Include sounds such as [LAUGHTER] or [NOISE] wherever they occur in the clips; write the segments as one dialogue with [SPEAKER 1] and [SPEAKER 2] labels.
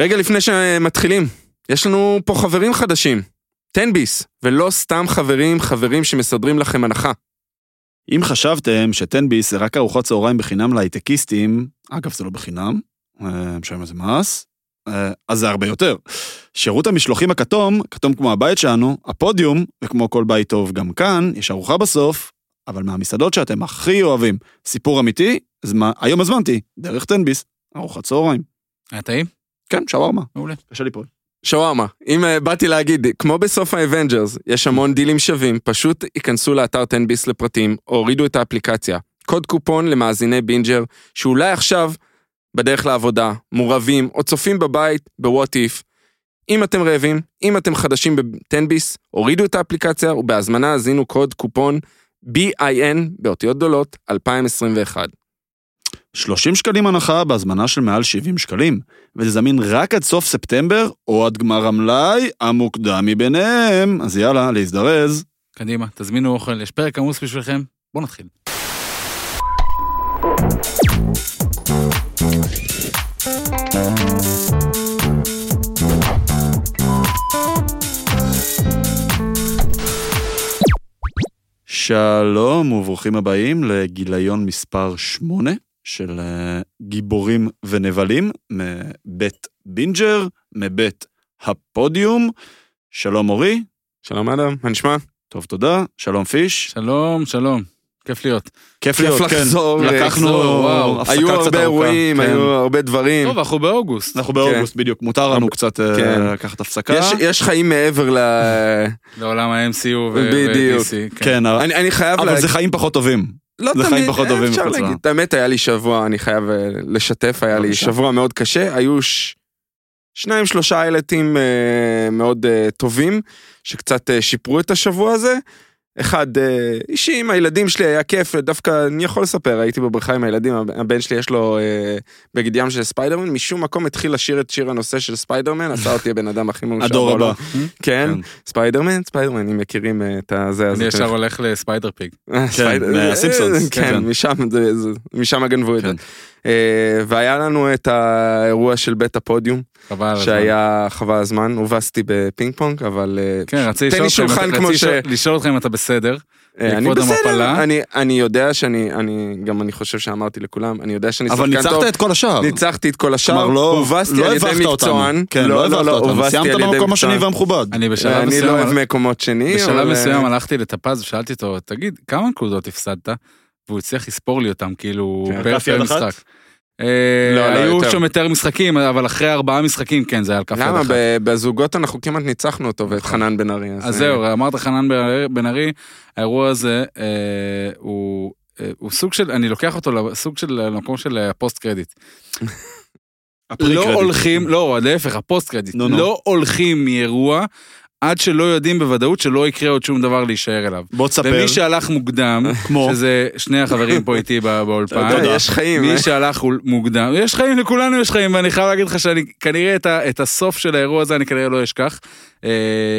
[SPEAKER 1] רגע לפני שמתחילים, יש לנו פה חברים חדשים. תן ביס, ולא סתם חברים, חברים שמסדרים לכם הנחה.
[SPEAKER 2] אם חשבתם שתנביס זה רק ארוחות צהריים בחינם להייטקיסטים, אגב, זה לא בחינם, אה, משלם על זה מס, אה, אז זה הרבה יותר. שירות המשלוחים הכתום, כתום כמו הבית שלנו, הפודיום, וכמו כל בית טוב גם כאן, יש ארוחה בסוף, אבל מהמסעדות שאתם הכי אוהבים. סיפור אמיתי, אז מה, היום הזמנתי, דרך תנביס, ארוחת צהריים.
[SPEAKER 3] היה טעים?
[SPEAKER 2] כן, שווארמה,
[SPEAKER 3] מעולה.
[SPEAKER 2] קשה ליפול.
[SPEAKER 1] שווארמה, אם אה, באתי להגיד, כמו בסוף האבנג'רס, יש המון דילים שווים, פשוט ייכנסו לאתר 10 ביס לפרטים, או הורידו את האפליקציה. קוד קופון למאזיני בינג'ר, שאולי עכשיו, בדרך לעבודה, מורעבים, או צופים בבית, בוואט איף. אם אתם רעבים, אם אתם חדשים ב-10 ביס, הורידו את האפליקציה, ובהזמנה הזינו קוד קופון BIN, באותיות גדולות, 2021.
[SPEAKER 2] 30 שקלים הנחה בהזמנה של מעל 70 שקלים, וזה זמין רק עד סוף ספטמבר, או עד גמר המלאי המוקדם מביניהם. אז יאללה, להזדרז.
[SPEAKER 3] קדימה, תזמינו אוכל, יש פרק עמוס בשבילכם, בואו נתחיל.
[SPEAKER 2] שלום וברוכים הבאים לגיליון מספר 8 של אה, גיבורים ונבלים מבית בינג'ר, מבית הפודיום. שלום אורי,
[SPEAKER 1] שלום אדם, מה נשמע?
[SPEAKER 2] טוב תודה, שלום פיש,
[SPEAKER 3] שלום, שלום, כיף להיות.
[SPEAKER 2] כיף להיות,
[SPEAKER 1] כיף
[SPEAKER 2] כן.
[SPEAKER 1] לחזור,
[SPEAKER 2] לקחנו
[SPEAKER 1] לחזור, וואו.
[SPEAKER 2] הפסקה
[SPEAKER 1] היו
[SPEAKER 2] קצת
[SPEAKER 1] הרבה
[SPEAKER 2] ארוכה,
[SPEAKER 1] אירועים,
[SPEAKER 2] כן.
[SPEAKER 1] היו הרבה דברים.
[SPEAKER 3] טוב, אנחנו באוגוסט.
[SPEAKER 1] נכון.
[SPEAKER 2] אנחנו באוגוסט בדיוק, מותר לנו
[SPEAKER 1] הרבה-
[SPEAKER 2] קצת אה,
[SPEAKER 1] כן.
[SPEAKER 2] לקחת הפסקה.
[SPEAKER 1] יש, יש חיים מעבר ל...
[SPEAKER 2] אה.
[SPEAKER 3] לעולם ה-MCU ו-
[SPEAKER 1] בדיוק.
[SPEAKER 3] ו-DC. כן.
[SPEAKER 2] כן,
[SPEAKER 1] אני, אני חייב
[SPEAKER 2] אבל
[SPEAKER 1] להגיד...
[SPEAKER 2] זה חיים פחות טובים.
[SPEAKER 1] לא
[SPEAKER 2] זה חיים פחות טובים
[SPEAKER 1] אפשר
[SPEAKER 2] מחוץ לה.
[SPEAKER 1] להגיד. את האמת, היה לי שבוע, אני חייב אה, לשתף, היה לי
[SPEAKER 2] בבקשה.
[SPEAKER 1] שבוע מאוד קשה. היו ש... שניים, שלושה איילטים אה, מאוד אה, טובים, שקצת אה, שיפרו את השבוע הזה. אחד אה, אישי עם הילדים שלי, היה כיף, דווקא אני יכול לספר, הייתי בבריכה עם הילדים, הבן שלי יש לו אה, בגד ים של ספיידרמן, משום מקום התחיל לשיר את שיר הנושא של ספיידרמן, עשה אותי הבן אדם הכי מאושר.
[SPEAKER 2] הדור
[SPEAKER 1] בעולם.
[SPEAKER 2] הבא.
[SPEAKER 1] כן,
[SPEAKER 2] כן.
[SPEAKER 1] ספיידרמן, ספיידרמן, אם מכירים אה, את הזה, אז...
[SPEAKER 3] אני
[SPEAKER 1] אתם-
[SPEAKER 3] ישר הולך לספיידר פיג.
[SPEAKER 1] אה, ספיידר-
[SPEAKER 2] מהסימפסונס,
[SPEAKER 1] אה, כן,
[SPEAKER 2] כן.
[SPEAKER 1] משם זה- זה- משם גנבו את זה.
[SPEAKER 2] כן.
[SPEAKER 1] אה, והיה לנו את האירוע של בית הפודיום,
[SPEAKER 3] חבל.
[SPEAKER 2] אה, נכון.
[SPEAKER 3] על הזמן.
[SPEAKER 1] שהיה חבל הזמן, הובסתי בפינג פונג, אבל... אה,
[SPEAKER 3] כן, רציתי
[SPEAKER 1] תן
[SPEAKER 3] לשאול
[SPEAKER 1] לי
[SPEAKER 3] אותך
[SPEAKER 1] שולחן
[SPEAKER 3] אם אתה- רציתי
[SPEAKER 1] כמו
[SPEAKER 3] לשאול-
[SPEAKER 1] ש-
[SPEAKER 3] לשאול אותך אם אתה בסדר.
[SPEAKER 2] כן,
[SPEAKER 1] אה, אני
[SPEAKER 3] לכבוד
[SPEAKER 1] בסדר,
[SPEAKER 3] המפלה.
[SPEAKER 1] אני- אני יודע שאני, אני- גם אני חושב שאמרתי לכולם, אני יודע שאני
[SPEAKER 2] אבל
[SPEAKER 1] שחקן
[SPEAKER 2] ניצחת
[SPEAKER 1] טוב.
[SPEAKER 2] את כל השאר.
[SPEAKER 1] ניצחתי את כל השאר,
[SPEAKER 2] כלומר, לא-
[SPEAKER 1] הובסתי
[SPEAKER 2] לא
[SPEAKER 1] על
[SPEAKER 2] הבכת
[SPEAKER 1] ידי
[SPEAKER 2] אותנו.
[SPEAKER 1] מקצוען.
[SPEAKER 2] כן, לא הבכת אותנו.
[SPEAKER 1] הובסתי
[SPEAKER 2] סיימת
[SPEAKER 1] על ידי
[SPEAKER 2] במקום השני
[SPEAKER 1] מקצוען.
[SPEAKER 2] והמכובד.
[SPEAKER 3] אני בשלב
[SPEAKER 1] אני לא
[SPEAKER 3] מסוים
[SPEAKER 1] אוהב מקומות שני.
[SPEAKER 3] בשלב
[SPEAKER 1] אבל, אה,
[SPEAKER 3] מסוים הלכתי לטפז ושאלתי אותו, תגיד, כמה נקודות הפסדת? והוא הצליח לספור לי אותם, כאילו,
[SPEAKER 1] כן,
[SPEAKER 3] פר
[SPEAKER 2] כף יד
[SPEAKER 3] פר
[SPEAKER 2] אחת?
[SPEAKER 3] משחק. אה,
[SPEAKER 1] לא, לא, יותר.
[SPEAKER 3] היו שם יותר משחקים, אבל אחרי ארבעה משחקים, כן, זה היה על כף יד
[SPEAKER 1] למה?
[SPEAKER 3] אחת.
[SPEAKER 1] ב- בזוגות אנחנו כמעט ניצחנו אותו
[SPEAKER 2] נכון.
[SPEAKER 1] ואת חנן בן ארי.
[SPEAKER 3] אז
[SPEAKER 1] אה,
[SPEAKER 3] זהו, אמרת חנן בן ארי- בן ארי, האירוע הזה אה, הוא... אה, הוא סוג של, אני לוקח אותו לסוג של, למקום של אה, הפוסט קרדיט. לא הולכים, לא, להפך, הפוסט קרדיט.
[SPEAKER 2] נו, נו.
[SPEAKER 3] לא הולכים מאירוע עד שלא יודעים בוודאות שלא יקרה עוד שום דבר להישאר אליו.
[SPEAKER 2] בוא תספר,
[SPEAKER 3] ומי שהלך [LAUGHS] מוקדם,
[SPEAKER 2] כמו,
[SPEAKER 3] שזה שני החברים פה איתי בא-
[SPEAKER 1] אתה
[SPEAKER 3] באולפן.
[SPEAKER 1] יודע, יש חיים. אה.
[SPEAKER 3] מי שהלך הוא מוקדם, יש חיים, לכולנו יש חיים, ואני חייב להגיד לך שאני כנראה את, ה, את הסוף של האירוע הזה אני כנראה לא אשכח. אה,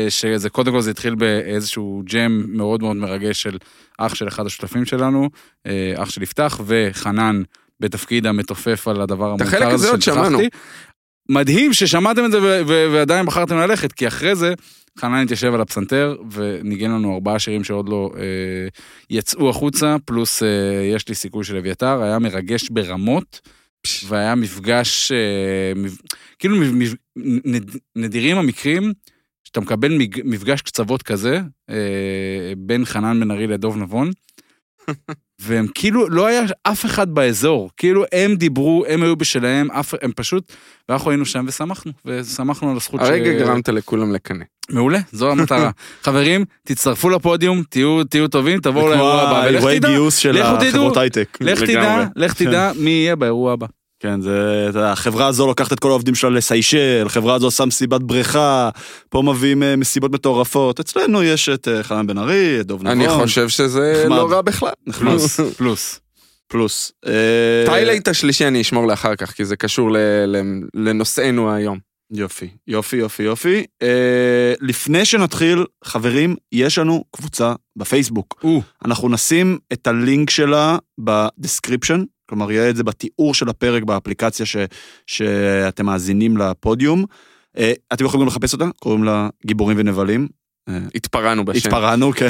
[SPEAKER 3] שזה קודם כל זה התחיל באיזשהו ג'ם מאוד מאוד מרגש של אח של אחד השותפים שלנו, אה, אח של יפתח, וחנן בתפקיד המתופף על הדבר המוכר הזה
[SPEAKER 1] החלק הזה עוד
[SPEAKER 3] ששכחתי.
[SPEAKER 1] שמענו.
[SPEAKER 3] מדהים ששמעתם את זה ו- ו- ועדיין בחרתם ללכת, כי אחרי זה חנן התיישב על הפסנתר וניגן לנו ארבעה שירים שעוד לא אה, יצאו החוצה, פלוס אה, יש לי סיכוי של אביתר, היה מרגש ברמות, והיה מפגש, אה, מב... כאילו מב... מב... נד... נדירים המקרים שאתה מקבל מג... מפגש קצוות כזה, אה, בין חנן בן ארי לדוב נבון.
[SPEAKER 1] [LAUGHS]
[SPEAKER 3] והם כאילו, לא היה אף אחד באזור, כאילו הם דיברו, הם היו בשלהם, אף, הם פשוט, ואנחנו היינו שם ושמחנו, ושמחנו על הזכות
[SPEAKER 1] הרגע גרמת לכולם לקנא.
[SPEAKER 3] מעולה, זו המטרה.
[SPEAKER 1] [LAUGHS]
[SPEAKER 3] חברים, תצטרפו לפודיום, תהיו, תהיו טובים, תבואו
[SPEAKER 2] כמו
[SPEAKER 3] לאירוע הבא, ולך
[SPEAKER 2] האירועי
[SPEAKER 3] תדע,
[SPEAKER 2] גיוס של
[SPEAKER 3] לכו תדעו.
[SPEAKER 2] החברות הייטק.
[SPEAKER 3] לך תדע,
[SPEAKER 2] לגמרי.
[SPEAKER 3] לך תדע מי יהיה
[SPEAKER 1] [LAUGHS]
[SPEAKER 3] באירוע הבא.
[SPEAKER 2] כן, זה, אתה יודע, החברה הזו לוקחת את כל העובדים שלה לסיישל, החברה הזו עושה מסיבת בריכה, פה מביאים אה, מסיבות מטורפות. אצלנו יש את אה, חנן בן ארי, את דוב נבון.
[SPEAKER 1] אני חושב שזה
[SPEAKER 2] נכון. נחמד.
[SPEAKER 1] לא רע בכלל.
[SPEAKER 2] נחמד.
[SPEAKER 3] פלוס, פלוס.
[SPEAKER 2] פלוס. אה,
[SPEAKER 1] טיילייט השלישי אני אשמור לאחר כך, כי זה קשור ל- ל- לנושאנו היום.
[SPEAKER 2] יופי, יופי, יופי, יופי. אה, לפני שנתחיל, חברים, יש לנו קבוצה בפייסבוק.
[SPEAKER 3] או.
[SPEAKER 2] אנחנו נשים את הלינק שלה בדסקריפשן, כלומר, יהיה את זה בתיאור של הפרק באפליקציה ש, שאתם מאזינים לפודיום. אה, אתם יכולים גם לחפש אותה, קוראים לה גיבורים ונבלים.
[SPEAKER 1] התפרענו בשם.
[SPEAKER 2] התפרענו, כן.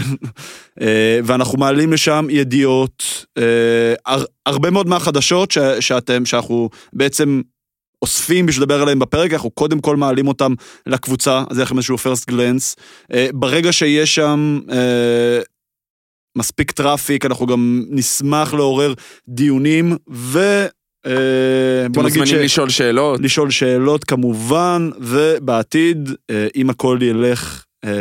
[SPEAKER 2] אה, ואנחנו מעלים לשם ידיעות, אה, הר- הרבה מאוד מהחדשות ש- שאתם, שאנחנו בעצם אוספים בשביל לדבר עליהן בפרק, אנחנו קודם כל מעלים אותן לקבוצה, אז יהיה לכם איזשהו first glance. אה, ברגע שיש שם אה, מספיק טראפיק, אנחנו גם נשמח לעורר דיונים, ו... אה,
[SPEAKER 1] אתם
[SPEAKER 2] בוא נגיד ש...
[SPEAKER 1] מוזמנים לשאול שאלות.
[SPEAKER 2] לשאול שאלות כמובן, ובעתיד, אה, אם הכל ילך אה,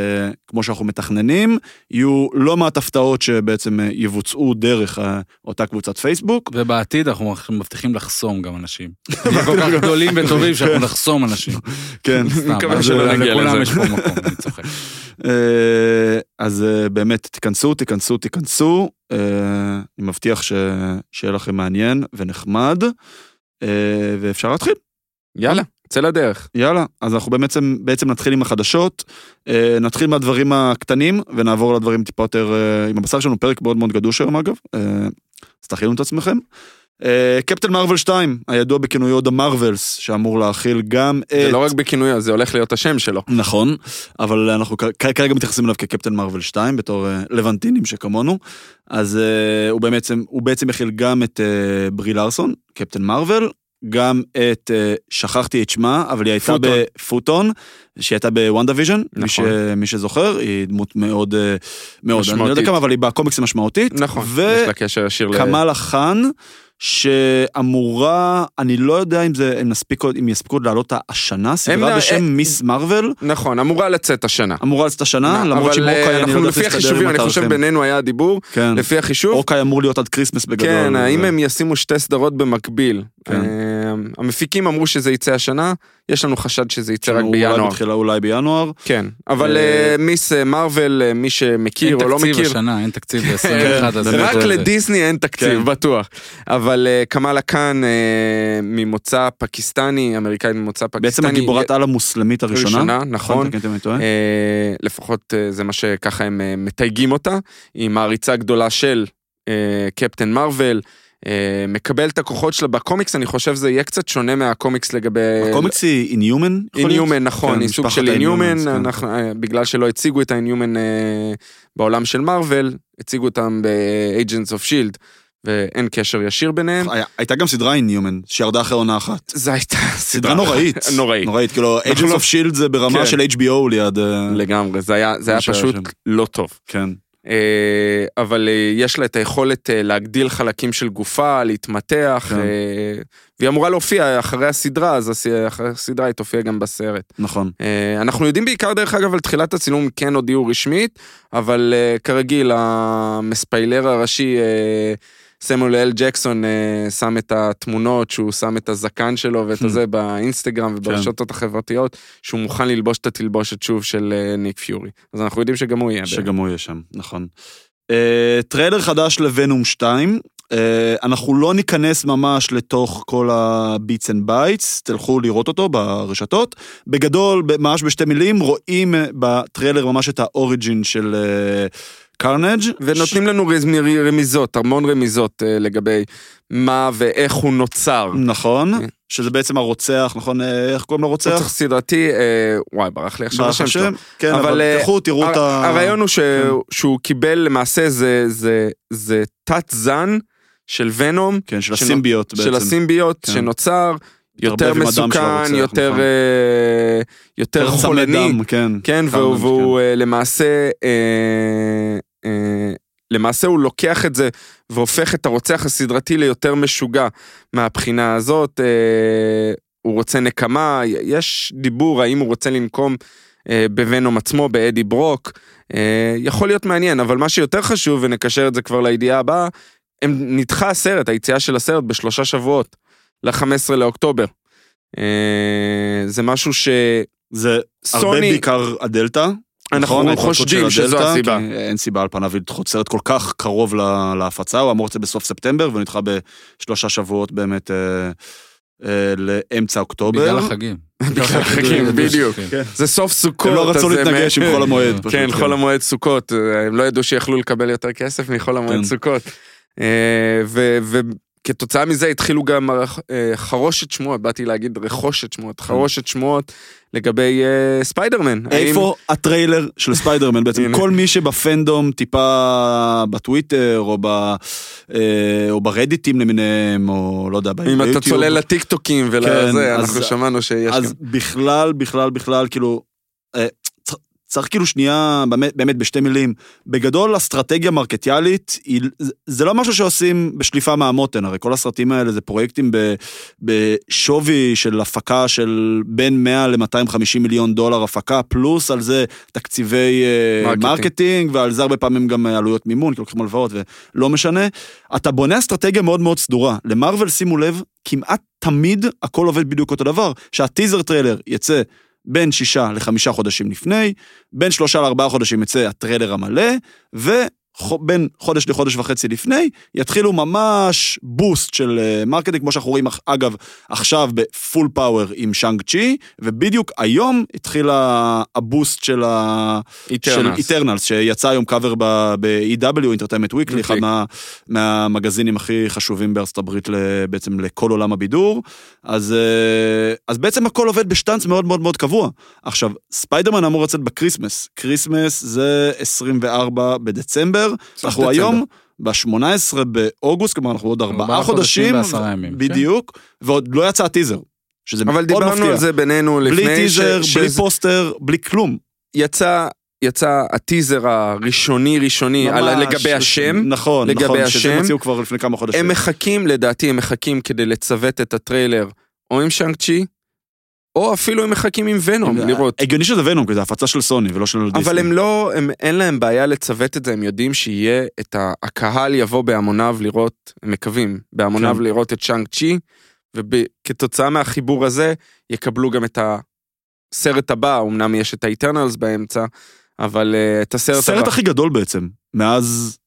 [SPEAKER 2] כמו שאנחנו מתכננים, יהיו לא מעט הפתעות שבעצם אה, יבוצעו דרך אה, אותה קבוצת
[SPEAKER 3] [LAUGHS]
[SPEAKER 2] פייסבוק.
[SPEAKER 3] ובעתיד אנחנו מבטיחים לחסום גם אנשים. [LAUGHS] אנחנו כל כך גדולים וטובים שאנחנו נחסום
[SPEAKER 1] [LAUGHS]
[SPEAKER 3] אנשים.
[SPEAKER 2] כן.
[SPEAKER 3] סתם,
[SPEAKER 1] מקווה
[SPEAKER 3] אז
[SPEAKER 1] שלא נגיע לזה.
[SPEAKER 3] לכולם יש פה מקום,
[SPEAKER 1] [LAUGHS]
[SPEAKER 3] אני צוחק.
[SPEAKER 2] אה, אז אה, באמת, תיכנסו, תיכנסו, תיכנסו. אה, אני מבטיח ש- שיהיה לכם מעניין ונחמד, אה, ואפשר להתחיל.
[SPEAKER 1] יאללה, צא לדרך.
[SPEAKER 2] יאללה, אז אנחנו בעצם, בעצם נתחיל עם החדשות, אה, נתחיל מהדברים הקטנים ונעבור לדברים טיפה יותר, אה, עם הבשר שלנו פרק מאוד מאוד גדוש היום אגב, אה, אז תכינו את עצמכם. אה, קפטן מרוויל 2, הידוע בכינויו דה מרווילס, שאמור להכיל גם את...
[SPEAKER 1] זה לא רק בכינויו, זה הולך להיות השם שלו.
[SPEAKER 2] נכון, אבל אנחנו כ- כ- כרגע מתייחסים אליו כקפטן מרוויל 2, בתור אה, לבנטינים שכמונו, אז אה, הוא בעצם, הוא בעצם מכיל גם את אה, ברי לארסון, קפטן מרוויל, גם את, אה, שכחתי את שמה, אבל היא הייתה
[SPEAKER 1] פוטון.
[SPEAKER 2] בפוטון, שהיא הייתה בוונדה ויז'ן, מי, ש,
[SPEAKER 1] נכון.
[SPEAKER 2] מי שזוכר, היא דמות מאוד, אה, מאוד, אני לא יודע
[SPEAKER 1] משמעותית.
[SPEAKER 2] כמה, אבל היא בקומיקס המשמעותית.
[SPEAKER 1] נכון,
[SPEAKER 2] ו-
[SPEAKER 1] יש לה קשר ישיר ל...
[SPEAKER 2] קמאלה חאן, שאמורה, אני לא יודע אם זה, אם נספיק, עוד- אם יספיקו עוד לעלות השנה,
[SPEAKER 1] לא-
[SPEAKER 2] סדרה בשם
[SPEAKER 1] אה-
[SPEAKER 2] מיס מרוויל.
[SPEAKER 1] נכון, אמורה לצאת השנה.
[SPEAKER 2] אמורה לצאת השנה, למרות
[SPEAKER 1] אבל, אה,
[SPEAKER 2] שמורקאי, אני לא
[SPEAKER 1] אנחנו
[SPEAKER 2] יודע
[SPEAKER 1] לפי
[SPEAKER 2] איך להסתדר
[SPEAKER 1] החישובים,
[SPEAKER 2] עם
[SPEAKER 1] אני חושב
[SPEAKER 2] התאריכים.
[SPEAKER 1] בינינו היה הדיבור,
[SPEAKER 2] כן,
[SPEAKER 1] לפי החישוב.
[SPEAKER 2] מורקאי אמור להיות עד כריסמס בגדול.
[SPEAKER 1] כן, האם
[SPEAKER 2] ו-
[SPEAKER 1] הם ישימו שתי סדרות במקביל?
[SPEAKER 2] כן.
[SPEAKER 1] אה, המפיקים אמרו שזה יצא השנה, יש לנו חשד שזה יצא רק
[SPEAKER 2] אולי
[SPEAKER 1] בינואר.
[SPEAKER 2] בתחילה אולי בינואר.
[SPEAKER 1] כן, אבל
[SPEAKER 2] אה,
[SPEAKER 1] אה, מיס אה, מרוויל, אה, מי
[SPEAKER 3] אין
[SPEAKER 1] שמכיר או לא
[SPEAKER 3] תקציב
[SPEAKER 1] מכיר, כן,
[SPEAKER 3] השנה, אין תקציב ב-21, אז...
[SPEAKER 1] רק
[SPEAKER 3] זה-
[SPEAKER 1] לדיסני אין תקציב,
[SPEAKER 2] כן.
[SPEAKER 1] בטוח. אבל אה, קמאלה כאן אה, ממוצא פקיסטני, אמריקאית ממוצא פקיסטני.
[SPEAKER 2] בעצם הגיבורת על המוסלמית הראשונה.
[SPEAKER 1] ראשונה, נכון.
[SPEAKER 2] תקן אותי אם אני טועה.
[SPEAKER 1] אה, לפחות אה, זה מה שככה הם אה, מתייגים אותה, היא מעריצה גדולה של אה, קפטן מרוויל, אה, מקבל את הכוחות שלה בקומיקס, אני חושב זה יהיה קצת שונה מהקומיקס לגבי...
[SPEAKER 2] הקומיקס היא אינהיומן? יכול להיות?
[SPEAKER 1] אינהומן, נכון,
[SPEAKER 2] כן,
[SPEAKER 1] היא סוג
[SPEAKER 2] משפחת
[SPEAKER 1] של
[SPEAKER 2] ה-Inhumans,
[SPEAKER 1] אינהומן,
[SPEAKER 2] כן.
[SPEAKER 1] אנחנו, אה, בגלל שלא הציגו את האינהומן אה, בעולם של מארוול, הציגו אותם ב-Agents of Shield, E ואין קשר ישיר ביניהם.
[SPEAKER 2] אה, היה- הייתה גם סדרה אינהיומן, שירדה אחרי עונה אחת.
[SPEAKER 1] זו הייתה
[SPEAKER 2] סדרה נוראית.
[SPEAKER 1] [LAUGHS] נוראית.
[SPEAKER 2] נוראית, כאילו,
[SPEAKER 1] אנחנו
[SPEAKER 2] Agents
[SPEAKER 1] לא-
[SPEAKER 2] of Shield זה ברמה
[SPEAKER 1] כן.
[SPEAKER 2] של HBO ליד... אה,
[SPEAKER 1] לגמרי, זה היה, זה
[SPEAKER 2] מה
[SPEAKER 1] היה
[SPEAKER 2] שהיה
[SPEAKER 1] פשוט
[SPEAKER 2] שם.
[SPEAKER 1] לא טוב.
[SPEAKER 2] כן.
[SPEAKER 1] אה, אבל אה, יש לה את היכולת אה, להגדיל חלקים של גופה, להתמתח,
[SPEAKER 2] כן.
[SPEAKER 1] אה, והיא אמורה להופיע אחרי הסדרה, אז הס- אחרי הסדרה היא תופיע גם בסרט.
[SPEAKER 2] נכון.
[SPEAKER 1] אה, אנחנו יודעים בעיקר, דרך אגב, על תחילת הצילום כן הודיעו רשמית, אבל אה, כרגיל, המספיילר הראשי, אה, סמואל אל ג'קסון, אה, שם את התמונות, שהוא שם את הזקן שלו ואת
[SPEAKER 2] Hmm. כן.
[SPEAKER 1] הזה באינסטגרם וברשתות החברתיות, שהוא מוכן ללבוש את התלבושת שוב של אה, ניק פיורי. אז אנחנו יודעים שגם הוא יהיה.
[SPEAKER 2] שגם הוא יהיה שם, נכון. אה, טריילר חדש לוונום 2. אה, אנחנו לא ניכנס ממש לתוך כל הביטס אנד בייטס, תלכו לראות אותו ברשתות. בגדול, ב- ממש בשתי מילים, רואים אה, בטריילר ממש את האוריג'ין של אה, קרנג'.
[SPEAKER 1] ונותנים לנו רז- מ- רמיזות, המון רמיזות אה, לגבי מה ואיך הוא נוצר.
[SPEAKER 2] נכון,
[SPEAKER 1] כן.
[SPEAKER 2] שזה בעצם הרוצח, נכון? אה, איך קוראים
[SPEAKER 1] רוצח
[SPEAKER 2] לרוצח?
[SPEAKER 1] סדרתי, אה, וואי, ברח לי עכשיו
[SPEAKER 2] ברח
[SPEAKER 1] השם שלו.
[SPEAKER 2] השם. כן,
[SPEAKER 1] אבל,
[SPEAKER 2] אבל
[SPEAKER 1] אה,
[SPEAKER 2] תלכו, תראו את ה... כן.
[SPEAKER 1] הר- הרעיון הוא ש- שהוא קיבל למעשה זה- זה- זה תת זן של ונום,
[SPEAKER 2] כן, של
[SPEAKER 1] של-
[SPEAKER 2] הסימביות בעצם.
[SPEAKER 1] של הסימביוט
[SPEAKER 2] כן.
[SPEAKER 1] שנוצר, יותר
[SPEAKER 2] מתערבב עם הדם של
[SPEAKER 1] מסוכן,
[SPEAKER 2] הרוצח,
[SPEAKER 1] יותר
[SPEAKER 2] נכון.
[SPEAKER 1] אה, יותר
[SPEAKER 2] צמא
[SPEAKER 1] חולני.
[SPEAKER 2] דם, כן.
[SPEAKER 1] כן,
[SPEAKER 2] קרנג',
[SPEAKER 1] והוא, והוא אה, למעשה, אה, אה, למעשה הוא לוקח את זה והופך את הרוצח הסדרתי ליותר משוגע מהבחינה הזאת. אה, הוא רוצה נקמה, יש דיבור האם הוא רוצה לנקום אה, בוונום עצמו, באדי ברוק. אה, יכול להיות מעניין, אבל מה שיותר חשוב, ונקשר את זה כבר לידיעה הבאה, הם נדחה הסרט, היציאה של הסרט בשלושה שבועות, ל-15 לאוקטובר. אה, זה משהו שסוני...
[SPEAKER 2] זה הרבה בעיקר הדלתא. נכון?
[SPEAKER 1] אנחנו
[SPEAKER 2] ההתפתחות של
[SPEAKER 1] חושדים שזו
[SPEAKER 2] הדלתא,
[SPEAKER 1] הסיבה.
[SPEAKER 2] כי אין סיבה על פניו לדחות סרט כל כך קרוב לה, להפצה, הוא אמור לצאת בסוף ספטמבר, והוא נדחה בשלושה שבועות באמת אה, אה, לאמצע אוקטובר.
[SPEAKER 3] בגלל החגים.
[SPEAKER 1] בגלל החגים, בדיוק.
[SPEAKER 3] כן.
[SPEAKER 2] כן.
[SPEAKER 1] זה סוף סוכות.
[SPEAKER 2] הם לא
[SPEAKER 1] אז
[SPEAKER 2] רצו
[SPEAKER 1] הם-
[SPEAKER 2] להתנגש עם חול המועד. פשוט,
[SPEAKER 1] כן, חול המועד סוכות, אה, הם לא ידעו שיכלו לקבל יותר כסף מחול המועד
[SPEAKER 2] כן.
[SPEAKER 1] סוכות. אה, ו- ו- כתוצאה מזה התחילו גם הר- אה, חרושת שמועות, באתי להגיד רכושת
[SPEAKER 2] כן.
[SPEAKER 1] שמועות, חרושת שמועות לגבי אה, ספיידרמן. האם-
[SPEAKER 2] איפה הטריילר של ספיידרמן בעצם?
[SPEAKER 1] הנה.
[SPEAKER 2] כל מי שבפנדום טיפה בטוויטר או, ב, אה, או ברדיטים למיניהם, או לא יודע,
[SPEAKER 1] אם אתה
[SPEAKER 2] ביוטיוב.
[SPEAKER 1] צולל לטיקטוקים
[SPEAKER 2] כן,
[SPEAKER 1] ולזה,
[SPEAKER 2] אז-
[SPEAKER 1] אנחנו שמענו שיש גם.
[SPEAKER 2] אז בכלל, בכלל, בכלל, כאילו, אה, צר- צריך כאילו שנייה, באמת, באמת בשתי מילים. בגדול, אסטרטגיה מרקטיאלית, היא, זה- זה לא משהו שעושים בשליפה מהמותן, הרי כל הסרטים האלה זה פרויקטים ב, בשווי של הפקה של בין 100 ל-250 מיליון דולר הפקה, פלוס על זה תקציבי אה,
[SPEAKER 1] מרקטינג.
[SPEAKER 2] מרקטינג, ועל זה הרבה פעמים גם אה, עלויות מימון, כי לוקחים הלוואות ולא משנה. אתה בונה אסטרטגיה מאוד מאוד סדורה. למרוויל, שימו לב, כמעט תמיד הכל עובד בדיוק אותו דבר, שהטיזר טריילר יצא בין שישה לחמישה חודשים לפני, בין שלושה לארבעה חודשים יצא הטריילר המלא, ובין חודש לחודש וחצי לפני, יתחילו ממש בוסט של אה, מרקטינג, כמו שאנחנו רואים, אח- אגב, עכשיו בפול פאוור עם שאנג צ'י, ובדיוק היום התחיל ה- הבוסט של ה... של
[SPEAKER 1] איטרנלס.
[SPEAKER 2] איטרנלס, שיצא היום קאבר ב-EW, Entertainment Weekly, אחד
[SPEAKER 1] Weekly.
[SPEAKER 2] מה, מהמגזינים הכי חשובים בארצות הברית ל- בעצם לכל עולם הבידור. אז, אה, אז בעצם הכל עובד בשטאנץ מאוד מאוד מאוד קבוע. עכשיו, ספיידרמן אמור לצאת בקריסמס. קריסמס זה 24 בדצמבר,
[SPEAKER 1] סוף
[SPEAKER 2] אנחנו
[SPEAKER 1] דצמבר.
[SPEAKER 2] היום ב-18 באוגוסט, כלומר אנחנו עוד ארבעה
[SPEAKER 3] ארבעה חודשים
[SPEAKER 2] חודשים,
[SPEAKER 3] ועשרה ימים, כן.
[SPEAKER 2] בדיוק, ועוד לא יצא הטיזר, שזה מאוד
[SPEAKER 1] אבל
[SPEAKER 2] מפתיע.
[SPEAKER 1] דיברנו על זה בינינו לפני,
[SPEAKER 2] בלי טיזר,
[SPEAKER 1] ש-
[SPEAKER 2] בלי
[SPEAKER 1] שזה-
[SPEAKER 2] פוסטר, בלי כלום.
[SPEAKER 1] יצא, יצא הטיזר הראשוני ראשוני אה, על,
[SPEAKER 2] ממש,
[SPEAKER 1] לגבי השם.
[SPEAKER 2] נכון,
[SPEAKER 1] לגבי
[SPEAKER 2] נכון, שזה
[SPEAKER 1] השם.
[SPEAKER 2] הוציאו כבר לפני כמה חודשים.
[SPEAKER 1] הם מחכים, לדעתי הם מחכים כדי לצוות את הטריילר או עם שאנג צ'י, או אפילו הם מחכים עם ונום, לראות.
[SPEAKER 2] אה, הגיוני שזה ונום, כי זה הפצה של סוני ולא של דיסני.
[SPEAKER 1] אבל הם לא, הם, אין להם בעיה לצוות את זה, הם יודעים שיהיה את ה... הקהל יבוא בהמוניו לראות, הם מקווים, בהמוניו
[SPEAKER 2] כן.
[SPEAKER 1] לראות את שאנג צ'י, וכתוצאה מהחיבור הזה יקבלו גם את הסרט הבא, אמנם יש את האיטרנלס באמצע, אבל uh, את הסרט
[SPEAKER 2] הסרט
[SPEAKER 1] הבא.
[SPEAKER 2] הכי גדול בעצם, מאז,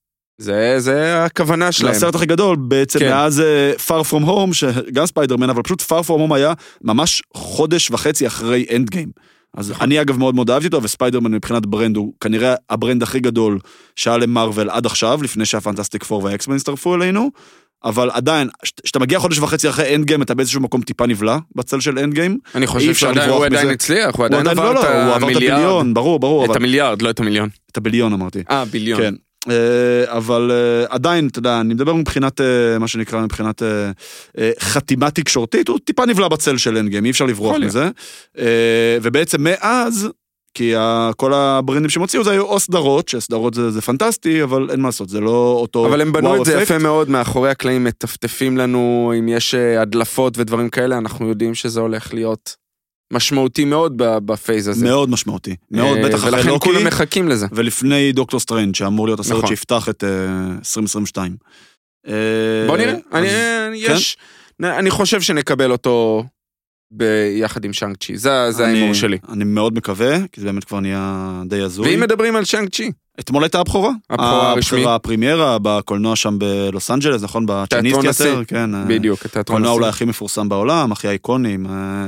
[SPEAKER 1] זה, זה הכוונה
[SPEAKER 2] של
[SPEAKER 1] שלהם.
[SPEAKER 2] הסרט הכי גדול, בעצם
[SPEAKER 1] כן.
[SPEAKER 2] מאז אה, Far From Home, שגם ספיידרמן, אבל פשוט Far From Home היה ממש חודש וחצי אחרי אנד גיים. אז
[SPEAKER 1] נכון.
[SPEAKER 2] אני אגב מאוד מאוד אהבתי אותו, וספיידרמן מבחינת ברנד הוא כנראה הברנד הכי גדול שהיה למרוויל עד עכשיו, לפני שהפנטסטיק 4 והאקסמן הצטרפו אלינו, אבל עדיין, כשאתה מגיע חודש וחצי אחרי אנד גיים, אתה באיזשהו מקום טיפה נבלע בצל של אנד גיים.
[SPEAKER 1] אני
[SPEAKER 2] אי
[SPEAKER 1] חושב
[SPEAKER 2] אפשר
[SPEAKER 1] שעדיין
[SPEAKER 2] לברוח
[SPEAKER 1] הוא עדיין
[SPEAKER 2] מזה.
[SPEAKER 1] הצליח, הוא
[SPEAKER 2] הוא
[SPEAKER 1] עדיין
[SPEAKER 2] עדיין לא,
[SPEAKER 1] עבר
[SPEAKER 2] לא,
[SPEAKER 1] את
[SPEAKER 2] הוא עבר את
[SPEAKER 1] המיליארד.
[SPEAKER 2] הביליון, ברור, ברור,
[SPEAKER 1] את
[SPEAKER 2] אבל
[SPEAKER 1] המיליארד, לא את המיליון.
[SPEAKER 2] את הביליון אמרתי.
[SPEAKER 1] אה, ביליון.
[SPEAKER 2] כן. אה, אבל אה, עדיין, אתה יודע, אני מדבר מבחינת, אה, מה שנקרא, מבחינת אה, אה, חתימה תקשורתית, הוא טיפה נבלע בצל של אנדגיים, אי אפשר לברוח
[SPEAKER 1] יכול להיות.
[SPEAKER 2] מזה. אה, ובעצם מאז, כי ה- כל הברנדים שהם הוציאו זה היו או סדרות, שסדרות זה זה פנטסטי, אבל אין מה לעשות, זה לא אותו
[SPEAKER 1] אבל הם בנו
[SPEAKER 2] וואו
[SPEAKER 1] את זה
[SPEAKER 2] אפקט.
[SPEAKER 1] יפה מאוד, מאחורי הקלעים מטפטפים לנו, אם יש אה, הדלפות ודברים כאלה, אנחנו יודעים שזה הולך להיות משמעותי מאוד ב- בפייז הזה.
[SPEAKER 2] מאוד משמעותי, מאוד,
[SPEAKER 1] אה,
[SPEAKER 2] בטח לא אחרי
[SPEAKER 1] ולכן
[SPEAKER 2] לוקי,
[SPEAKER 1] כולם מחכים לזה.
[SPEAKER 2] ולפני דוקטור סטרנד, שאמור להיות הסרט
[SPEAKER 1] נכון.
[SPEAKER 2] שיפתח את אה, 2022. אה,
[SPEAKER 1] בוא נראה, אני,
[SPEAKER 2] אז- כן.
[SPEAKER 1] אני- יש, נ- אני חושב שנקבל אותו ביחד עם שאנג צ'י, זה זה
[SPEAKER 2] אני-
[SPEAKER 1] ההימור שלי.
[SPEAKER 2] אני מאוד מקווה, כי זה באמת כבר נהיה די הזוי.
[SPEAKER 1] ואם מדברים על שאנג צ'י,
[SPEAKER 2] אתמול הייתה הבכורה.
[SPEAKER 1] הבכורה הרשמית.
[SPEAKER 2] הפרימיירה בקולנוע שם בלוס אנג'לס, נכון? בצ'יניסט
[SPEAKER 1] הנשיא.
[SPEAKER 2] יותר, כן. אה,
[SPEAKER 1] בדיוק, אתה
[SPEAKER 2] הקולנוע אולי הכי מפורסם בעולם, הכי איקוני. עם, אה,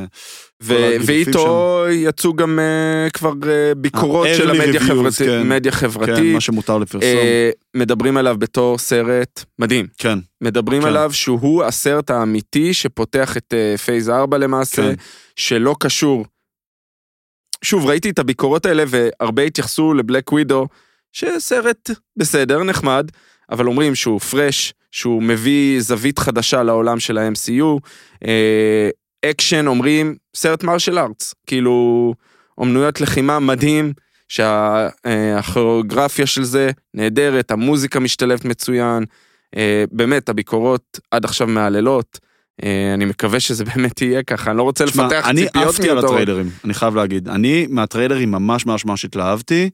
[SPEAKER 1] ו-
[SPEAKER 2] כל הגידופים
[SPEAKER 1] ואיתו יצאו גם אה, כבר אה, ביקורות של
[SPEAKER 2] early
[SPEAKER 1] המדיה
[SPEAKER 2] reviews,
[SPEAKER 1] חברתי-
[SPEAKER 2] כן.
[SPEAKER 1] מדיה
[SPEAKER 2] כן,
[SPEAKER 1] חברתית.
[SPEAKER 2] מה שמותר לפרסום.
[SPEAKER 1] אה, מדברים עליו בתור סרט מדהים.
[SPEAKER 2] כן,
[SPEAKER 1] מדברים
[SPEAKER 2] כן.
[SPEAKER 1] עליו שהוא הסרט האמיתי שפותח את אה, פייז 4 למעשה,
[SPEAKER 2] כן.
[SPEAKER 1] שלא קשור. שוב, ראיתי את הביקורות האלה והרבה התייחסו לבלק ווידו, שסרט בסדר, נחמד, אבל אומרים שהוא פרש, שהוא מביא זווית חדשה לעולם של ה-MCU. אה, אקשן אומרים, סרט מרשל ארטס, כאילו, אומנויות לחימה מדהים, שהכוריאוגרפיה של זה נהדרת, המוזיקה משתלבת מצוין, אה, באמת, הביקורות עד עכשיו מהללות. אה, אני מקווה שזה באמת יהיה ככה, אני לא רוצה
[SPEAKER 2] תשמע,
[SPEAKER 1] לפתח
[SPEAKER 2] אני
[SPEAKER 1] ציפיות
[SPEAKER 2] עפתי על
[SPEAKER 1] מיותרות.
[SPEAKER 2] הטריילרים, אני חייב להגיד. אני מהטריילרים ממש ממש ממש התלהבתי.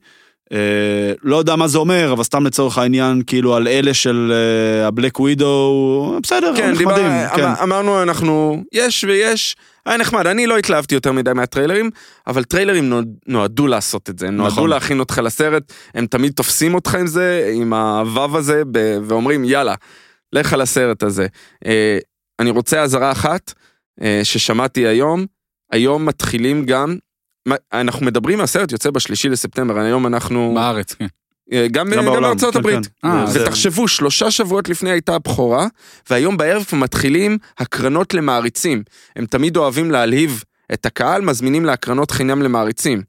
[SPEAKER 2] אה, לא יודע מה זה אומר, אבל סתם לצורך העניין, כאילו על אלה של אה, הבלק ווידו, בסדר,
[SPEAKER 1] כן, דיבר,
[SPEAKER 2] נחמדים. כן.
[SPEAKER 1] אמר, אמרנו אנחנו, יש ויש, היה נחמד, אני לא התלהבתי יותר מדי מהטריילרים, אבל טריילרים נועד- נועדו לעשות את זה, הם נועדו
[SPEAKER 2] נכון.
[SPEAKER 1] להכין אותך לסרט, הם תמיד תופסים אותך עם זה, עם הוו הזה, ב- ואומרים יאללה, לך על הסרט הזה. אה, אני רוצה אזהרה אחת אה, ששמעתי היום, היום מתחילים גם, מה- אנחנו מדברים, הסרט יוצא בשלישי לספטמבר, היום אנחנו...
[SPEAKER 3] בארץ, כן.
[SPEAKER 1] אה, גם,
[SPEAKER 2] גם
[SPEAKER 1] גם, גם
[SPEAKER 2] בעולם,
[SPEAKER 1] בארצות
[SPEAKER 2] כן,
[SPEAKER 1] הברית.
[SPEAKER 2] כן.
[SPEAKER 3] אה,
[SPEAKER 2] זה-
[SPEAKER 1] ותחשבו, שלושה שבועות לפני הייתה הבכורה, והיום בערב כבר מתחילים הקרנות למעריצים. הם תמיד אוהבים להלהיב את הקהל, מזמינים להקרנות חינם למעריצים.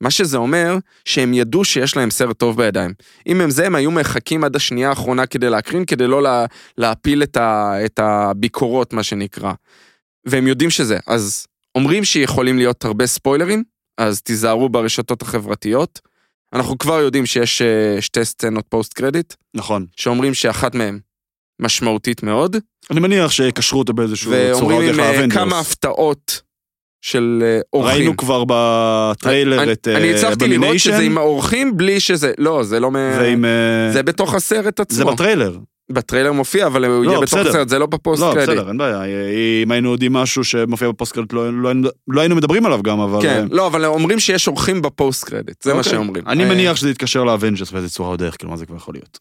[SPEAKER 1] מה שזה אומר, שהם ידעו שיש להם סרט טוב בידיים. אם הם זה, הם היו מחכים עד השנייה האחרונה כדי להקרין, כדי לא לה, להפיל את, ה, את הביקורות, מה שנקרא. והם יודעים שזה. אז אומרים שיכולים להיות הרבה ספוילרים, אז תיזהרו ברשתות החברתיות. אנחנו כבר יודעים שיש אה, שתי סצנות פוסט קרדיט,
[SPEAKER 2] נכון.
[SPEAKER 1] שאומרים שאחת מהן משמעותית מאוד,
[SPEAKER 2] אני מניח שקשרו אותו באיזשהו צורה עוד
[SPEAKER 1] ואומרים
[SPEAKER 2] איך
[SPEAKER 1] עם אה,
[SPEAKER 2] לאבנג'רס.
[SPEAKER 1] כמה הפתעות של אה, אורחים.
[SPEAKER 2] ראינו כבר בטריילר
[SPEAKER 1] אני-
[SPEAKER 2] את אה,
[SPEAKER 1] אני הצלחתי לראות שזה
[SPEAKER 2] אבמיניישן,
[SPEAKER 1] עם האורחים בלי שזה, לא, זה לא, מ-
[SPEAKER 2] ועם... אה,
[SPEAKER 1] זה בתוך הסרט עצמו.
[SPEAKER 2] זה בטריילר.
[SPEAKER 1] בטריילר מופיע, אבל הוא
[SPEAKER 2] לא,
[SPEAKER 1] יהיה בתוך
[SPEAKER 2] בסדר.
[SPEAKER 1] הסרט, זה לא בפוסט
[SPEAKER 2] לא,
[SPEAKER 1] קרדיט.
[SPEAKER 2] בסדר, אין בעיה. אה, אם היינו יודעים משהו שמופיע בפוסט קרדיט, לא לא היינו- לא היינו מדברים עליו גם, אבל... אה,
[SPEAKER 1] כן, לא, אבל אומרים שיש אורחים בפוסט קרדיט, זה מה
[SPEAKER 2] אוקיי.
[SPEAKER 1] שאומרים.
[SPEAKER 2] אני
[SPEAKER 1] אה,
[SPEAKER 2] מניח שזה יתקשר לאבנג'רס באיזה צורה עוד איך, כאילו, מה זה כבר יכול להיות.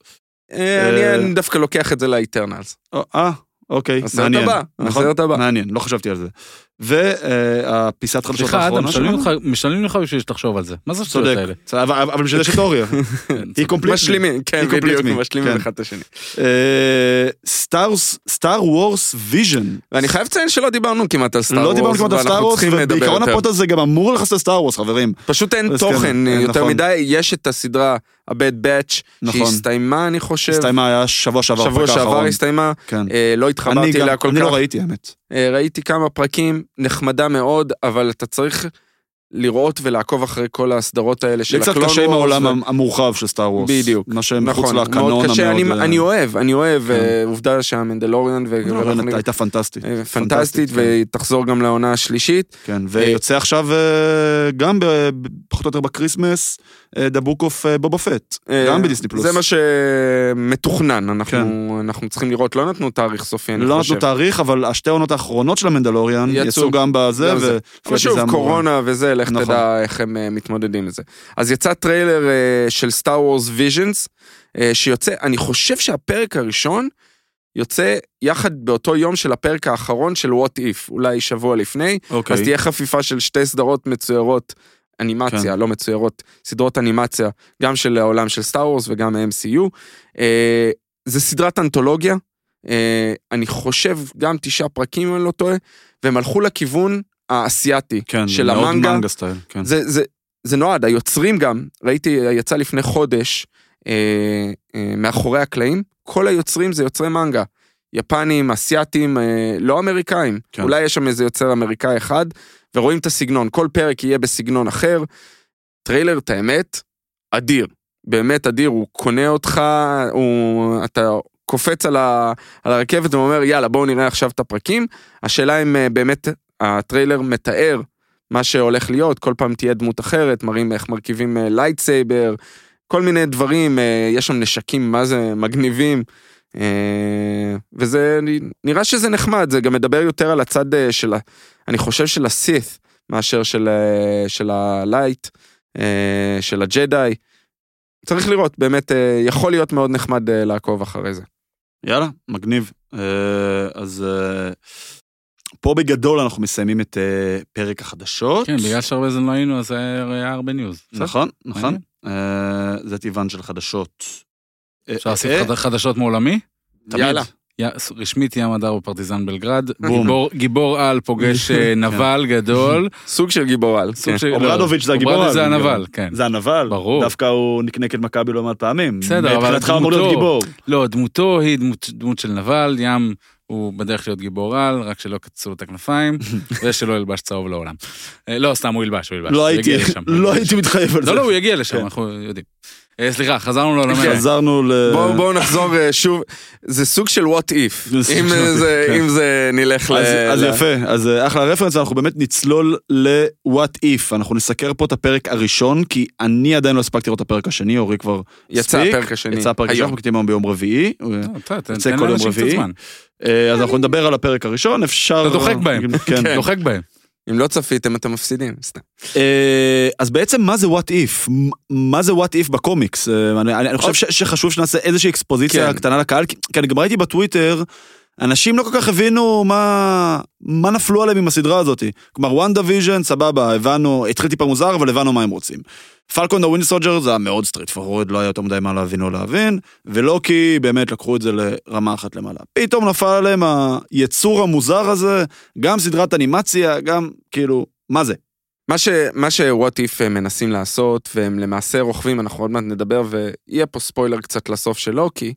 [SPEAKER 1] אה,
[SPEAKER 2] אה,
[SPEAKER 1] אני אני דווקא לוקח את זה לאיטרנלס.
[SPEAKER 2] אה, אה, אוקיי,
[SPEAKER 1] הסרט
[SPEAKER 2] מעניין.
[SPEAKER 1] הבא,
[SPEAKER 2] נכון?
[SPEAKER 1] הסרט הבא.
[SPEAKER 2] מעניין, לא חשבתי על זה. והפיסת חדשות
[SPEAKER 3] סליחה, אדם,
[SPEAKER 2] האחרונה
[SPEAKER 3] משלמים
[SPEAKER 2] שלנו?
[SPEAKER 3] לך- משלמים לך בשביל שתחשוב על זה. מה זה השטויות
[SPEAKER 2] צודק,
[SPEAKER 1] [LAUGHS]
[SPEAKER 3] האלה?
[SPEAKER 2] אבל- אבל בשביל זה יש תיאוריה.
[SPEAKER 3] כן,
[SPEAKER 2] היא קומפליט.
[SPEAKER 1] משלימים, כן,
[SPEAKER 2] היא complete
[SPEAKER 1] בדיוק,
[SPEAKER 2] me,
[SPEAKER 1] משלימים
[SPEAKER 2] כן.
[SPEAKER 1] אחד את השני.
[SPEAKER 2] אה, סטאר וורס ויז'ן.
[SPEAKER 1] ואני חייב לציין שלא דיברנו כמעט על סטאר
[SPEAKER 2] לא
[SPEAKER 1] וורס,
[SPEAKER 2] דיברנו כמעט על סטאר
[SPEAKER 1] ואנחנו
[SPEAKER 2] וורס,
[SPEAKER 1] צריכים לדבר
[SPEAKER 2] ובעיקרון
[SPEAKER 1] יותר.
[SPEAKER 2] הפוד הזה גם אמור לכס לסטאר וורס, חברים.
[SPEAKER 1] פשוט אין
[SPEAKER 2] אז כן,
[SPEAKER 1] תוכן אה,
[SPEAKER 2] אה,
[SPEAKER 1] יותר
[SPEAKER 2] נכון.
[SPEAKER 1] מדי, יש את הסדרה הבד באץ',
[SPEAKER 2] נכון.
[SPEAKER 1] שהסתיימה אני חושב,
[SPEAKER 2] הסתיימה, היה שבוע שעבר,
[SPEAKER 1] שבוע
[SPEAKER 2] הפרק
[SPEAKER 1] שעבר
[SPEAKER 2] האחרון.
[SPEAKER 1] הסתיימה,
[SPEAKER 2] כן.
[SPEAKER 1] אה, לא
[SPEAKER 2] אני
[SPEAKER 1] התחברתי
[SPEAKER 2] גם-
[SPEAKER 1] אליה כל
[SPEAKER 2] אני
[SPEAKER 1] כך,
[SPEAKER 2] לא ראיתי, האמת.
[SPEAKER 1] אה, ראיתי כמה פרקים, נחמדה מאוד, אבל אתה צריך לראות ולעקוב אחרי כל הסדרות האלה של
[SPEAKER 2] לי
[SPEAKER 1] הקלון
[SPEAKER 2] קצת
[SPEAKER 1] וורס.
[SPEAKER 2] קשה עם העולם
[SPEAKER 1] ו-
[SPEAKER 2] המורחב של סטאר וורס.
[SPEAKER 1] בדיוק.
[SPEAKER 2] מה שמחוץ
[SPEAKER 1] נכון,
[SPEAKER 2] לקנון
[SPEAKER 1] מאוד קשה,
[SPEAKER 2] המאוד...
[SPEAKER 1] אני,
[SPEAKER 2] אה,
[SPEAKER 1] אני אוהב, אני אוהב,
[SPEAKER 2] כן. לא,
[SPEAKER 1] אה, עובדה שהמנדלוריאן ו... ואנחנו
[SPEAKER 2] אבל
[SPEAKER 1] נראה-
[SPEAKER 2] הייתה פנטסטית.
[SPEAKER 1] אה, פנטסטית,
[SPEAKER 2] כן.
[SPEAKER 1] והיא תחזור גם לעונה השלישית.
[SPEAKER 2] כן, ויוצא עכשיו אה, גם ב- פחות או יותר בקריסמס, אה, The Book of אה, בובה פט,
[SPEAKER 1] אה,
[SPEAKER 2] גם בדיסני פלוס. כן.
[SPEAKER 1] זה מה שמתוכנן, אנחנו אנחנו צריכים לראות, לא נתנו תאריך סופי, אני
[SPEAKER 2] לא
[SPEAKER 1] חושב.
[SPEAKER 2] נתנו תאריך, אבל השתי עונות האחרונות של המנדלוריאן
[SPEAKER 1] יצאו.
[SPEAKER 2] יצאו גם בזה,
[SPEAKER 1] גם זה.
[SPEAKER 2] ו...
[SPEAKER 1] אבל
[SPEAKER 2] זה
[SPEAKER 1] שוב,
[SPEAKER 2] אמור-
[SPEAKER 1] קורונה וזה, לך
[SPEAKER 2] נכון.
[SPEAKER 1] תדע איך הם אה, מתמודדים עם זה. אז יצא טריילר אה, של סטאר וורס ויז'נס, אה, שיוצא, אני חושב שהפרק הראשון יוצא יחד באותו יום של הפרק האחרון של What If, אולי שבוע לפני, אז
[SPEAKER 2] אוקיי.
[SPEAKER 1] תהיה חפיפה של שתי סדרות מצוירות, אנימציה,
[SPEAKER 2] כן.
[SPEAKER 1] לא מצוירות, סדרות אנימציה, גם של העולם של סטאר וורס וגם ה-MCU. אה, זה סדרת אנתולוגיה, אה, אני חושב גם תשעה פרקים, אם אני לא טועה, והם הלכו לכיוון האסייתי
[SPEAKER 2] כן,
[SPEAKER 1] של
[SPEAKER 2] מאוד
[SPEAKER 1] המנגה.
[SPEAKER 2] מנגה סטייל, כן.
[SPEAKER 1] זה, זה, זה נועד, היוצרים גם, ראיתי, יצא לפני חודש, אה, אה, מאחורי הקלעים, כל היוצרים זה יוצרי מנגה. יפנים, אסייתים, אה, לא אמריקאים.
[SPEAKER 2] כן.
[SPEAKER 1] כן. אולי יש שם איזה יוצר אמריקאי אחד, ורואים את הסגנון. כל פרק יהיה בסגנון אחר. טריילר, את האמת, אדיר. באמת אדיר, הוא קונה אותך, הוא, אתה קופץ על, ה, על הרכבת ואומר, יאללה, בואו נראה עכשיו את הפרקים. השאלה אם אה, באמת הטריילר מתאר מה שהולך להיות, כל פעם תהיה דמות אחרת, מראים איך מרכיבים לייטסייבר, כל מיני דברים, אה, יש שם נשקים, מה זה, מגניבים. אה, וזה, נראה שזה נחמד, זה גם מדבר יותר על הצד אה, של, ה- אני חושב של הסית, מאשר של, אה, של הלייט, אה, של הג'די. צריך לראות, באמת, אה, יכול להיות מאוד נחמד אה, לעקוב אחרי זה.
[SPEAKER 2] יאללה, מגניב. אה, אז אה, פה בגדול אנחנו מסיימים את אה, פרק החדשות.
[SPEAKER 3] כן, בגלל שהרבה זמן לא היינו, אז היה הרבה ניוז. בסדר?
[SPEAKER 2] נכון, נכון.
[SPEAKER 3] מעניין.
[SPEAKER 2] אה, זה טבען של חדשות. אה,
[SPEAKER 3] אפשר לשים
[SPEAKER 2] אה,
[SPEAKER 3] חד- חדשות מעולמי?
[SPEAKER 2] תמיד.
[SPEAKER 1] יאללה.
[SPEAKER 3] י- רשמית ים הדר בפרטיזן בלגרד.
[SPEAKER 2] בום.
[SPEAKER 3] גיבור- גיבור
[SPEAKER 1] [LAUGHS]
[SPEAKER 3] על
[SPEAKER 1] כן.
[SPEAKER 3] פוגש אה, נבל גדול.
[SPEAKER 1] סוג של גיבור על.
[SPEAKER 3] סוג של- לא,
[SPEAKER 2] אוברדוביץ' אה, זה הגיבור
[SPEAKER 3] אוברדוביץ' זה
[SPEAKER 2] על.
[SPEAKER 3] הנבל, כן.
[SPEAKER 2] זה הנבל.
[SPEAKER 3] ברור.
[SPEAKER 2] דווקא הוא נקנק את מכבי לא מעט פעמים.
[SPEAKER 3] בסדר, אבל
[SPEAKER 2] מבחינתך הוא אמור
[SPEAKER 3] דמותו-
[SPEAKER 2] להיות גיבור.
[SPEAKER 3] לא, דמותו היא דמות, דמות של נבל, ים הוא בדרך להיות גיבור על, רק שלא קצצו לו
[SPEAKER 2] [LAUGHS]
[SPEAKER 3] את הכנפיים, ושלא ילבש צהוב לעולם. אה, לא, סתם הוא ילבש, הוא ילבש.
[SPEAKER 2] לא
[SPEAKER 3] הוא
[SPEAKER 2] הייתי,
[SPEAKER 3] יגיע לשם, הוא
[SPEAKER 2] לא
[SPEAKER 3] יגיע
[SPEAKER 2] הייתי
[SPEAKER 3] לשם.
[SPEAKER 2] מתחייב על זה.
[SPEAKER 3] לא, לא, הוא יגיע לשם,
[SPEAKER 2] כן.
[SPEAKER 3] אנחנו יודעים. אה, סליחה, חזרנו לעולם.
[SPEAKER 1] כן.
[SPEAKER 2] חזרנו ל...
[SPEAKER 1] בואו בואו נחזור אה, שוב, זה סוג של what if,
[SPEAKER 2] זה סוג
[SPEAKER 1] אם
[SPEAKER 2] של what if,
[SPEAKER 1] זה-
[SPEAKER 2] כן.
[SPEAKER 1] אם זה נלך ל...
[SPEAKER 2] אז, אז
[SPEAKER 1] ל-
[SPEAKER 2] יפה, אז אה, אחלה רפרנס, אנחנו באמת נצלול ל-what if, אנחנו נסקר פה את הפרק הראשון, כי אני עדיין לא הספקתי לראות את הפרק השני, אורי כבר
[SPEAKER 1] יצא
[SPEAKER 2] הספיק,
[SPEAKER 1] הפרק השני.
[SPEAKER 2] יצא הפרק הראשון,
[SPEAKER 1] היום.
[SPEAKER 2] אנחנו מקטינים היום ביום רביעי,
[SPEAKER 3] לא, אתה- תן
[SPEAKER 2] יוצא
[SPEAKER 3] תן
[SPEAKER 2] כל יום
[SPEAKER 3] לאנשים קצת
[SPEAKER 2] רביעי.
[SPEAKER 3] זמן.
[SPEAKER 2] אה, אז אנחנו נדבר על הפרק הראשון, אפשר...
[SPEAKER 3] אתה דוחק
[SPEAKER 1] [LAUGHS]
[SPEAKER 3] בהם.
[SPEAKER 2] כן.
[SPEAKER 3] דוחק בהם.
[SPEAKER 1] אם לא צפיתם אתם מפסידים, סתם.
[SPEAKER 2] אה, אז בעצם מה זה what if? מ- מה זה what if בקומיקס? אה, אני, אני אני חושב ש, שחשוב שנעשה איזושהי אקספוזיציה
[SPEAKER 1] כן.
[SPEAKER 2] קטנה לקהל, כי, כי אני גם ראיתי בטוויטר אנשים לא כל כך הבינו מה, מה נפלו עליהם עם הסדרה הזאת. כלומר, וואן דיוויז'ן, סבבה, הבנו, התחיל טיפה מוזר, אבל הבנו מה הם רוצים. פלקון הווינד סולג'ר זה היה מאוד סטריט פורוד, לא היה יותר מדי מה להבין או להבין, ולא כי באמת לקחו את זה לרמה אחת למעלה. פתאום נפל עליהם היצור המוזר הזה, גם סדרת אנימציה, גם כאילו, מה זה?
[SPEAKER 1] מה, ש, מה ש-What If הם מנסים לעשות, והם למעשה רוכבים, אנחנו עוד מעט נדבר, ויהיה פה ספוילר קצת לסוף של לוקי,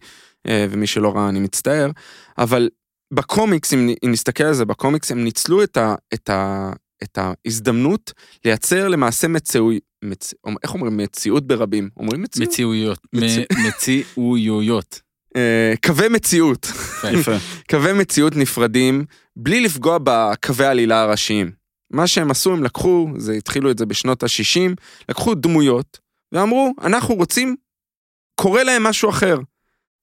[SPEAKER 1] אה, ומי שלא ראה אני מצטער, אבל בקומיקס, אם נ- אם נסתכל על זה, בקומיקס הם ניצלו את, ה, את, ה, את ההזדמנות לייצר למעשה מציאוי, מצ, איך אומרים מציאות ברבים? אומרים מציאות? מצ...
[SPEAKER 3] מציאויות. מ- מציאויות.
[SPEAKER 1] אה, קווי מציאות.
[SPEAKER 2] יפה.
[SPEAKER 1] קווי מציאות נפרדים, בלי לפגוע בקווי העלילה הראשיים. מה שהם עשו, הם לקחו, זה התחילו את זה בשנות ה-60, לקחו דמויות, ואמרו, אנחנו רוצים, קורה להם משהו אחר.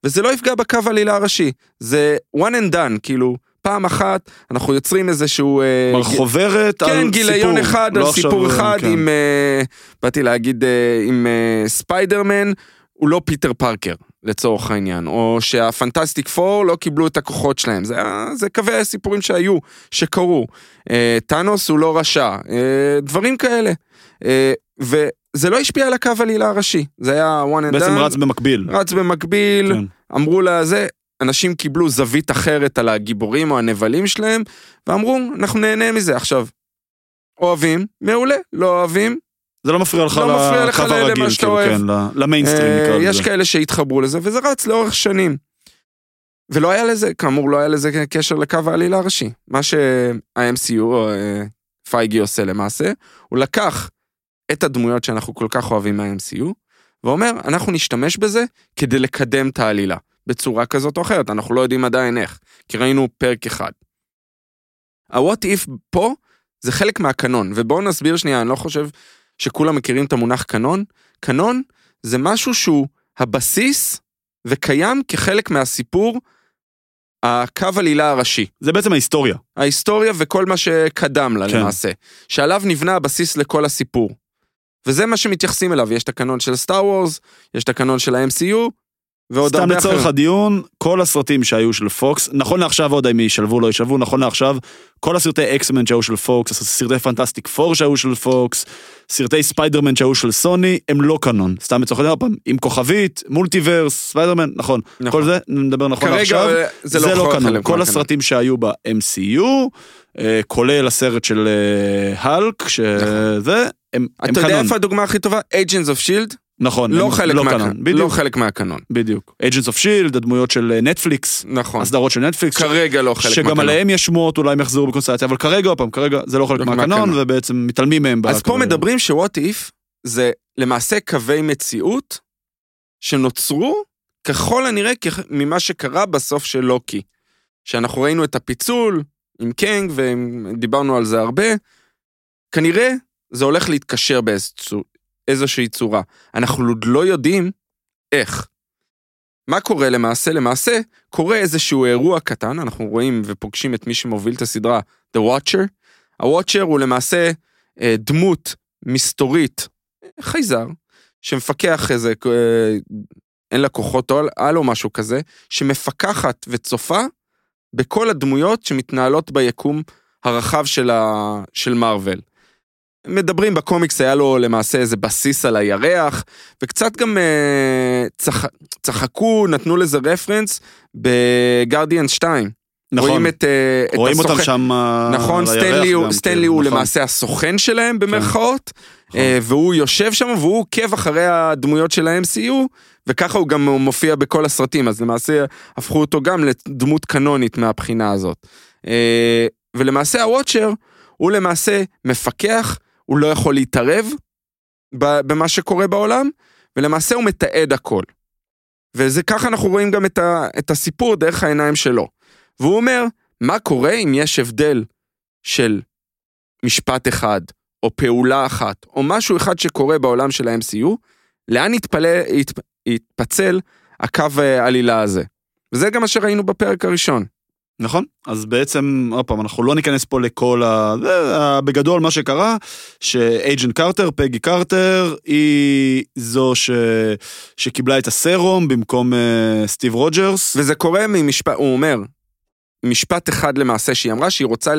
[SPEAKER 1] וזה לא יפגע בקו העלילה הראשי, זה one and done, כאילו, פעם אחת אנחנו יוצרים איזשהו... אה,
[SPEAKER 2] כלומר, חוברת על סיפור.
[SPEAKER 1] כן, גיליון אחד
[SPEAKER 2] לא
[SPEAKER 1] על
[SPEAKER 2] עכשיו,
[SPEAKER 1] סיפור אחד
[SPEAKER 2] כן.
[SPEAKER 1] עם, אה, באתי להגיד, אה, עם אה, ספיידרמן, הוא לא פיטר פארקר, לצורך העניין, או שהפנטסטיק פור לא קיבלו את הכוחות שלהם, זה, היה- זה קווי הסיפורים שהיו, שקרו. אה, טאנוס הוא לא רשע, אה, דברים כאלה. אה, וזה לא השפיע על הקו עלילה הראשי, זה היה one and done.
[SPEAKER 2] בעצם רץ במקביל.
[SPEAKER 1] רץ במקביל,
[SPEAKER 2] כן.
[SPEAKER 1] אמרו לה זה, אנשים קיבלו זווית אחרת על הגיבורים או הנבלים שלהם, ואמרו, אנחנו נהנה מזה. עכשיו, אוהבים, מעולה, לא אוהבים,
[SPEAKER 2] זה לא מפריע לך
[SPEAKER 1] לא מפריע לך
[SPEAKER 2] לקו
[SPEAKER 1] למה
[SPEAKER 2] הרגיל,
[SPEAKER 1] שאתה
[SPEAKER 2] כאילו,
[SPEAKER 1] אוהב.
[SPEAKER 2] כן, ל- למיינסטרים
[SPEAKER 1] אה,
[SPEAKER 2] נקרא
[SPEAKER 1] יש
[SPEAKER 2] לזה.
[SPEAKER 1] כאלה שהתחברו לזה, וזה רץ לאורך שנים. ולא היה לזה, כאמור, לא היה לזה קשר לקו העלילה הראשי. מה שה-MCU, או אה, פייגי עושה למעשה, הוא לקח את הדמויות שאנחנו כל כך אוהבים מה-MCU, ואומר, אנחנו נשתמש בזה כדי לקדם את העלילה, בצורה כזאת או אחרת, אנחנו לא יודעים עדיין איך, כי ראינו פרק אחד. ה-what if פה זה חלק מהקנון, ובואו נסביר שנייה, אני לא חושב שכולם מכירים את המונח קנון. קנון זה משהו שהוא הבסיס וקיים כחלק מהסיפור, הקו עלילה הראשי.
[SPEAKER 2] זה בעצם ההיסטוריה.
[SPEAKER 1] ההיסטוריה וכל מה שקדם לה
[SPEAKER 2] כן.
[SPEAKER 1] כן. למעשה, שעליו נבנה הבסיס לכל הסיפור. וזה מה שמתייחסים אליו, יש את הקנון של סטאר וורס, יש את הקנון של ה-MCU, ועוד
[SPEAKER 2] סתם
[SPEAKER 1] הרבה אחרים.
[SPEAKER 2] לצורך הדיון, כל הסרטים שהיו של פוקס, נכון לעכשיו עוד אם ישלבו לא ישלבו, נכון לעכשיו, כל הסרטי אקסמן שהיו של פוקס, סרטי פנטסטיק פור שהיו של פוקס, סרטי ספיידרמן שהיו של סוני, הם לא קנון. סתם לצורך הדיון, עוד פעם, עם כוכבית, מולטיברס, ספיידרמן, נכון.
[SPEAKER 1] נכון.
[SPEAKER 2] כל זה, נדבר נכון
[SPEAKER 1] כרגע
[SPEAKER 2] עכשיו.
[SPEAKER 1] אה, זה לא, חלק
[SPEAKER 2] קנון.
[SPEAKER 1] מהקנון.
[SPEAKER 2] כל הסרטים שהיו ב-MCU, אה, כולל הסרט של אה, האלק, שזה, הם
[SPEAKER 1] נכון.
[SPEAKER 2] הם
[SPEAKER 1] אתה יודע
[SPEAKER 2] קנון.
[SPEAKER 1] איפה הדוגמה הכי טובה? Agents of Shield,
[SPEAKER 2] נכון,
[SPEAKER 1] לא
[SPEAKER 2] הם
[SPEAKER 1] חלק
[SPEAKER 2] לא
[SPEAKER 1] מהקנון.
[SPEAKER 2] קנון.
[SPEAKER 1] לא
[SPEAKER 2] בדיוק,
[SPEAKER 1] חלק מהקנון.
[SPEAKER 2] בדיוק. Agents of Shield, הדמויות של אה, נטפליקס.
[SPEAKER 1] נכון.
[SPEAKER 2] הסדרות של נטפליקס,
[SPEAKER 1] כרגע לא חלק
[SPEAKER 2] שגם
[SPEAKER 1] מהקנון.
[SPEAKER 2] עליהם יש שמועות, אולי הם יחזרו בקונסטלציה, אבל כרגע, עוד פעם, כרגע זה לא חלק
[SPEAKER 1] לא
[SPEAKER 2] מהקנון,
[SPEAKER 1] מהקנון.
[SPEAKER 2] ובעצם מתעלמים מהם.
[SPEAKER 1] אז פה
[SPEAKER 2] בקנון.
[SPEAKER 1] מדברים ש-what if זה למעשה קווי מציאות שנוצרו ככל הנראה כ- ממה שקרה בסוף של לוקי. שאנחנו ראינו את הפיצול עם קנג ודיברנו על זה הרבה, כנראה זה הולך להתקשר באיזושהי צורה. אנחנו עוד לא יודעים איך. מה קורה למעשה? למעשה קורה איזשהו אירוע קטן, אנחנו רואים ופוגשים את מי שמוביל את הסדרה, The Watcher. ה-Watcher הוא למעשה אה, דמות מסתורית, חייזר, שמפקח איזה, אה, אין לה כוחות על, על או משהו כזה, שמפקחת וצופה בכל הדמויות שמתנהלות ביקום הרחב של, ה, של מארוול. מדברים בקומיקס, היה לו למעשה איזה בסיס על הירח, וקצת גם אה, צח, צחקו, נתנו לזה רפרנס בגרדיאן 2.
[SPEAKER 2] נכון,
[SPEAKER 1] רואים את, אה, את
[SPEAKER 2] רואים אותם
[SPEAKER 1] הסוכן-
[SPEAKER 2] שם אה,
[SPEAKER 1] נכון,
[SPEAKER 2] על הירח
[SPEAKER 1] סטנלי הוא-
[SPEAKER 2] גם,
[SPEAKER 1] סטנלי
[SPEAKER 2] כאילו,
[SPEAKER 1] הוא
[SPEAKER 2] נכון. כן,
[SPEAKER 1] למעשה הסוכן שלהם במרכאות,
[SPEAKER 2] נכון.
[SPEAKER 1] אה, והוא יושב שם והוא עוקב אחרי הדמויות של ה-MCU, וככה הוא גם מופיע בכל הסרטים, אז למעשה הפכו אותו גם לדמות קנונית מהבחינה הזאת. אה, ולמעשה הוואצ'ר הוא למעשה מפקח, הוא לא יכול להתערב ב- במה שקורה בעולם, ולמעשה הוא מתעד הכל. וזה ככה אנחנו רואים גם את, ה, את הסיפור דרך העיניים שלו. והוא אומר, מה קורה אם יש הבדל של משפט אחד, או פעולה אחת, או משהו אחד שקורה בעולם של ה-MCU, לאן יתפלה, ית, יתפצל הקו אה, עלילה הזה. וזה גם מה שראינו בפרק הראשון.
[SPEAKER 2] נכון, אז בעצם, עוד פעם, אנחנו לא ניכנס פה לכל ה... זה, ה- בגדול, מה שקרה, שאייג'נט קרטר, פגי קרטר, היא זו ש... שקיבלה את הסרום במקום אה, סטיב רוג'רס.
[SPEAKER 1] וזה קורה ממשפט, הוא אומר, משפט אחד למעשה שהיא אמרה, שהיא רוצה,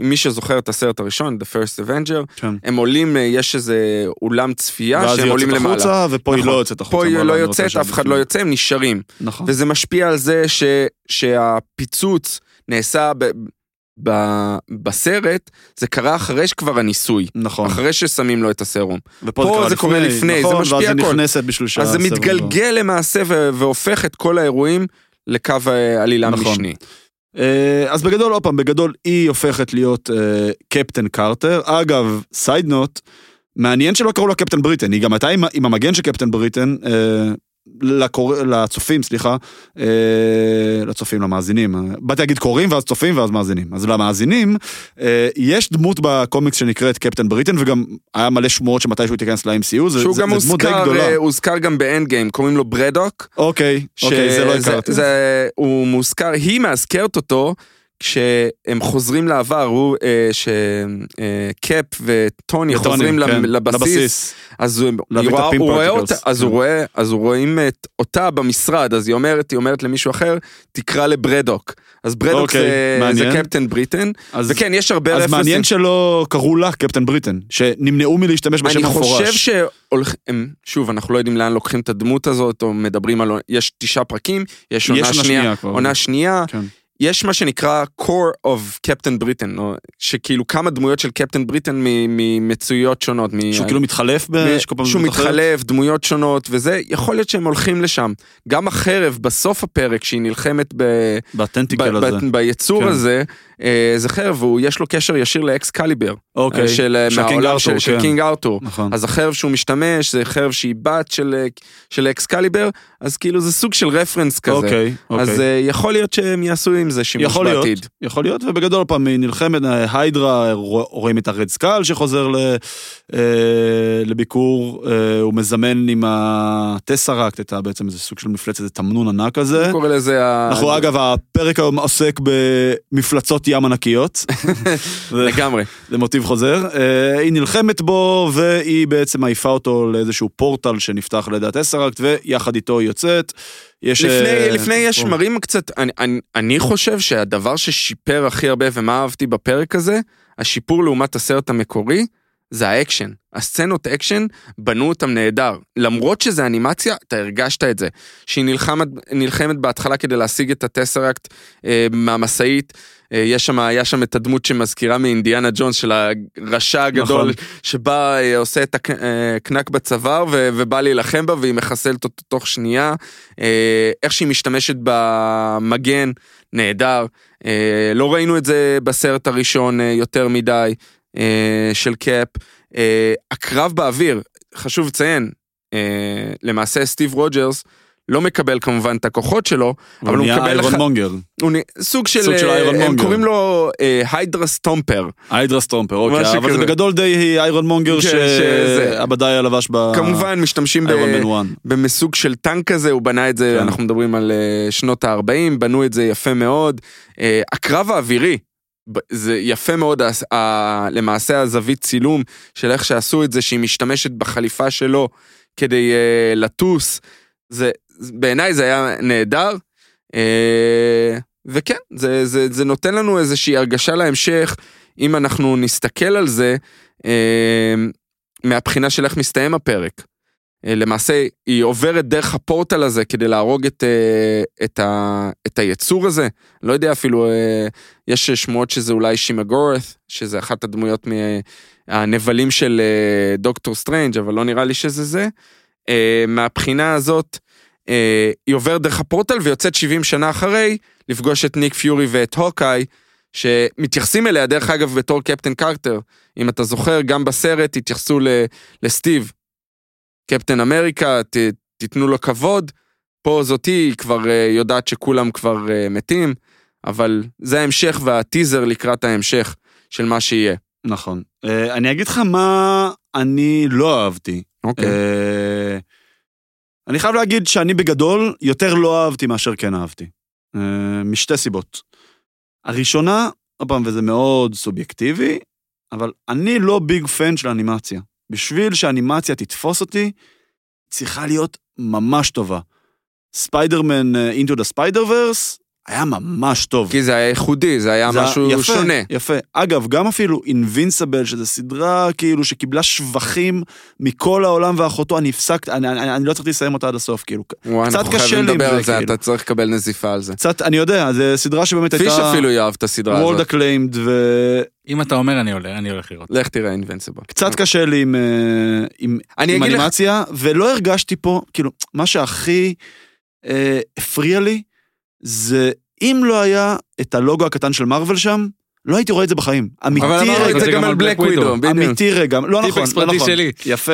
[SPEAKER 1] אם מי שזוכר את הסרט הראשון, The First Avenger,
[SPEAKER 2] כן.
[SPEAKER 1] הם עולים, אה, יש איזה אולם צפייה
[SPEAKER 2] ואז
[SPEAKER 1] שהם
[SPEAKER 2] היא
[SPEAKER 1] עולים
[SPEAKER 2] יוצאת
[SPEAKER 1] למעלה.
[SPEAKER 2] החוצה, ופה היא
[SPEAKER 1] נכון.
[SPEAKER 2] לא יוצאת החוצה.
[SPEAKER 1] פה היא
[SPEAKER 2] מה,
[SPEAKER 1] לא
[SPEAKER 2] אני רוצה
[SPEAKER 1] יוצאת,
[SPEAKER 2] שם
[SPEAKER 1] אף אחד
[SPEAKER 2] בפנים.
[SPEAKER 1] לא יוצא, הם נשארים.
[SPEAKER 2] נכון.
[SPEAKER 1] וזה משפיע על זה ש, שהפיצוץ נעשה ב, ב, בסרט, זה קרה אחרי שכבר הניסוי.
[SPEAKER 2] נכון.
[SPEAKER 1] אחרי ששמים לו את הסרום.
[SPEAKER 2] ופה
[SPEAKER 1] פה זה קורה לפני, זה
[SPEAKER 2] נכון,
[SPEAKER 1] משפיע
[SPEAKER 2] ואז
[SPEAKER 1] הכל.
[SPEAKER 2] היא נכנסת בשביל
[SPEAKER 1] אז זה
[SPEAKER 2] שהסרט לא-
[SPEAKER 1] מתגלגל למעשה ו- והופך את כל האירועים לקו אה, עלילה
[SPEAKER 2] נכון.
[SPEAKER 1] משני.
[SPEAKER 2] אה, אז בגדול, עוד פעם, בגדול היא הופכת להיות אה, קפטן קרטר. אגב, סייד נוט, מעניין שלא קראו לה קפטן בריטן, היא גם הייתה עם, ה- עם המגן של קפטן בריטן, אה, לקור... לצופים, סליחה, אה, לצופים, למאזינים. אה, באתי להגיד קוראים ואז צופים ואז מאזינים. אז למאזינים, אה, יש דמות בקומיקס שנקראת קפטן בריטן, וגם היה מלא שמועות שמתישהו תיכנס ל-MCU, זה,
[SPEAKER 1] שהוא
[SPEAKER 2] זה,
[SPEAKER 1] גם
[SPEAKER 2] זה דמות די
[SPEAKER 1] הוזכר,
[SPEAKER 2] גדולה.
[SPEAKER 1] אה, הוזכר גם באנד גיים, קוראים לו ברדוק.
[SPEAKER 2] אוקיי,
[SPEAKER 1] ש-
[SPEAKER 2] אוקיי, זה לא הכרתי.
[SPEAKER 1] זה- הוא מוזכר, היא מאזכרת אותו כשהם חוזרים לעבר, הוא, אה, שקאפ וטוני
[SPEAKER 2] וטוני,
[SPEAKER 1] חוזרים
[SPEAKER 2] כן,
[SPEAKER 1] למ- לבסיס, אז הוא
[SPEAKER 2] להביא
[SPEAKER 1] היא
[SPEAKER 2] את
[SPEAKER 1] רואה-
[SPEAKER 2] הפין
[SPEAKER 1] הוא רואה
[SPEAKER 2] particles,
[SPEAKER 1] אותה, אז
[SPEAKER 2] כן.
[SPEAKER 1] הוא רואה, אז הוא רואים את אותה במשרד, אז היא אומרת, היא אומרת למישהו אחר, תקרא לברדוק. אז ברדוק
[SPEAKER 2] אוקיי,
[SPEAKER 1] זה- זה
[SPEAKER 2] מעניין.
[SPEAKER 1] קפטן בריטן,
[SPEAKER 2] אז-
[SPEAKER 1] וכן, יש הרבה
[SPEAKER 2] אז
[SPEAKER 1] רפרנסים.
[SPEAKER 2] מעניין שלא קראו לה קפטן בריטן, שנמנעו מלהשתמש בשם
[SPEAKER 1] אני
[SPEAKER 2] המפורש.
[SPEAKER 1] חושב שהם, שוב, אנחנו לא יודעים לאן לוקחים את הדמות הזאת, או מדברים על, יש תשעה פרקים, יש עונה שנייה,
[SPEAKER 2] כבר.
[SPEAKER 1] עונה שנייה,
[SPEAKER 2] כן.
[SPEAKER 1] יש מה שנקרא core of Captain Britain, או שכאילו כמה דמויות של קפטן בריטן מ- ממצויות שונות. מ-
[SPEAKER 2] שהוא כאילו מתחלף, ב-
[SPEAKER 1] מ-
[SPEAKER 2] שכל פעם
[SPEAKER 1] אה, שהוא
[SPEAKER 2] דמות אחרת?
[SPEAKER 1] מתחלף, דמויות שונות וזה, יכול להיות שהם הולכים לשם. גם החרב בסוף הפרק שהיא נלחמת ב-
[SPEAKER 2] בטנטיקל
[SPEAKER 1] ב-
[SPEAKER 2] הזה.
[SPEAKER 1] ב- ביצור
[SPEAKER 2] כן.
[SPEAKER 1] הזה, אה, זה חרב, הוא- יש לו קשר ישיר לאקסקליבר,
[SPEAKER 2] אוקיי.
[SPEAKER 1] אה, של
[SPEAKER 2] של קינג
[SPEAKER 1] מהעולם של
[SPEAKER 2] ארתור,
[SPEAKER 1] של
[SPEAKER 2] כן.
[SPEAKER 1] קינג ארתור.
[SPEAKER 2] נכון.
[SPEAKER 1] אז החרב שהוא משתמש זה חרב שהיא בת של, אה, של אקסקליבר, אז כאילו זה סוג של רפרנס כזה.
[SPEAKER 2] אוקיי, אוקיי.
[SPEAKER 1] אז אה, יכול להיות שהם יעשו עם זה שימוש
[SPEAKER 2] יכול להיות,
[SPEAKER 1] בעתיד.
[SPEAKER 2] יכול להיות, ובגדול פעם היא נלחמת, אה, היידרה, רוא- רואים את הרד סקל שחוזר ל- אה, לביקור, אה, הוא מזמן עם הטסרקט, הייתה בעצם איזה סוג של מפלצת, איזה תמנון ענק כזה.
[SPEAKER 1] אני קורא לזה ה...
[SPEAKER 2] אה. אנחנו אגב, הפרק היום עוסק במפלצות ים
[SPEAKER 1] [LAUGHS]
[SPEAKER 2] ענקיות. זה-
[SPEAKER 1] לגמרי.
[SPEAKER 2] זה מוטיב חוזר. אה, היא נלחמת בו, והיא בעצם מעיפה אותו לאיזשהו פורטל שנפתח על ידי הטסרקט, ויחד איתו היא יוצאת. יש...
[SPEAKER 1] לפני,
[SPEAKER 2] אה,
[SPEAKER 1] לפני יש מראים קצת, אני, אני, אני חושב שהדבר ששיפר הכי הרבה ומה אהבתי בפרק הזה, השיפור לעומת הסרט המקורי, זה האקשן. הסצנות אקשן, בנו אותם נהדר. למרות שזה אנימציה, אתה הרגשת את זה. שהיא נלחמת, נלחמת בהתחלה כדי להשיג את הטסרקט אה, מהמשאית. אה, יש שם, היה שם את הדמות שמזכירה מאינדיאנה ג'ונס של הרשע הגדול,
[SPEAKER 2] נכון.
[SPEAKER 1] שבא, אה, עושה את הקנק בצוואר ו- ובא להילחם בה והיא מחסלת אותו תוך שנייה. אה, איך שהיא משתמשת במגן, נהדר. אה, לא ראינו את זה בסרט הראשון אה, יותר מדי אה, של קאפ. אה, הקרב באוויר, חשוב לציין, אה, למעשה סטיב רוג'רס לא מקבל כמובן את הכוחות שלו, אבל הוא
[SPEAKER 2] נהיה
[SPEAKER 1] מקבל
[SPEAKER 2] אוקיי, איירון
[SPEAKER 1] לך-
[SPEAKER 2] מונגר.
[SPEAKER 1] הוא נ- סוג של,
[SPEAKER 2] סוג של אה.
[SPEAKER 1] אה,
[SPEAKER 2] איירון
[SPEAKER 1] הם
[SPEAKER 2] מונגר.
[SPEAKER 1] קוראים לו אה, היידרה סטומפר.
[SPEAKER 2] היידרה סטרומפר, אוקיי.
[SPEAKER 1] משהו
[SPEAKER 2] אבל זה
[SPEAKER 1] כזה.
[SPEAKER 2] בגדול די איירון מונגר
[SPEAKER 1] כן, שזה-
[SPEAKER 2] שעבדאיה לבש ב...
[SPEAKER 1] כמובן משתמשים ב-
[SPEAKER 2] איירון מן וואן.
[SPEAKER 1] במסוג של טנק כזה, הוא בנה את זה,
[SPEAKER 2] כן.
[SPEAKER 1] אנחנו מדברים על אה, שנות ה-40, בנו את זה יפה מאוד. אה, הקרב האווירי, ב- זה יפה מאוד, הס- ה- למעשה הזווית צילום של איך שעשו את זה, שהיא משתמשת בחליפה שלו כדי אה, לטוס. זה, זה- בעיניי זה היה נהדר. אה, וכן, זה, זה, זה נותן לנו איזושהי הרגשה להמשך, אם אנחנו נסתכל על זה, אה, מהבחינה של איך מסתיים הפרק. אה, למעשה, היא עוברת דרך הפורטל הזה כדי להרוג את, אה, את, ה, את היצור הזה. לא יודע אפילו, אה, יש שמועות שזה אולי שימגורת, שזה אחת הדמויות מהנבלים של אה, דוקטור סטרנג', אבל לא נראה לי שזה זה. אה, מהבחינה הזאת, אה, היא עוברת דרך הפורטל ויוצאת 70 שנה אחרי לפגוש את ניק פיורי ואת הוקאי, שמתייחסים אליה, דרך אגב, בתור קפטן קרטר. אם אתה זוכר, גם בסרט התייחסו ל- לסטיב, קפטן אמריקה, ת, תיתנו לו כבוד. פה זאתי, היא כבר אה, יודעת שכולם כבר אה, מתים, אבל זה ההמשך והטיזר לקראת ההמשך של מה שיהיה.
[SPEAKER 2] נכון. אה, אני אגיד לך מה אני לא אהבתי.
[SPEAKER 1] אוקיי.
[SPEAKER 2] אה, אני חייב להגיד שאני בגדול יותר לא אהבתי מאשר כן אהבתי. אה, משתי סיבות. הראשונה, עוד פעם, וזה מאוד סובייקטיבי, אבל אני לא ביג פן של אנימציה. בשביל שאנימציה תתפוס אותי, אה, צריכה להיות ממש טובה. ספיידרמן אינטו דה ספיידר ורס, היה ממש טוב.
[SPEAKER 1] כי זה היה ייחודי, זה היה
[SPEAKER 2] זה היה-
[SPEAKER 1] משהו
[SPEAKER 2] יפה,
[SPEAKER 1] שונה.
[SPEAKER 2] יפה. אגב, גם אפילו אינווינסיבל, שזו סדרה כאילו שקיבלה שבחים מכל העולם ואחותו, אני הפסקתי, אני, אני, אני לא צריך לסיים אותה עד הסוף, כאילו.
[SPEAKER 1] וואי,
[SPEAKER 2] קצת
[SPEAKER 1] אנחנו
[SPEAKER 2] קשה
[SPEAKER 1] חייבים
[SPEAKER 2] לי עם
[SPEAKER 1] לדבר
[SPEAKER 2] זה,
[SPEAKER 1] על זה,
[SPEAKER 2] כאילו.
[SPEAKER 1] אתה צריך לקבל נזיפה על זה.
[SPEAKER 2] קצת, אני יודע, זו סדרה שבאמת הייתה...
[SPEAKER 1] פיש אפילו יאהב את הסדרה
[SPEAKER 2] וולד
[SPEAKER 1] הזאת.
[SPEAKER 2] אקליימד,
[SPEAKER 3] אם אתה אומר, אני הולך, אני הולך לראות.
[SPEAKER 1] לך תראה אוקיי. אינבנסיבל.
[SPEAKER 2] וקצת קשה לי עם, אה, עם,
[SPEAKER 1] אני
[SPEAKER 2] עם
[SPEAKER 1] אגיד לך,
[SPEAKER 2] אנימציה, ולא הרגשתי פה, כאילו, מה שהכי אה, הפריע לי, זה אם לא היה את הלוגו הקטן של מארוול שם, לא הייתי רואה את זה בחיים. אמיתי
[SPEAKER 1] אבל אמרנו
[SPEAKER 2] רגע,
[SPEAKER 1] את זה גם על בלק ווידו, בדיוק.
[SPEAKER 2] אמיתי רגע, לא נכון,
[SPEAKER 3] טיפקס
[SPEAKER 2] לא
[SPEAKER 3] פרטי
[SPEAKER 2] נכון.
[SPEAKER 3] שלי.
[SPEAKER 1] [LAUGHS]
[SPEAKER 2] יפה,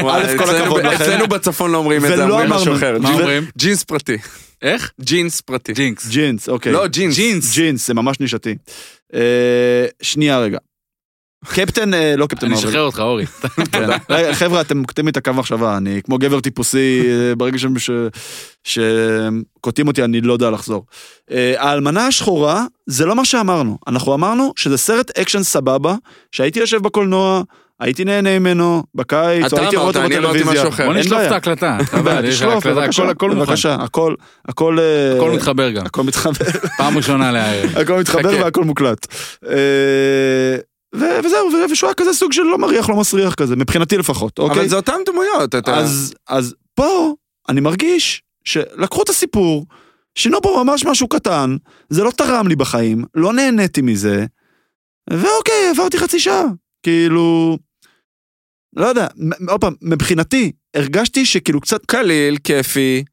[SPEAKER 1] וואי,
[SPEAKER 2] א', כל
[SPEAKER 1] אצלנו-
[SPEAKER 2] הכבוד לכם.
[SPEAKER 1] אצלנו בצפון לא אומרים את זה,
[SPEAKER 2] ולא
[SPEAKER 1] אומרים
[SPEAKER 2] אמרנו-
[SPEAKER 1] משהו אחר.
[SPEAKER 3] מה
[SPEAKER 2] ו-
[SPEAKER 3] אומרים?
[SPEAKER 1] ג'ינס פרטי.
[SPEAKER 3] איך?
[SPEAKER 1] ג'ינס פרטי.
[SPEAKER 3] ג'ינקס.
[SPEAKER 2] ג'ינס, אוקיי.
[SPEAKER 1] לא, ג'ינס.
[SPEAKER 3] ג'ינס.
[SPEAKER 2] ג'ינס, זה ממש נישתי. אה, שנייה רגע. קפטן, אה, לא קפטן
[SPEAKER 3] אני
[SPEAKER 2] מארוול.
[SPEAKER 3] אשחרר אותך, אורי.
[SPEAKER 2] כן. רגע, חבר'ה, אתם קוטעים לי את הקו מחשבה, אני כמו גבר טיפוסי, אה, ברגע ש- ש- שקוטעים אותי, אני לא יודע לחזור. אה, האלמנה השחורה, זה לא מה שאמרנו. אנחנו אמרנו שזה סרט אקשן סבבה, שהייתי יושב בקולנוע, הייתי נהנה ממנו, בקיץ,
[SPEAKER 1] אתה
[SPEAKER 2] או הייתי רואה
[SPEAKER 1] אמרת,
[SPEAKER 2] אותו
[SPEAKER 1] אני לא אמרתי
[SPEAKER 2] בטלוויזיה.
[SPEAKER 1] משהו אחר.
[SPEAKER 3] בוא
[SPEAKER 2] אין
[SPEAKER 3] נשלוף
[SPEAKER 2] בעיה.
[SPEAKER 3] את ההקלטה. חבל, יש
[SPEAKER 2] תשלוף,
[SPEAKER 3] הקלטה,
[SPEAKER 2] בבקשה,
[SPEAKER 3] הכל- הכל מוכן.
[SPEAKER 2] בבקשה, הכל, הכל, אה,
[SPEAKER 3] הכל מתחבר גם.
[SPEAKER 2] הכל מתחבר.
[SPEAKER 3] פעם ראשונה להעיר.
[SPEAKER 2] הכל מתחבר
[SPEAKER 1] חכה.
[SPEAKER 2] והכל מוקלט. אה, ו- וזהו, ו- ושהוא היה כזה סוג של לא מריח, לא מסריח כזה, מבחינתי לפחות, אוקיי?
[SPEAKER 1] אבל זה אותם דמויות, אתה...
[SPEAKER 2] אז, אז פה אני מרגיש שלקחו את הסיפור, שינו פה ממש משהו קטן, זה לא תרם לי בחיים, לא נהניתי מזה, ואוקיי, עברתי חצי שעה. כאילו, לא יודע, מ- עוד פעם, מבחינתי, הרגשתי שכאילו קצת,
[SPEAKER 1] קליל, כיפי.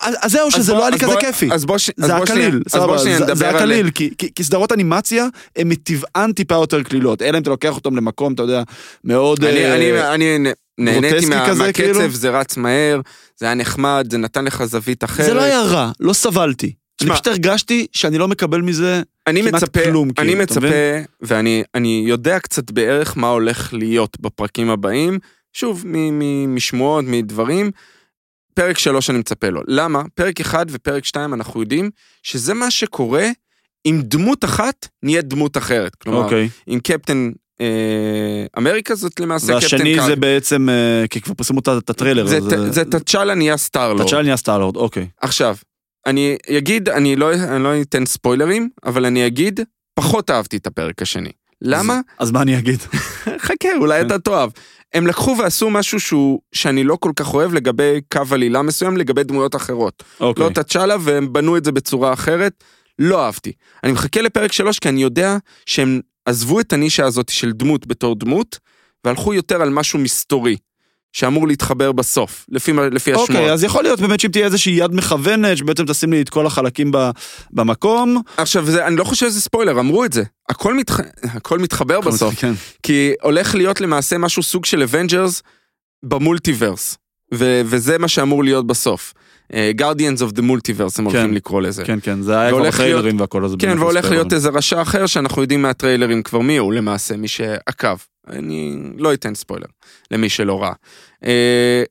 [SPEAKER 2] אז, אז זהו,
[SPEAKER 1] אז
[SPEAKER 2] שזה
[SPEAKER 1] בוא-
[SPEAKER 2] לא היה לי
[SPEAKER 1] אז
[SPEAKER 2] כזה
[SPEAKER 1] בוא-
[SPEAKER 2] כיפי.
[SPEAKER 1] אז בוא ש- אז
[SPEAKER 2] זה
[SPEAKER 1] בוא שנייה-
[SPEAKER 2] הקליל,
[SPEAKER 1] אז
[SPEAKER 2] סבבה,
[SPEAKER 1] בוא שנייה
[SPEAKER 2] זה-
[SPEAKER 1] נדבר
[SPEAKER 2] זה
[SPEAKER 1] על-
[SPEAKER 2] הקליל, כי- כי- כי סדרות אנימציה הן מטבען טיפה יותר קלילות, אלא אם אתה לוקח אותן למקום, אתה יודע, מאוד...
[SPEAKER 1] אני-
[SPEAKER 2] אה,
[SPEAKER 1] אני- אני נה- נהניתי
[SPEAKER 2] גרוטסקי
[SPEAKER 1] מה-
[SPEAKER 2] כזה,
[SPEAKER 1] מהקצב,
[SPEAKER 2] כאילו?
[SPEAKER 1] זה רץ מהר, זה היה נחמד, זה נתן לך זווית אחרת.
[SPEAKER 2] זה לא היה רע, לא סבלתי. אני
[SPEAKER 1] תשמע,
[SPEAKER 2] פשוט הרגשתי שאני לא מקבל מזה...
[SPEAKER 1] אני
[SPEAKER 2] כמעט
[SPEAKER 1] מצפה,
[SPEAKER 2] כלום, כאילו,
[SPEAKER 1] אני
[SPEAKER 2] אתה
[SPEAKER 1] מצפה, ואני אני יודע קצת בערך מה הולך להיות בפרקים הבאים, שוב, מ- מ- משמועות, מדברים. פרק שלוש אני מצפה לו. למה? פרק אחד ופרק שתיים אנחנו יודעים שזה מה שקורה אם דמות אחת נהיית דמות אחרת. כלומר,
[SPEAKER 2] אוקיי.
[SPEAKER 1] אם קפטן אה, אמריקה זאת למעשה קפטן
[SPEAKER 2] והשני
[SPEAKER 1] קארק.
[SPEAKER 2] זה בעצם, אה, כי כבר פרסמו את ה- את הטריילר.
[SPEAKER 1] זה,
[SPEAKER 2] אז,
[SPEAKER 1] ת-
[SPEAKER 2] אה,
[SPEAKER 1] זה תצ'אלה נהיה סטארלורד.
[SPEAKER 2] תצ'אל נהיה סטארלורד, אוקיי.
[SPEAKER 1] עכשיו, אני אגיד, אני לא, אני לא אתן ספוילרים, אבל אני אגיד, פחות אהבתי את הפרק השני. למה? כן.
[SPEAKER 2] אז מה אני [LAUGHS] אגיד?
[SPEAKER 1] [LAUGHS] חכה, אולי אתה תאהב. הם לקחו ועשו משהו שהוא, שאני לא כל כך אוהב לגבי קו עלילה מסוים, לגבי דמויות אחרות.
[SPEAKER 2] אוקיי.
[SPEAKER 1] לא תצ'אלה, והם בנו את זה בצורה אחרת. לא אהבתי. אני מחכה לפרק שלוש, כי אני יודע שהם עזבו את הנישה הזאת של דמות בתור דמות, והלכו יותר על משהו מסתורי, שאמור להתחבר בסוף, לפי, מה- לפי השמועות.
[SPEAKER 2] אוקיי, אז יכול להיות באמת שאם תהיה איזושהי יד מכוונת, שבעצם תשים לי את כל החלקים ב- במקום.
[SPEAKER 1] עכשיו, זה, אני לא חושב שזה ספוילר, אמרו את זה. הכל, מתח... הכל מתחבר בסוף,
[SPEAKER 2] כן.
[SPEAKER 1] כי הולך להיות למעשה משהו סוג של אבנג'רס במולטיברס, ו- וזה מה שאמור להיות בסוף. אה, Guardians of the Multiverse הם הולכים
[SPEAKER 2] כן,
[SPEAKER 1] לקרוא לזה.
[SPEAKER 2] כן, כן, זה היה כבר
[SPEAKER 1] והולך להיות-
[SPEAKER 2] בטריילרים והכל, אז...
[SPEAKER 1] כן,
[SPEAKER 2] באמת
[SPEAKER 1] והולך
[SPEAKER 2] הספוילרים.
[SPEAKER 1] להיות איזה רשע אחר שאנחנו יודעים מהטריילרים כבר מי הוא למעשה, מי שעקב. אני לא אתן ספוילר למי שלא ראה. אה,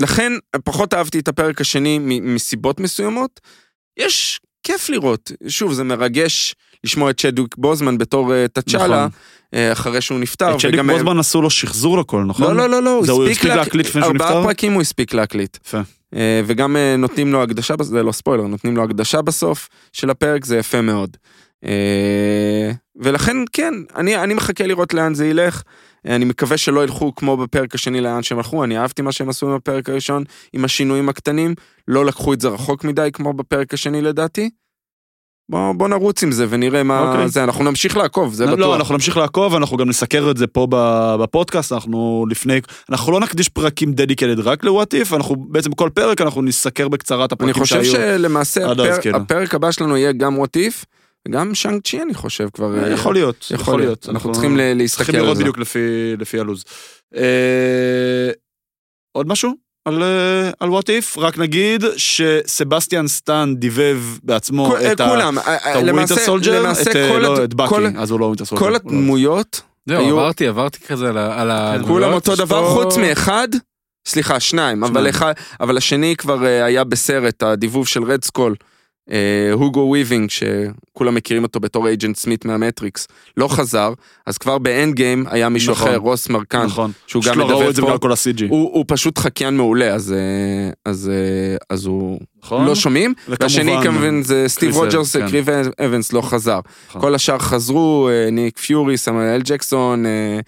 [SPEAKER 1] לכן, פחות אהבתי את הפרק השני מ- מסיבות מסוימות. יש, כיף לראות. שוב, זה מרגש לשמוע את שדוויק בוזמן בתור אה, תצ'אלה,
[SPEAKER 2] נכון.
[SPEAKER 1] אה, אחרי שהוא נפטר.
[SPEAKER 2] את שלי
[SPEAKER 1] וגם-
[SPEAKER 2] בוזמן עשו לו שחזור לכל,
[SPEAKER 1] לא,
[SPEAKER 2] נכון?
[SPEAKER 1] לא, לא, לא,
[SPEAKER 2] זה הוא
[SPEAKER 1] הוא
[SPEAKER 2] הספיק
[SPEAKER 1] הספיק להק-
[SPEAKER 2] להקליט לפני שהוא נפטר?
[SPEAKER 1] ארבעה פרקים הוא הספיק להקליט.
[SPEAKER 2] יפה.
[SPEAKER 1] אה, וגם אה, נותנים לו הקדשה, בס- זה לא ספוילר, נותנים לו הקדשה בסוף של הפרק, זה יפה מאוד. אה, ולכן כן, אני, אני מחכה לראות לאן זה ילך. אה, אני מקווה שלא ילכו כמו בפרק השני לאן שהם הלכו, אני אהבתי מה שהם עשו עם הפרק הראשון, עם השינויים הקטנים, לא לקחו את זה רחוק מדי כמו בפרק השני לדעתי. בוא, בוא נרוץ עם זה ונראה מה
[SPEAKER 2] אוקיי.
[SPEAKER 1] זה, אנחנו נמשיך לעקוב, זה בטוח.
[SPEAKER 2] לא, אנחנו נמשיך לעקוב, אנחנו גם נסקר את זה פה ב- בפודקאסט, אנחנו לפני, אנחנו לא נקדיש פרקים דדיקלד רק לוואט איף, אנחנו בעצם כל פרק אנחנו נסקר בקצרה את
[SPEAKER 1] אני
[SPEAKER 2] הפרקים שהיו.
[SPEAKER 1] חושב שלמעשה
[SPEAKER 2] עד אז,
[SPEAKER 1] הפר,
[SPEAKER 2] כאילו.
[SPEAKER 1] הפרק הבא שלנו יהיה גם what if, גם שאנג צ'י אני חושב כבר. אה,
[SPEAKER 2] יכול להיות,
[SPEAKER 1] יכול להיות. אנחנו צריכים ל-
[SPEAKER 2] צריכים
[SPEAKER 1] להסתכל על
[SPEAKER 2] לראות
[SPEAKER 1] זה.
[SPEAKER 2] בדיוק לפי- לפי הלו"ז. אה, עוד משהו? על, אה, על וואט איף, רק נגיד שסבסטיאן סטן דיבב בעצמו
[SPEAKER 1] כו-
[SPEAKER 2] את ה-
[SPEAKER 1] כולם, אה,
[SPEAKER 2] את
[SPEAKER 1] אה,
[SPEAKER 2] הווינטר
[SPEAKER 1] למעשה
[SPEAKER 2] סולג'ר,
[SPEAKER 1] למעשה
[SPEAKER 2] את, אה,
[SPEAKER 1] כל
[SPEAKER 2] לא,
[SPEAKER 1] הד-
[SPEAKER 2] את באקי,
[SPEAKER 1] כל-
[SPEAKER 2] אז הוא לא ווינטר סולג'ר.
[SPEAKER 1] כל
[SPEAKER 2] הוא לא-
[SPEAKER 1] הדמויות,
[SPEAKER 3] זהו,
[SPEAKER 1] היו-
[SPEAKER 3] עברתי, עברתי כזה על ה... על הדמויות,
[SPEAKER 1] כולם אותו
[SPEAKER 3] יש
[SPEAKER 1] דבר
[SPEAKER 3] פה-
[SPEAKER 1] חוץ מאחד, סליחה, שניים, אבל
[SPEAKER 2] שניים.
[SPEAKER 1] אחד- אבל השני כבר אה, היה בסרט, הדיבוב של רד סקול. אה, הוגו וויבינג, שכולם מכירים אותו בתור אייג'נט סמית מהמטריקס, לא חזר, אז כבר באנד גיים היה מישהו
[SPEAKER 2] נכון.
[SPEAKER 1] אחר, רוס מרקן,
[SPEAKER 2] נכון.
[SPEAKER 1] כן, שהוא
[SPEAKER 2] פשוט
[SPEAKER 1] גם
[SPEAKER 2] לא ראו את
[SPEAKER 1] מדבר
[SPEAKER 2] זה
[SPEAKER 1] פה.
[SPEAKER 2] בגלל כל ה-CG.
[SPEAKER 1] הוא, הוא פשוט חקיין מעולה, אז, אה, אז, אה, אז הוא
[SPEAKER 2] נכון?
[SPEAKER 1] לא שומעים. והשני כמובן זה סטיב
[SPEAKER 3] קריס
[SPEAKER 1] רוג'רס,
[SPEAKER 3] אבנס, כן.
[SPEAKER 1] קריב אבנס לא חזר.
[SPEAKER 2] נכון.
[SPEAKER 1] כל השאר חזרו, אה, ניק פיורי, סמואל ג'קסון, אה,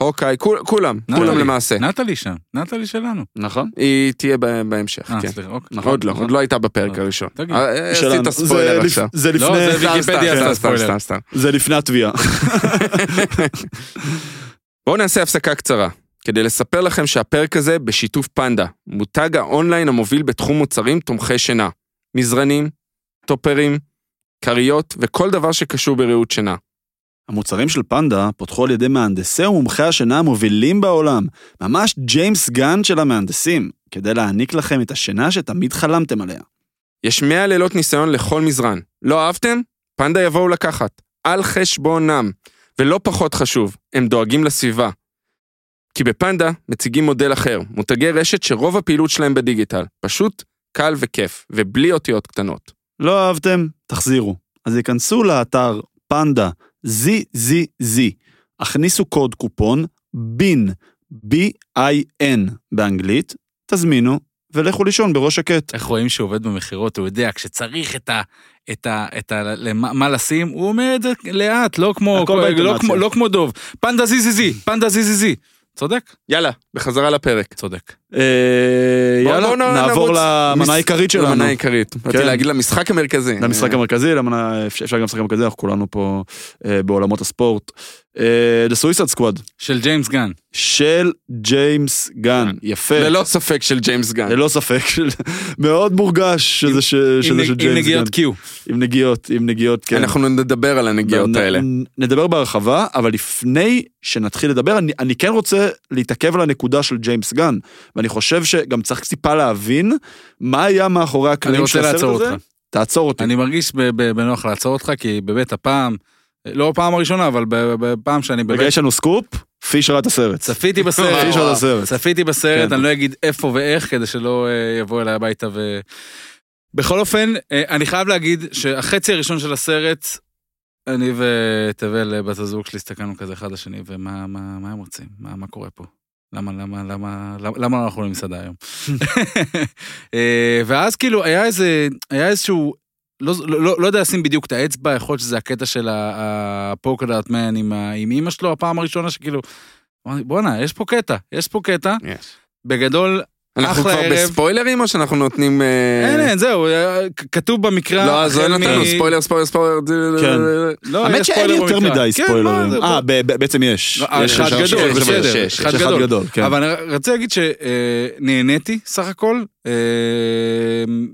[SPEAKER 1] הוקאי, כול- כולם,
[SPEAKER 3] נטלי.
[SPEAKER 1] כולם למעשה.
[SPEAKER 3] נטלי שם, נטלי שלנו.
[SPEAKER 2] נכון.
[SPEAKER 1] היא תהיה ב- בהמשך,
[SPEAKER 3] אה,
[SPEAKER 1] כן.
[SPEAKER 3] סליחה, אוקיי.
[SPEAKER 1] עוד לא, עוד לא הייתה בפרק
[SPEAKER 3] אוקיי.
[SPEAKER 1] הראשון.
[SPEAKER 3] תגיד.
[SPEAKER 1] אה, אה,
[SPEAKER 2] שלנו.
[SPEAKER 1] עשית
[SPEAKER 2] זה
[SPEAKER 1] ספוילר
[SPEAKER 2] לפ-
[SPEAKER 1] עכשיו.
[SPEAKER 2] זה
[SPEAKER 3] לא,
[SPEAKER 2] לפני...
[SPEAKER 3] זה
[SPEAKER 1] סתם,
[SPEAKER 3] ויקיפדיה
[SPEAKER 1] סתם, סתם,
[SPEAKER 3] עשה
[SPEAKER 1] סתם,
[SPEAKER 3] ספוילר.
[SPEAKER 1] סתם.
[SPEAKER 2] [LAUGHS] זה לפני התביעה.
[SPEAKER 1] בואו נעשה הפסקה קצרה, כדי לספר לכם שהפרק הזה בשיתוף פנדה, מותג האונליין המוביל בתחום מוצרים תומכי שינה. מזרנים, טופרים, כריות וכל דבר שקשור בריהוט שינה.
[SPEAKER 2] המוצרים של פנדה פותחו על ידי מהנדסי ומומחי השינה המובילים בעולם, ממש ג'יימס גן של המהנדסים, כדי להעניק לכם את השינה שתמיד חלמתם עליה.
[SPEAKER 1] יש 100 לילות ניסיון לכל מזרן. לא אהבתם? פנדה יבואו לקחת. על חשבונם. ולא פחות חשוב, הם דואגים לסביבה. כי בפנדה מציגים מודל אחר, מותגי רשת שרוב הפעילות שלהם בדיגיטל. פשוט, קל וכיף, ובלי אותיות קטנות.
[SPEAKER 2] לא אהבתם? תחזירו. אז ייכנסו לאתר פנדה ZZZ, הכניסו קוד קופון בין, B-I-N באנגלית, תזמינו ולכו לישון בראש שקט.
[SPEAKER 3] איך רואים שהוא עובד במכירות, הוא יודע, כשצריך את ה... את ה... את ה... למה, מה לשים, הוא אומר את זה לאט, לא כמו...
[SPEAKER 2] הכל
[SPEAKER 3] לא
[SPEAKER 2] באינטונציה.
[SPEAKER 3] כמו, לא כמו דוב. פנדה זי זי זי, פנדה זי זי זי. צודק?
[SPEAKER 1] יאללה, בחזרה לפרק.
[SPEAKER 3] צודק.
[SPEAKER 2] אה,
[SPEAKER 1] בוא-
[SPEAKER 2] יאללה,
[SPEAKER 1] בוא נ-
[SPEAKER 2] נעבור
[SPEAKER 1] נרוץ.
[SPEAKER 2] למנה
[SPEAKER 1] מס-
[SPEAKER 2] העיקרית שלנו. כן.
[SPEAKER 1] למנה העיקרית. באתי להגיד למשחק המרכזי. אה,
[SPEAKER 2] למשחק המרכזי, למנה, אפשר אפשר גם לשחק במרכזי, אנחנו כולנו פה אה, בעולמות הספורט. אה, The Suicide Squad
[SPEAKER 3] של ג'יימס גן.
[SPEAKER 2] של ג'יימס
[SPEAKER 1] גן.
[SPEAKER 2] גן, יפה.
[SPEAKER 1] כן. ללא ספק של ג'יימס גן.
[SPEAKER 2] ללא ספק, [LAUGHS] מאוד מורגש שזה ש- שזה
[SPEAKER 3] עם
[SPEAKER 2] של
[SPEAKER 3] נג- עם
[SPEAKER 2] ג'יימס גן.
[SPEAKER 3] נגיעות קיו.
[SPEAKER 2] עם נגיעות, עם נגיעות, כן.
[SPEAKER 1] כן. אנחנו נדבר על הנגיעות
[SPEAKER 2] נ-
[SPEAKER 1] האלה.
[SPEAKER 2] נ- נדבר בהרחבה, אבל לפני שנתחיל לדבר, אני, אני כן רוצה להתעכב על הנקודה של ג'יימס גן, ואני חושב שגם צריך טיפה להבין מה היה מאחורי
[SPEAKER 3] אני
[SPEAKER 2] הקלעים של
[SPEAKER 3] רוצה
[SPEAKER 2] הסרט הזה.
[SPEAKER 3] לעצור אותך.
[SPEAKER 2] תעצור אותי.
[SPEAKER 3] אני מרגיש ב- ב- בנוח לעצור אותך, כי באמת הפעם, לא הפעם הראשונה, אבל ב- בפעם שאני
[SPEAKER 2] רגע,
[SPEAKER 3] באמת
[SPEAKER 2] יש לנו סקופ, פיש ראה את הסרט.
[SPEAKER 3] צפיתי
[SPEAKER 2] פיש ראה
[SPEAKER 3] בסרט.
[SPEAKER 2] את הסרט.
[SPEAKER 3] צפיתי בסרט,
[SPEAKER 2] כן.
[SPEAKER 3] אני לא אגיד איפה ואיך, כדי שלא אה, יבוא אליי הביתה ו... בכל אופן, אה, אני חייב להגיד שהחצי הראשון של הסרט, אני ותבל, אה, בת הזוג שלי, הסתכלנו כזה אחד לשני, ומה מה, מה הם רוצים? מה, מה קורה פה? למה, למה, למה, למה, למה לא הלכנו למסעדה היום? [LAUGHS] אה, ואז כאילו, היה איזה, היה איזשהו... לא, לא, לא, לא יודע לשים בדיוק את האצבע, יכול להיות שזה הקטע של הפוקדארט מן עם, ה- עם אימא שלו, הפעם הראשונה שכאילו, אמרתי, בואנה, יש פה קטע, יש פה קטע. בגדול,
[SPEAKER 1] אנחנו
[SPEAKER 3] אחלה
[SPEAKER 1] כבר
[SPEAKER 3] ערב.
[SPEAKER 1] בספוילרים או שאנחנו נותנים... אה,
[SPEAKER 3] אין, אין, זהו, אה, כ- כתוב במקרא.
[SPEAKER 1] לא, אז
[SPEAKER 3] החל
[SPEAKER 1] אין
[SPEAKER 3] מ-
[SPEAKER 1] אותנו, ספוילר, ספוילר, ספוילר.
[SPEAKER 2] כן.
[SPEAKER 3] לא, יש
[SPEAKER 2] האמת שאין
[SPEAKER 3] ספוילר
[SPEAKER 2] יותר
[SPEAKER 3] במקרא.
[SPEAKER 2] מדי
[SPEAKER 3] כן, מה זה,
[SPEAKER 2] ספוילרים.
[SPEAKER 3] בוא.
[SPEAKER 2] אה, ב- ב- בעצם יש.
[SPEAKER 3] לא,
[SPEAKER 2] יש
[SPEAKER 3] אחד
[SPEAKER 2] יש,
[SPEAKER 3] גדול,
[SPEAKER 2] יש,
[SPEAKER 3] בסדר,
[SPEAKER 2] יש, אה, יש,
[SPEAKER 3] אחד
[SPEAKER 2] יש,
[SPEAKER 3] גדול.
[SPEAKER 2] כן.
[SPEAKER 3] אבל אני ר- רוצה להגיד שנהניתי סך הכל. אה, אמ,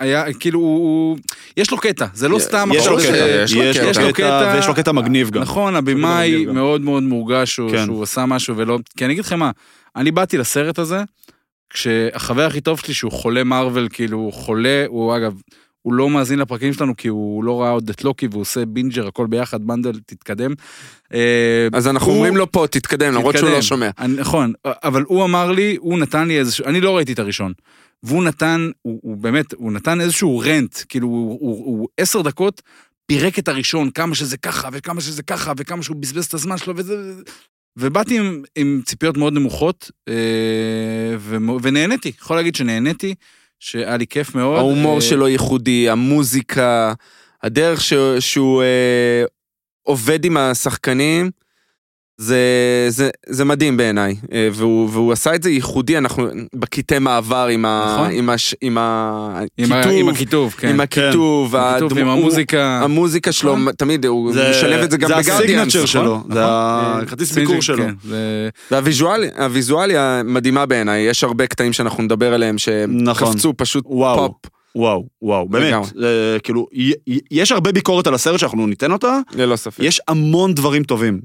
[SPEAKER 3] היה, כאילו, הוא- הוא... יש לו קטע, זה לא
[SPEAKER 1] יש-
[SPEAKER 3] סתם...
[SPEAKER 2] יש
[SPEAKER 1] ברור
[SPEAKER 2] לו
[SPEAKER 3] עכשיו
[SPEAKER 2] קטע,
[SPEAKER 3] ש-
[SPEAKER 1] יש לו
[SPEAKER 2] יש
[SPEAKER 1] קטע.
[SPEAKER 2] לו קטע, ויש לו קטע מגניב גם. יש
[SPEAKER 3] נכון,
[SPEAKER 2] לו
[SPEAKER 3] הבמאי
[SPEAKER 2] קטע מגניב גם.
[SPEAKER 3] מאוד מאוד מורגש שהוא,
[SPEAKER 2] כן.
[SPEAKER 3] שהוא עשה משהו ולא... כי אני אגיד לכם מה, אני באתי לסרט הזה, כשהחבר הכי טוב שלי שהוא חולה מארוול, כאילו, הוא חולה, הוא אגב, הוא לא מאזין לפרקים שלנו כי הוא לא ראה עוד את לוקי והוא עושה בינג'ר, הכל ביחד, בנדל, תתקדם. אה,
[SPEAKER 1] אז אנחנו
[SPEAKER 3] הוא-
[SPEAKER 1] אומרים לו פה, תתקדם, למרות שהוא
[SPEAKER 3] תתקדם.
[SPEAKER 1] לא שומע.
[SPEAKER 3] אני, נכון, אבל הוא אמר לי, הוא נתן לי איזשהו, אני לא ראיתי את הראשון. והוא נתן, הוא, הוא באמת, הוא נתן איזשהו רנט, כאילו הוא, הוא, הוא עשר דקות פירק את הראשון, כמה שזה ככה, וכמה שזה ככה, וכמה שהוא בזבז את הזמן שלו, וזה... ובאתי עם, עם ציפיות מאוד נמוכות, אה, ומו- ונהניתי, יכול להגיד שנהניתי, שהיה לי כיף מאוד.
[SPEAKER 1] ההומור
[SPEAKER 3] אה,
[SPEAKER 1] שלו ייחודי, המוזיקה, הדרך ש- שהוא אה, עובד עם השחקנים, זה, זה, זה מדהים בעיניי. אה, והוא, והוא עשה את זה ייחודי, אנחנו בקטעי מעבר עם, ה,
[SPEAKER 3] נכון.
[SPEAKER 1] עם, הש, עם
[SPEAKER 3] עם, ה- עם
[SPEAKER 1] הכיתוב,
[SPEAKER 3] הכיתוב, כן.
[SPEAKER 1] עם
[SPEAKER 3] עם
[SPEAKER 1] הכיתוב,
[SPEAKER 3] הכיתוב, עם
[SPEAKER 1] הדמו-
[SPEAKER 3] המוזיקה. נכון.
[SPEAKER 1] המוזיקה שלו, תמיד, הוא משלב את זה גם
[SPEAKER 2] זה
[SPEAKER 1] בגרדיאנס,
[SPEAKER 2] הסגנצ'ר
[SPEAKER 1] נכון?
[SPEAKER 2] שלו, זה הכרטיס ביקור שלו.
[SPEAKER 3] אה, כן, זה...
[SPEAKER 1] והוויזואל- הוויזואליה מדהימה בעיניי, יש הרבה קטעים שאנחנו נדבר עליהם
[SPEAKER 2] נכון.
[SPEAKER 1] שקפצו פשוט
[SPEAKER 2] וואו.
[SPEAKER 1] פופ.
[SPEAKER 2] וואו, וואו, באמת,
[SPEAKER 1] לגמרי.
[SPEAKER 2] אה, כאילו, י- י- יש הרבה ביקורת על הסרט שאנחנו ניתן אותה,
[SPEAKER 1] ללא ספק.
[SPEAKER 2] יש המון דברים טובים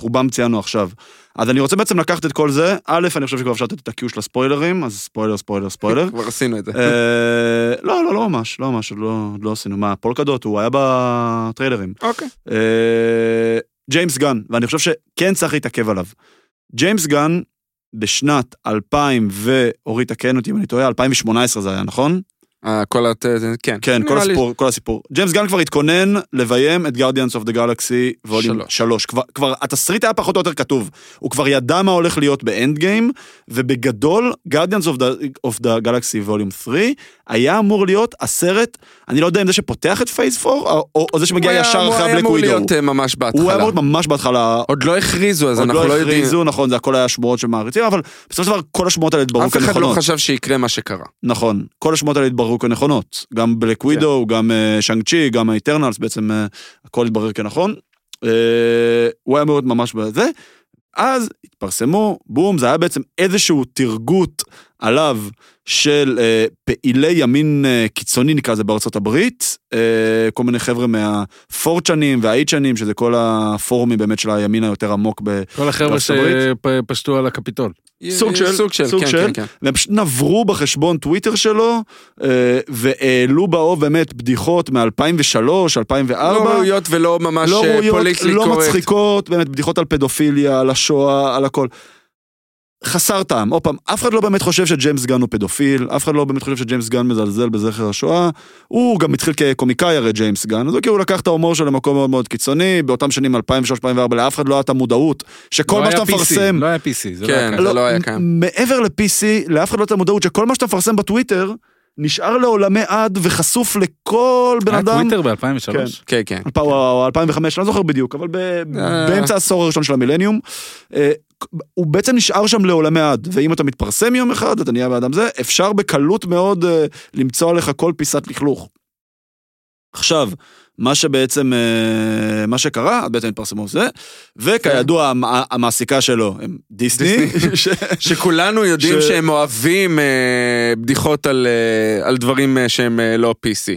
[SPEAKER 2] שרובם ציינו עכשיו. אז אני רוצה בעצם לקחת את כל זה, א', אני חושב שכבר אפשר לתת את ה-Q של הספוילרים, אז ספוילר, ספוילר,
[SPEAKER 1] [LAUGHS]
[SPEAKER 2] ספוילר.
[SPEAKER 1] כבר עשינו את זה.
[SPEAKER 2] אה, לא, לא, לא ממש, לא ממש, עוד לא, עוד לא עשינו. מה, פולקדוט, הוא היה בטריילרים.
[SPEAKER 1] אוקיי.
[SPEAKER 2] אה, ג'יימס גן, ואני חושב שכן צריך להתעכב עליו. ג'יימס גן, בשנת 2000 ו... אורי, תקן אותי אם אני טועה, 2018 זה היה, נכון?
[SPEAKER 1] אה, כל הת... כן.
[SPEAKER 2] כן, כל
[SPEAKER 1] נראה לי-
[SPEAKER 2] הסיפור, כל הסיפור. ג'יימס גן כבר התכונן לביים את גרדיאנס אוף דה גלקסי ווליום
[SPEAKER 1] שלוש.
[SPEAKER 2] שלוש. כבר- כבר התסריט היה פחות או יותר כתוב. הוא כבר ידע מה הולך להיות באנד גיים, ובגדול, גרדיאנס אוף דה גלקסי ווליום 3 היה אמור להיות הסרט, אני לא יודע אם זה שפותח את פייס 4, או- או או זה שמגיע
[SPEAKER 1] הוא היה-
[SPEAKER 2] ישר אחרי
[SPEAKER 1] הוא היה
[SPEAKER 2] הבלק
[SPEAKER 1] אמור
[SPEAKER 2] ווידו.
[SPEAKER 1] להיות אה, ממש
[SPEAKER 2] הוא היה
[SPEAKER 1] בהתחלה.
[SPEAKER 2] אמור להיות ממש בהתחלה.
[SPEAKER 1] עוד לא הכריזו, אז
[SPEAKER 2] עוד
[SPEAKER 1] אנחנו לא
[SPEAKER 2] לא
[SPEAKER 1] יודעים.
[SPEAKER 2] הכריזו, נכון, זה הכל היה שמועות שמעריצים, אבל בסופו של דבר כל השמועות האלה התבררו
[SPEAKER 1] אף אחד
[SPEAKER 2] כנכונות.
[SPEAKER 1] לא חשב שיקרה מה שקרה.
[SPEAKER 2] נכון, כל השמות האלה התבררו כנכונות. גם בלק ווידו, גם אה, שאנג צ'י, גם האיטרנלס, בעצם אה, הכל התברר כנכון. אה, הוא היה מאוד ממש בזה. אז התפרסמו, בום, זה היה בעצם איזשהו תרגות עליו של אה, פעילי ימין אה, קיצוני, נקרא לזה, בארצות הברית. אה, כל מיני חבר'ה מהפורצ'נים והאייצ'נים, שזה כל הפורומים באמת של הימין היותר עמוק ב...
[SPEAKER 3] כל החבר'ה
[SPEAKER 2] בארצות הברית?
[SPEAKER 3] שפשטו על הקפיטול.
[SPEAKER 2] סוג של,
[SPEAKER 1] סוג של,
[SPEAKER 2] סוג
[SPEAKER 1] כן,
[SPEAKER 2] של.
[SPEAKER 1] כן, כן.
[SPEAKER 2] והם פשוט נברו בחשבון טוויטר שלו, אה, והעלו באוב באמת בדיחות מ-2003, 2004.
[SPEAKER 1] לא ראויות ולא ממש
[SPEAKER 2] לא
[SPEAKER 1] אה,
[SPEAKER 2] ראויות,
[SPEAKER 1] פוליטלי
[SPEAKER 2] לא
[SPEAKER 1] קורקט.
[SPEAKER 2] מצחיקות, באמת בדיחות על פדופיליה, על השואה, על הכל. חסר טעם, עוד פעם, אף אחד לא באמת חושב שג'יימס גן הוא פדופיל, אף אחד לא באמת חושב שג'יימס גן מזלזל בזכר השואה, הוא גם התחיל כקומיקאי הרי ג'יימס גן, אז הוא כאילו לקח את ההומור שלו למקום מאוד מאוד קיצוני, באותם שנים 2003-2004 לאף אחד לא הייתה מודעות, שכל
[SPEAKER 3] לא
[SPEAKER 2] מה
[SPEAKER 3] היה
[SPEAKER 2] שאתה
[SPEAKER 3] PC,
[SPEAKER 2] מפרסם,
[SPEAKER 3] לא היה PC, זה לא היה
[SPEAKER 1] כן.
[SPEAKER 3] ככה.
[SPEAKER 1] זה לא היה קיים.
[SPEAKER 2] מעבר ל-PC, לאף אחד לא הייתה מודעות שכל מה שאתה מפרסם בטוויטר, נשאר לעולמי עד וחשוף לכל
[SPEAKER 1] אה,
[SPEAKER 2] בן
[SPEAKER 3] היה
[SPEAKER 2] אדם.
[SPEAKER 3] טוויטר ב-2003.
[SPEAKER 2] כן.
[SPEAKER 1] כן, כן.
[SPEAKER 2] אלפ- או 2005, לא זוכר בדיוק, אבל ב-
[SPEAKER 1] אה.
[SPEAKER 2] באמצע העשור הראשון של המילניום. אה, הוא בעצם נשאר שם לעולמי עד, ואם אתה מתפרסם יום אחד, אתה נהיה באדם זה, אפשר בקלות מאוד אה, למצוא עליך כל פיסת לכלוך. עכשיו, מה שבעצם, אה, מה שקרה, בעצם התפרסמו זה,
[SPEAKER 1] כן.
[SPEAKER 2] וכידוע, המ- המעסיקה שלו הם דיסני, [LAUGHS]
[SPEAKER 1] שכולנו יודעים
[SPEAKER 2] ש-
[SPEAKER 1] שהם אוהבים אה, בדיחות על, אה, על דברים אה, שהם אה, לא PC.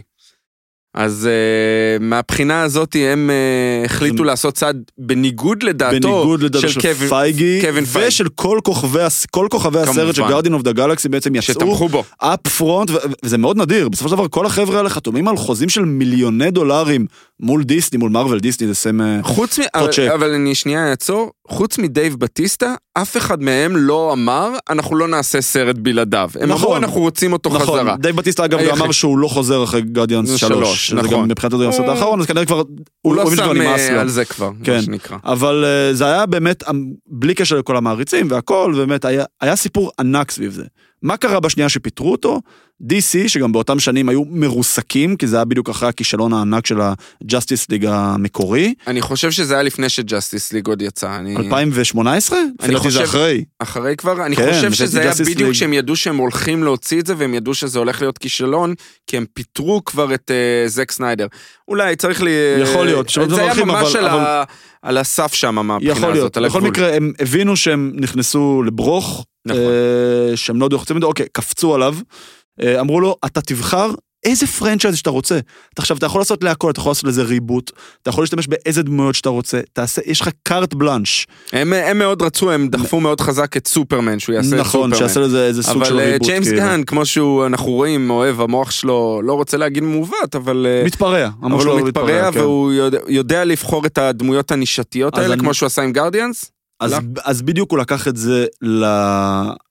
[SPEAKER 1] אז אה, מהבחינה הזאת הם אה, החליטו
[SPEAKER 2] זה-
[SPEAKER 1] לעשות צעד בניגוד לדעתו
[SPEAKER 2] בניגוד לדעתו של
[SPEAKER 1] קווין-
[SPEAKER 2] פייגי,
[SPEAKER 1] קווין פייגי.
[SPEAKER 2] ושל כל כוכבי הס- כל כוכבי הסרט של
[SPEAKER 1] כמובן.
[SPEAKER 2] גרדין אוף דה גלקסי בעצם יצאו
[SPEAKER 1] שתמכו בו.
[SPEAKER 2] אפ פרונט, ו- וזה מאוד נדיר, בסופו של דבר כל החבר'ה האלה חתומים על חוזים של מיליוני דולרים מול דיסני, מול מארוול דיסני, זה סם... אה,
[SPEAKER 1] חוץ מ... אבל,
[SPEAKER 2] צ'ק.
[SPEAKER 1] אבל אני שנייה אעצור, חוץ מדייב בטיסטה, אף אחד מהם לא אמר, אנחנו לא נעשה סרט בלעדיו. הם אמרו,
[SPEAKER 2] נכון.
[SPEAKER 1] אנחנו רוצים אותו
[SPEAKER 2] נכון,
[SPEAKER 1] חזרה.
[SPEAKER 2] דייב בטיסטה אגב גם
[SPEAKER 1] היחיד.
[SPEAKER 2] אמר שהוא לא חוזר אחרי גרדיאנס
[SPEAKER 1] זה
[SPEAKER 2] 3,
[SPEAKER 1] שלוש,
[SPEAKER 2] שזה
[SPEAKER 1] נכון.
[SPEAKER 2] גם מבחינת הסרט
[SPEAKER 1] הוא-
[SPEAKER 2] האחרון, אז כנראה כבר,
[SPEAKER 1] הוא לא
[SPEAKER 2] מבין שכבר
[SPEAKER 1] שם
[SPEAKER 2] נמאס
[SPEAKER 1] אה,
[SPEAKER 2] לו.
[SPEAKER 1] על זה כבר, מה
[SPEAKER 2] כן.
[SPEAKER 1] שנקרא.
[SPEAKER 2] אבל אה, זה היה באמת, אמ, בלי קשר לכל המעריצים והכל, באמת היה, היה סיפור ענק סביב זה. מה קרה בשנייה שפיטרו אותו? DC, שגם באותם שנים היו מרוסקים, כי זה היה בדיוק אחרי הכישלון הענק של ה-Justice League המקורי,
[SPEAKER 1] אני חושב שזה היה לפני שג'סטיס ליג עוד יצא. אני...
[SPEAKER 2] 2018? לפי דעתי זה
[SPEAKER 1] חושב-
[SPEAKER 2] אחרי.
[SPEAKER 1] אחרי כבר, אני
[SPEAKER 2] כן,
[SPEAKER 1] חושב
[SPEAKER 2] זה
[SPEAKER 1] שזה היה
[SPEAKER 2] Justice
[SPEAKER 1] בדיוק
[SPEAKER 2] League.
[SPEAKER 1] כשהם ידעו שהם הולכים להוציא את זה, והם ידעו שזה הולך להיות כישלון, כי הם פיטרו כבר את אה, זק סניידר. אולי צריך לי... אה,
[SPEAKER 2] יכול להיות, שלא
[SPEAKER 1] זה היה
[SPEAKER 2] הולכים,
[SPEAKER 1] ממש
[SPEAKER 2] אבל-
[SPEAKER 1] על,
[SPEAKER 2] אבל-
[SPEAKER 1] ה... על הסף שם מהבחינה
[SPEAKER 2] יכול
[SPEAKER 1] הזאת,
[SPEAKER 2] להיות.
[SPEAKER 1] על
[SPEAKER 2] בכל
[SPEAKER 1] הגבול.
[SPEAKER 2] מקרה, הם הבינו שהם נכנסו לברוך,
[SPEAKER 1] נכון.
[SPEAKER 2] אה, שהם לא ידעו איך לצאת מזה, אוקיי, קפצו עליו, אה, אמרו לו, אתה תבחר איזה פרנצ'ייז שאתה רוצה. אתה עכשיו, אתה יכול לעשות להכל, אתה יכול לעשות לזה ריבוט, אתה יכול להשתמש באיזה דמויות שאתה רוצה, תעשה, יש לך קארט בלאנש.
[SPEAKER 1] הם, הם מאוד רצו, הם דחפו מאוד חזק את סופרמן, שהוא יעשה את סופרמן.
[SPEAKER 2] נכון, שיעשה לזה איזה סוג של
[SPEAKER 1] אבל אה,
[SPEAKER 2] ריבוט.
[SPEAKER 1] ג'יימס
[SPEAKER 2] כאילו.
[SPEAKER 1] גן, כמו שאנחנו רואים, אוהב, המוח שלו, לא רוצה להגיד מעוות, אבל... אה,
[SPEAKER 2] מתפרע, אמרו
[SPEAKER 1] אבל
[SPEAKER 2] שלא
[SPEAKER 1] הוא מתפרע
[SPEAKER 2] כן.
[SPEAKER 1] והוא יודע, יודע לבחור את הדמויות הנישתיות
[SPEAKER 2] אז
[SPEAKER 1] האלה,
[SPEAKER 2] אני-
[SPEAKER 1] כמו שהוא עשה עם גרדיאנס.
[SPEAKER 2] אז,
[SPEAKER 1] לא.
[SPEAKER 2] אז בדיוק הוא לקח את זה, ל...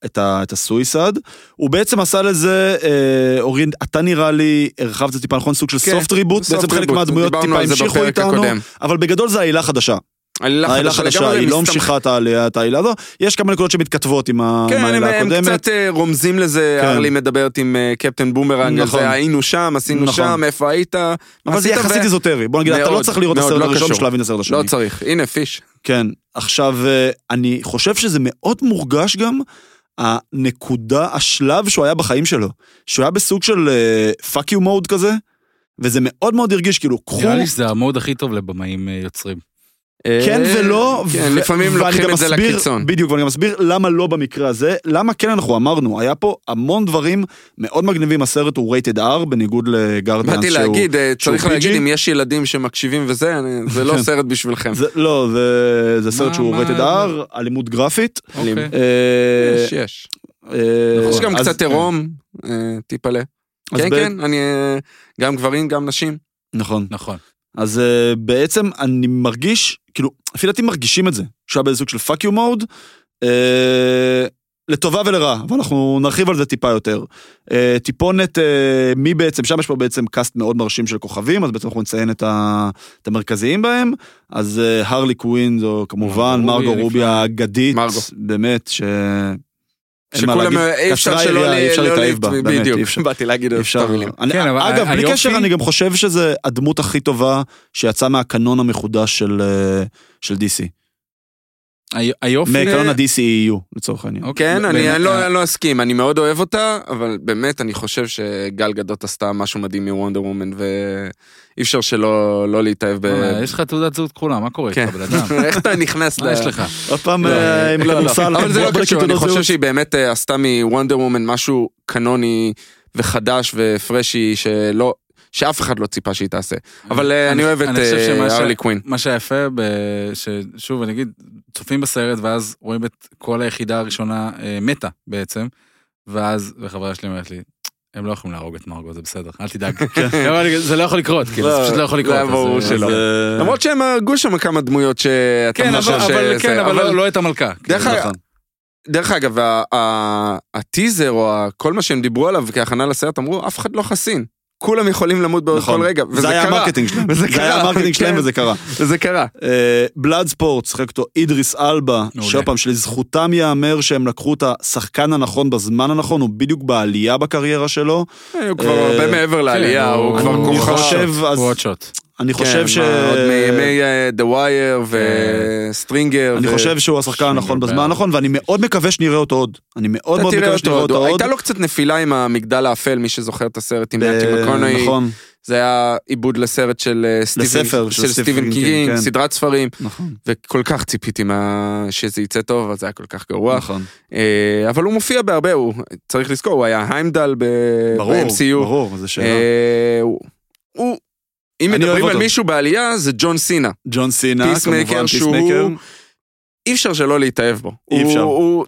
[SPEAKER 2] את, ה... את הסויסד, הוא בעצם עשה לזה, אה, אורין, אתה נראה לי, הרחבת את זה טיפה נכון, סוג של
[SPEAKER 1] כן,
[SPEAKER 2] סופט ריבוט, בעצם חלק מהדמויות טיפה המשיכו איתנו, אבל בגדול זה העילה חדשה, העילה חדשה, היא לא המשיכה את העלייה- את העילה הזו, יש כמה נקודות שמתכתבות עם ה- עם
[SPEAKER 1] כן, הם,
[SPEAKER 2] העילה
[SPEAKER 1] הם
[SPEAKER 2] הקודמת.
[SPEAKER 1] קצת אה, רומזים לזה,
[SPEAKER 2] כן.
[SPEAKER 1] ארלי מדברת עם אה, קפטן בומרנג, על
[SPEAKER 2] נכון.
[SPEAKER 1] זה היינו שם, עשינו
[SPEAKER 2] נכון.
[SPEAKER 1] שם, איפה היית,
[SPEAKER 2] אבל זה
[SPEAKER 1] עשית?"
[SPEAKER 2] יחסית
[SPEAKER 1] ו-
[SPEAKER 2] איזוטרי, בוא נגיד, אתה לא
[SPEAKER 1] מאוד,
[SPEAKER 2] צריך לראות את
[SPEAKER 1] מאוד,
[SPEAKER 2] הסרט
[SPEAKER 1] לא
[SPEAKER 2] הראשון
[SPEAKER 1] קשור.
[SPEAKER 2] בשביל להבין את הסרט השני.
[SPEAKER 1] לא צריך, הנה פיש.
[SPEAKER 2] כן, עכשיו, אה, אני חושב שזה מאוד מורגש גם הנקודה, השלב שהוא היה בחיים שלו. שהוא היה בסוג של אה, פאק יו מוד כזה, וזה מאוד מאוד הרגיש, כאילו, קחו...
[SPEAKER 3] נראה לי שזה המוד הכי טוב לבמאים אה, יוצרים.
[SPEAKER 2] כן
[SPEAKER 1] אה,
[SPEAKER 2] ולא,
[SPEAKER 1] כן,
[SPEAKER 2] ו-
[SPEAKER 1] לפעמים
[SPEAKER 2] ואני
[SPEAKER 1] לוקחים
[SPEAKER 2] גם
[SPEAKER 1] את זה
[SPEAKER 2] אסביר-
[SPEAKER 1] לקיצון.
[SPEAKER 2] בדיוק, ואני גם אסביר למה לא במקרה הזה, למה כן אנחנו אמרנו, היה פה המון דברים מאוד מגניבים, הסרט הוא rated R, בניגוד לגרדיאנס
[SPEAKER 1] באתי
[SPEAKER 2] שהוא...
[SPEAKER 1] להגיד, אה,
[SPEAKER 2] שהוא
[SPEAKER 1] צריך להגיד,
[SPEAKER 2] PG?
[SPEAKER 1] אם יש ילדים שמקשיבים וזה,
[SPEAKER 2] [LAUGHS]
[SPEAKER 1] אני- זה לא
[SPEAKER 2] כן.
[SPEAKER 1] סרט בשבילכם.
[SPEAKER 2] זה, לא, זה, זה סרט
[SPEAKER 3] מה-
[SPEAKER 2] שהוא
[SPEAKER 3] מה-
[SPEAKER 2] rated R, אלימות גרפית.
[SPEAKER 1] אלים.
[SPEAKER 3] אוקיי.
[SPEAKER 2] אה,
[SPEAKER 1] יש, יש.
[SPEAKER 2] אה,
[SPEAKER 1] יש גם
[SPEAKER 2] אז-
[SPEAKER 1] קצת עירום, אה, טיפלה.
[SPEAKER 2] אז
[SPEAKER 1] כן,
[SPEAKER 2] ב-
[SPEAKER 1] כן, אני... אה, גם גברים, גם נשים.
[SPEAKER 2] נכון.
[SPEAKER 3] נכון.
[SPEAKER 2] אז uh, בעצם אני מרגיש, כאילו, לפי דעתי מרגישים את זה, שהוא היה באיזה סוג של fuck you mode, uh, לטובה ולרעה, אבל אנחנו נרחיב על זה טיפה יותר. אה, טיפונת, אה, מי בעצם, שם יש פה בעצם קאסט מאוד מרשים של כוכבים, אז בעצם אנחנו נציין את, ה, את המרכזיים בהם. אז אה, הרלי קווין זו כמובן
[SPEAKER 3] מרגו
[SPEAKER 2] מרגו
[SPEAKER 3] רובי,
[SPEAKER 2] רובי
[SPEAKER 3] נפלא.
[SPEAKER 2] האגדית,
[SPEAKER 1] מרגו.
[SPEAKER 2] באמת, ש... אין מה
[SPEAKER 1] שכולם, אה,
[SPEAKER 2] להגיד,
[SPEAKER 1] אי אפשר
[SPEAKER 2] קצרה
[SPEAKER 1] שלא
[SPEAKER 2] היריעה,
[SPEAKER 1] ל-
[SPEAKER 2] אי אפשר
[SPEAKER 1] לא
[SPEAKER 2] להתאהב בה,
[SPEAKER 1] להת- [LAUGHS]
[SPEAKER 2] באמת, אי
[SPEAKER 1] בדיוק,
[SPEAKER 2] אפשר.
[SPEAKER 1] באתי להגיד עוד
[SPEAKER 2] אפשר.
[SPEAKER 1] שתי מילים.
[SPEAKER 2] אני,
[SPEAKER 3] כן, אבל
[SPEAKER 2] אגב,
[SPEAKER 3] ה-
[SPEAKER 2] בלי
[SPEAKER 3] היופי-
[SPEAKER 2] קשר, אני גם חושב שזה הדמות הכי טובה שיצאה מהקנון המחודש של, אה, של DC.
[SPEAKER 3] הי- היופי...
[SPEAKER 2] מקנון ה-DCEU, E לצורך העניין.
[SPEAKER 3] אוקיי,
[SPEAKER 1] כן, אני
[SPEAKER 3] באמת,
[SPEAKER 1] אני לא
[SPEAKER 3] אה,
[SPEAKER 1] אני לא אסכים, אני מאוד אוהב אותה, אבל באמת, אני חושב שגל גדות עשתה משהו מדהים מוונדר וומן, ואי אפשר שלא לא להתאהב ב...
[SPEAKER 3] אה, יש לך תעודת זהות כחולה, מה קורה
[SPEAKER 1] כן.
[SPEAKER 3] איתך, בן אדם?
[SPEAKER 1] [LAUGHS]
[SPEAKER 3] [LAUGHS]
[SPEAKER 1] איך אתה נכנס
[SPEAKER 2] אה,
[SPEAKER 1] ל...
[SPEAKER 3] מה יש לך?
[SPEAKER 2] עוד פעם,
[SPEAKER 1] לא,
[SPEAKER 2] אה, עם
[SPEAKER 1] לא, לא.
[SPEAKER 2] הכדורסל,
[SPEAKER 1] אבל זה לא
[SPEAKER 2] הכדורגל,
[SPEAKER 1] קשור, אני
[SPEAKER 2] תעודות
[SPEAKER 1] חושב
[SPEAKER 2] זהות.
[SPEAKER 1] שהיא באמת אה, עשתה מוונדר וומן משהו קנוני וחדש ופרשי שלא, שאף אחד לא ציפה שהיא תעשה. אבל אה, אני אוהב את
[SPEAKER 3] אני חושב שמה ש-
[SPEAKER 1] ארלי קווין.
[SPEAKER 3] מה שהיפה, ב- ששוב, אני אגיד, צופים בסרט, ואז רואים את כל היחידה הראשונה אה, מתה בעצם, ואז, וחברה שלי אומרת לי, הם לא יכולים להרוג את מרגו, זה בסדר, אל [LAUGHS] תדאג. היא אמרה לי, זה לא יכול לקרות, כאילו, זה
[SPEAKER 1] לא,
[SPEAKER 3] פשוט לא יכול
[SPEAKER 1] זה
[SPEAKER 3] לקרות.
[SPEAKER 1] היה
[SPEAKER 3] אז-
[SPEAKER 1] ברור
[SPEAKER 3] אז-
[SPEAKER 1] שלא.
[SPEAKER 2] אה,
[SPEAKER 1] למרות שהם הרגו שם כמה דמויות שאתה
[SPEAKER 3] כן, אבל-
[SPEAKER 1] חושב
[SPEAKER 3] אבל כן,
[SPEAKER 1] שזה,
[SPEAKER 3] אבל לא- לא את המלכה. כאילו,
[SPEAKER 1] דרך אגב,
[SPEAKER 3] נכון.
[SPEAKER 1] דרך אגב, ה- ה- הטיזר או ה- כל מה שהם דיברו עליו כהכנה לסרט, אמרו, אף אחד לא חסין. כולם יכולים למות בעוד
[SPEAKER 2] נכון.
[SPEAKER 1] כל רגע, וזה
[SPEAKER 2] זה היה
[SPEAKER 1] קרה.
[SPEAKER 2] המרקטינג שלהם,
[SPEAKER 1] וזה
[SPEAKER 2] זה היה
[SPEAKER 1] קרה,
[SPEAKER 2] המרקטינג שלהם
[SPEAKER 1] כן.
[SPEAKER 2] וזה קרה. אה,
[SPEAKER 1] וזה קרה.
[SPEAKER 2] בלאד ספורט, שיחק אותו אידריס אלבה,
[SPEAKER 3] מעולה.
[SPEAKER 2] שעוד פעם, שלזכותם ייאמר שהם לקחו את השחקן הנכון בזמן הנכון, הוא בדיוק בעלייה בקריירה שלו.
[SPEAKER 1] הוא כבר
[SPEAKER 2] אה,
[SPEAKER 1] הרבה מעבר לעלייה, כן,
[SPEAKER 3] כן,
[SPEAKER 1] הוא כבר
[SPEAKER 2] אני
[SPEAKER 1] כוכב.
[SPEAKER 2] חושב, אז-
[SPEAKER 3] הוא עוד שוט.
[SPEAKER 2] אני חושב ש...
[SPEAKER 1] כן,
[SPEAKER 2] כן.
[SPEAKER 1] מה, עוד מימי אה, The Wire וסטרינגר.
[SPEAKER 2] אני
[SPEAKER 1] ו-
[SPEAKER 2] חושב שהוא השחקן
[SPEAKER 3] שום
[SPEAKER 2] הנכון בזמן
[SPEAKER 3] בעיה.
[SPEAKER 2] הנכון, ואני מאוד מקווה שנראה אותו עוד. אני מאוד
[SPEAKER 1] אתה
[SPEAKER 2] מאוד
[SPEAKER 1] תראה
[SPEAKER 2] מקווה שנראה
[SPEAKER 1] אותו,
[SPEAKER 2] אותו
[SPEAKER 1] עוד.
[SPEAKER 2] עוד.
[SPEAKER 1] הייתה לו קצת נפילה עם המגדל האפל, מי שזוכר את הסרט עם נאצ'י
[SPEAKER 2] ב-
[SPEAKER 1] מקונאי.
[SPEAKER 2] נכון,
[SPEAKER 1] זה היה עיבוד לסרט של אה,
[SPEAKER 2] לספר
[SPEAKER 1] סטיבן-
[SPEAKER 2] של
[SPEAKER 1] של
[SPEAKER 2] סטיבן
[SPEAKER 1] סטיבן
[SPEAKER 2] קינג,
[SPEAKER 1] קינג,
[SPEAKER 2] כן.
[SPEAKER 1] סדרת ספרים,
[SPEAKER 2] נכון.
[SPEAKER 1] וכל כך ציפיתי מה- שזה יצא טוב, אבל זה היה כל כך גרוע.
[SPEAKER 2] נכון.
[SPEAKER 1] אה, אבל הוא מופיע בהרבה, הוא צריך לזכור, הוא היה היימדל ב-
[SPEAKER 2] ברור,
[SPEAKER 1] ב-MCU.
[SPEAKER 2] ברור, זו שאלה.
[SPEAKER 1] אה, הוא- הוא, אם
[SPEAKER 2] אני אוהב
[SPEAKER 1] מדברים על
[SPEAKER 2] אותו.
[SPEAKER 1] מישהו בעלייה, זה ג'ון סינה.
[SPEAKER 2] ג'ון סינה,
[SPEAKER 1] פיסמקר
[SPEAKER 2] כמובן
[SPEAKER 1] שהוא-
[SPEAKER 2] פיסמקר.
[SPEAKER 1] אי אפשר שלא להתאהב בו.
[SPEAKER 2] אי
[SPEAKER 1] הוא-
[SPEAKER 2] אפשר.
[SPEAKER 1] הוא-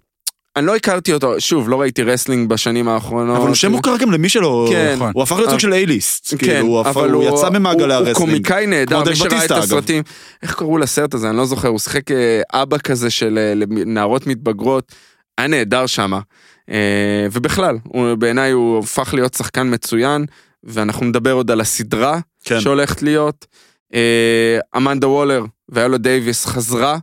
[SPEAKER 1] אני לא הכרתי אותו, שוב, לא ראיתי רסלינג בשנים האחרונות.
[SPEAKER 2] אבל הוא שם מוכר גם למי שלא...
[SPEAKER 1] אה, אוקיי. כן.
[SPEAKER 3] נכון.
[SPEAKER 2] הוא הפך להיות סוג של אייליסט.
[SPEAKER 1] כן,
[SPEAKER 2] כאילו, הוא הפך-
[SPEAKER 1] אבל
[SPEAKER 2] הוא יצא ממעגלי
[SPEAKER 1] הוא- הוא
[SPEAKER 2] הרסלינג.
[SPEAKER 1] קומיקאי
[SPEAKER 2] כמו
[SPEAKER 1] נהדר,
[SPEAKER 2] דייב
[SPEAKER 1] מי שראה את
[SPEAKER 2] בטיסטה, אגב.
[SPEAKER 1] הסרטים. איך קראו לסרט הזה? אני לא זוכר, הוא שיחק אה, אבא כזה של אה, למ- נערות מתבגרות. היה נהדר שמה. אה, ובכלל, הוא- בעיניי הוא הפך להיות שחקן מצוין, ואנחנו נדבר עוד על הסדרה
[SPEAKER 2] כן.
[SPEAKER 1] שהולכת להיות. אה, אמנדה וולר והיולה דייוויס חזרה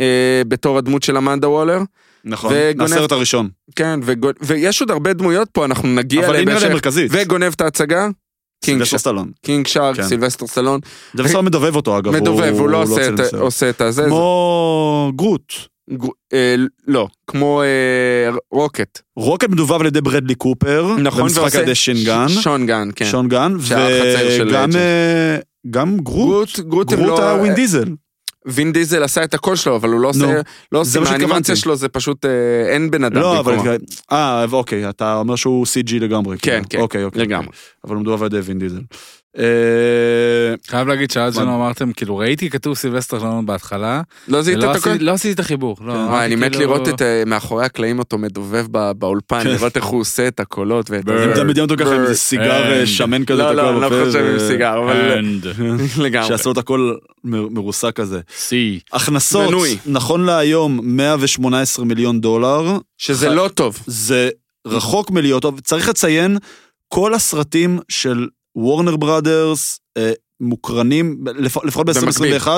[SPEAKER 1] אה, בתור הדמות של אמנדה וולר.
[SPEAKER 2] נכון,
[SPEAKER 1] וגונב-
[SPEAKER 2] הסרט הראשון.
[SPEAKER 1] כן, וגו- ויש עוד הרבה דמויות פה, אנחנו נגיע
[SPEAKER 2] אבל היא
[SPEAKER 1] אליהן
[SPEAKER 2] נראה לי
[SPEAKER 1] בהמשך.
[SPEAKER 2] מרכזית.
[SPEAKER 1] וגונב את ההצגה? קינג
[SPEAKER 2] סילבסטר
[SPEAKER 1] ש-
[SPEAKER 2] סטלון.
[SPEAKER 1] קינג שרק,
[SPEAKER 2] כן.
[SPEAKER 1] סילבסטר סלון,
[SPEAKER 2] סילבסטר מדובב אותו אגב.
[SPEAKER 1] מדובב, הוא לא עושה את-
[SPEAKER 2] צילם סרט.
[SPEAKER 1] עושה את הזה,
[SPEAKER 2] כמו גרוט.
[SPEAKER 1] זה- גו- אה, לא, כמו אה, רוקט,
[SPEAKER 2] רוקט מדובב על ידי ברדלי קופר.
[SPEAKER 1] נכון,
[SPEAKER 2] במשחק
[SPEAKER 1] ועושה-
[SPEAKER 2] על ידי שין גן.
[SPEAKER 1] ש- שון גן, כן,
[SPEAKER 2] שון גן.
[SPEAKER 1] שהיה החצר של
[SPEAKER 2] וגם
[SPEAKER 1] ג'יימס.
[SPEAKER 2] אה, גם גרוט.
[SPEAKER 1] גרוט, גרוט הם
[SPEAKER 2] גרוט
[SPEAKER 1] לא,
[SPEAKER 2] היה ווין דיזל.
[SPEAKER 1] וין דיזל עשה את הקול שלו, אבל הוא לא עושה,
[SPEAKER 2] נו,
[SPEAKER 1] לא
[SPEAKER 2] זה
[SPEAKER 1] עושה,
[SPEAKER 2] מה שהתכוונתי.
[SPEAKER 1] האנימציה שלו זה פשוט, אה, אין בן אדם
[SPEAKER 2] לא, אבל...
[SPEAKER 1] במקומו,
[SPEAKER 2] אה, אוקיי, אתה אומר שהוא CG לגמרי.
[SPEAKER 1] כן,
[SPEAKER 2] כאילו.
[SPEAKER 1] כן,
[SPEAKER 2] אוקיי, אוקיי.
[SPEAKER 1] לגמרי,
[SPEAKER 2] אבל הוא מדובב על ידי ווין דיזל. אה,
[SPEAKER 3] חייב להגיד שאז
[SPEAKER 2] מה?
[SPEAKER 3] שלא אמרתם, כאילו, ראיתי כתוב סילבסטר שלנו בהתחלה,
[SPEAKER 1] לא זיהית
[SPEAKER 3] ולא
[SPEAKER 1] את הקול?
[SPEAKER 3] עשיתי- לא עשיתי את החיבור. לא,
[SPEAKER 1] וואי, אני
[SPEAKER 3] אמרתי
[SPEAKER 1] מת
[SPEAKER 3] כאילו-
[SPEAKER 1] לראות את אה, מאחורי הקלעים אותו מדובב ב- באולפן, לראות איך הוא עושה את הקולות ואת
[SPEAKER 2] כן. אם אתה
[SPEAKER 1] הזה.
[SPEAKER 2] מדמיין אותו ככה עם איזה סיגר אה,
[SPEAKER 3] אה,
[SPEAKER 2] שמן כזה,
[SPEAKER 1] לא,
[SPEAKER 2] אתה
[SPEAKER 1] לא,
[SPEAKER 2] כבר
[SPEAKER 1] אני
[SPEAKER 2] עובר,
[SPEAKER 1] לא חושב עם
[SPEAKER 2] אה,
[SPEAKER 1] סיגר, אבל [LAUGHS]
[SPEAKER 2] [LAUGHS]
[SPEAKER 1] לגמרי.
[SPEAKER 2] שעשו את הכל מר- מרוסק כזה.
[SPEAKER 3] C.
[SPEAKER 2] הכנסות,
[SPEAKER 1] מנוי.
[SPEAKER 2] נכון להיום, 118 מיליון דולר,
[SPEAKER 1] שזה לא טוב.
[SPEAKER 2] זה רחוק מלהיות טוב. צריך לציין, כל הסרטים של וורנר בראדרס, אה, מוקרנים, לפ- לפחות ב-2021,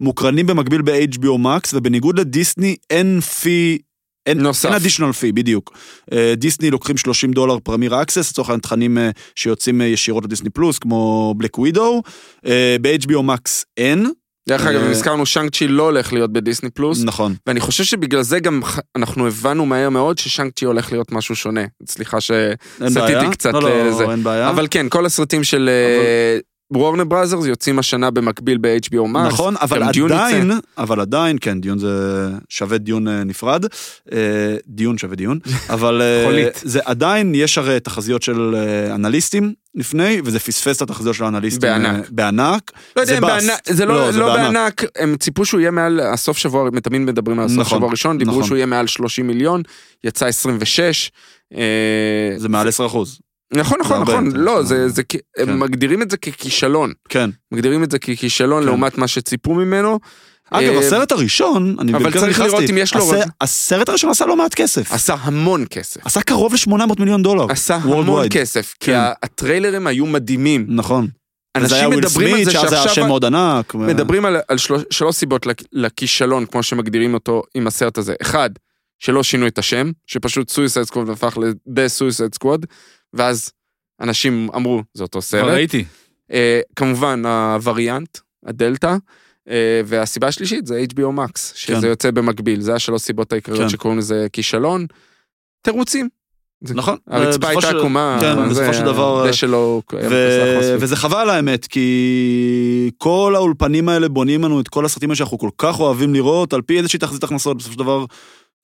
[SPEAKER 2] מוקרנים במקביל ב-HBO Max, ובניגוד לדיסני אין פי... אין,
[SPEAKER 1] נוסף.
[SPEAKER 2] אין additional fee, בדיוק. אה, דיסני לוקחים 30 דולר פרמיר access, לצורך העניין תכנים אה, שיוצאים אה, ישירות לדיסני פלוס, כמו אה, בלק ווידו. ב-HBO Max אין,
[SPEAKER 1] דרך אגב,
[SPEAKER 2] אה,
[SPEAKER 1] אם הזכרנו, שאנג צ'י לא הולך להיות בדיסני פלוס,
[SPEAKER 2] נכון.
[SPEAKER 1] ואני חושב שבגלל זה גם ח- אנחנו הבנו מהר מאוד ששאנג צ'י הולך להיות משהו שונה. סליחה ש...
[SPEAKER 2] אין
[SPEAKER 1] סטיתי
[SPEAKER 2] בעיה.
[SPEAKER 1] קצת
[SPEAKER 2] לא, לא,
[SPEAKER 1] לזה.
[SPEAKER 2] אין בעיה.
[SPEAKER 1] אבל כן, כל הסרטים של וורנר בראזרס יוצאים השנה במקביל ב-HBO Max.
[SPEAKER 2] נכון, אבל
[SPEAKER 1] גם דיון
[SPEAKER 2] עדיין, אבל עדיין, כן, דיון זה שווה דיון אה, נפרד, אה, דיון שווה
[SPEAKER 1] [LAUGHS]
[SPEAKER 2] דיון, אבל אה,
[SPEAKER 3] חולית.
[SPEAKER 2] זה עדיין, יש הרי תחזיות של אה, אנליסטים לפני, וזה פספס את התחזיות של האנליסטים.
[SPEAKER 1] בענק.
[SPEAKER 2] אה, בענק.
[SPEAKER 1] לא יודע,
[SPEAKER 2] זה
[SPEAKER 1] הם
[SPEAKER 2] באס.
[SPEAKER 1] בענק- זה
[SPEAKER 2] לא,
[SPEAKER 1] לא
[SPEAKER 2] זה
[SPEAKER 1] לא
[SPEAKER 2] בענק.
[SPEAKER 1] בענק, הם ציפו שהוא יהיה מעל הסוף שבוע, הם תמיד מדברים על הסוף
[SPEAKER 2] נכון,
[SPEAKER 1] שבוע הראשון,
[SPEAKER 2] נכון.
[SPEAKER 1] דיברו שהוא יהיה מעל 30 מיליון, יצא 26. אה,
[SPEAKER 2] זה מעל 10 אחוז.
[SPEAKER 1] נכון,
[SPEAKER 2] זה
[SPEAKER 1] נכון,
[SPEAKER 2] הרבה
[SPEAKER 1] נכון,
[SPEAKER 2] יותר.
[SPEAKER 1] לא, זה, זה, כ-
[SPEAKER 2] כן.
[SPEAKER 1] הם מגדירים את זה ככישלון.
[SPEAKER 2] כן,
[SPEAKER 1] מגדירים את זה ככישלון
[SPEAKER 2] כן.
[SPEAKER 1] לעומת מה שציפו ממנו.
[SPEAKER 2] אגב,
[SPEAKER 1] אה,
[SPEAKER 2] הסרט הראשון, אני
[SPEAKER 1] אבל
[SPEAKER 2] במקרה
[SPEAKER 1] צריך
[SPEAKER 2] נכנסתי,
[SPEAKER 1] לראות אם יש לו
[SPEAKER 2] הס-
[SPEAKER 1] רוב.
[SPEAKER 2] הסרט הראשון עשה לא מעט כסף.
[SPEAKER 1] עשה המון כסף.
[SPEAKER 2] עשה קרוב ל-800 מיליון דולר.
[SPEAKER 1] עשה המון
[SPEAKER 2] אוקיי. Worldwide.
[SPEAKER 1] כסף, כי
[SPEAKER 2] כן.
[SPEAKER 1] ה- הטריילרים היו מדהימים.
[SPEAKER 2] נכון. וזה היה
[SPEAKER 1] אנשים
[SPEAKER 2] וויל
[SPEAKER 1] מדברים על
[SPEAKER 2] סמית,
[SPEAKER 1] זה
[SPEAKER 2] שאז היה
[SPEAKER 1] שעכשיו
[SPEAKER 2] שם מאוד אה. ענק. ו-
[SPEAKER 1] מדברים על, על שלוש, שלוש סיבות לכ- לכישלון, כמו שמגדירים אותו עם הסרט הזה. אחד, שלא שינו את השם, שפשוט סויסייד סקווד הפך ל-The Suicide Squad, ואז אנשים אמרו, זה אותו
[SPEAKER 3] כבר
[SPEAKER 1] סרט.
[SPEAKER 3] ראיתי.
[SPEAKER 1] אה, כמובן, הווריאנט, הדלתא, אה, והסיבה השלישית זה HBO Max, שזה
[SPEAKER 2] כן.
[SPEAKER 1] יוצא במקביל, זה השלוש סיבות העיקריות
[SPEAKER 2] כן.
[SPEAKER 1] שקוראים לזה כישלון. תירוצים,
[SPEAKER 2] נכון.
[SPEAKER 1] הרצפה
[SPEAKER 2] ובסופו
[SPEAKER 1] הייתה
[SPEAKER 2] של-
[SPEAKER 1] עקומה,
[SPEAKER 2] כן,
[SPEAKER 1] אבל
[SPEAKER 2] בסופו
[SPEAKER 1] זה-
[SPEAKER 2] של דבר,
[SPEAKER 1] הדשא לא... היה
[SPEAKER 2] ו-
[SPEAKER 1] מסך מספיק.
[SPEAKER 2] וזה חבל האמת, כי כל האולפנים האלה בונים לנו את כל הסרטים האלה שאנחנו כל כך אוהבים לראות, על פי איזושהי תחזית הכנסות, בסופו של דבר,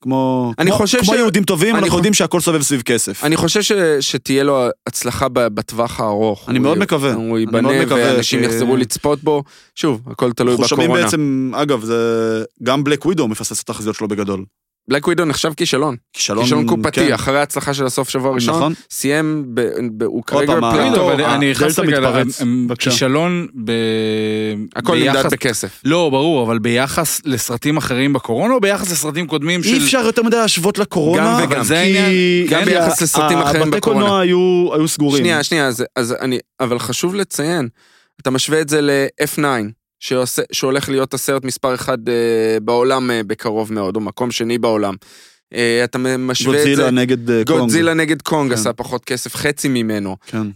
[SPEAKER 2] כמו...
[SPEAKER 1] אני
[SPEAKER 2] כמו-
[SPEAKER 1] חושב
[SPEAKER 2] כמו
[SPEAKER 1] ש-
[SPEAKER 2] יהודים טובים,
[SPEAKER 1] אני
[SPEAKER 2] אנחנו
[SPEAKER 1] חו-
[SPEAKER 2] יודעים שהכל סובב סביב כסף.
[SPEAKER 1] אני חושב ש, שתהיה לו הצלחה ב- בטווח הארוך.
[SPEAKER 2] אני
[SPEAKER 1] הוא
[SPEAKER 2] מאוד
[SPEAKER 1] י-
[SPEAKER 2] מקווה.
[SPEAKER 1] הוא
[SPEAKER 2] אני
[SPEAKER 1] ייבנה
[SPEAKER 2] מאוד מקווה,
[SPEAKER 1] ואנשים
[SPEAKER 2] כי-
[SPEAKER 1] יחזרו לצפות בו. שוב, הכל תלוי
[SPEAKER 2] אנחנו שומעים
[SPEAKER 1] בקורונה.
[SPEAKER 2] בעצם, אגב, זה... גם בלק ווידו מפספס את התחזיות שלו בגדול.
[SPEAKER 1] בלק ווידו נחשב כישלון.
[SPEAKER 2] כישלון...
[SPEAKER 1] כישלון קופתי,
[SPEAKER 2] כן.
[SPEAKER 1] אחרי ההצלחה של הסוף שבוע הראשון.
[SPEAKER 2] נכון.
[SPEAKER 1] סיים, ב- ב- הוא כרגע
[SPEAKER 2] פעם,
[SPEAKER 3] תגיד,
[SPEAKER 2] אה,
[SPEAKER 1] פלטו.
[SPEAKER 3] אבל
[SPEAKER 2] אה,
[SPEAKER 3] אני נכנס
[SPEAKER 2] דלתא
[SPEAKER 3] רגע,
[SPEAKER 2] מתפרץ.
[SPEAKER 3] הם- הם
[SPEAKER 2] בבקשה.
[SPEAKER 3] כישלון ב...
[SPEAKER 1] הכל
[SPEAKER 3] ביחס-
[SPEAKER 1] נמדד בכסף.
[SPEAKER 3] לא, ברור, אבל ביחס לסרטים אחרים בקורונה או ביחס לסרטים קודמים של...
[SPEAKER 2] אי אפשר יותר מדי להשוות לקורונה,
[SPEAKER 1] גם וגם.
[SPEAKER 2] כי-
[SPEAKER 3] זה העניין,
[SPEAKER 1] גם
[SPEAKER 2] כי
[SPEAKER 1] ביחס לסרטים
[SPEAKER 2] ה-
[SPEAKER 1] אחרים
[SPEAKER 2] הבתי
[SPEAKER 1] בקורונה.
[SPEAKER 2] קולנוע היו היו סגורים.
[SPEAKER 1] שנייה, שנייה, אז, אז אני, אבל חשוב לציין, אתה משווה את זה ל-F9, שעושה, שהולך להיות הסרט מספר אחד אה, בעולם אה, בקרוב מאוד, או מקום שני בעולם. אה, אתה משווה את זה...
[SPEAKER 2] גודזילה נגד אה, קונג.
[SPEAKER 1] גודזילה נגד קונג
[SPEAKER 2] כן.
[SPEAKER 1] עשה פחות כסף, חצי ממנו.
[SPEAKER 2] כן.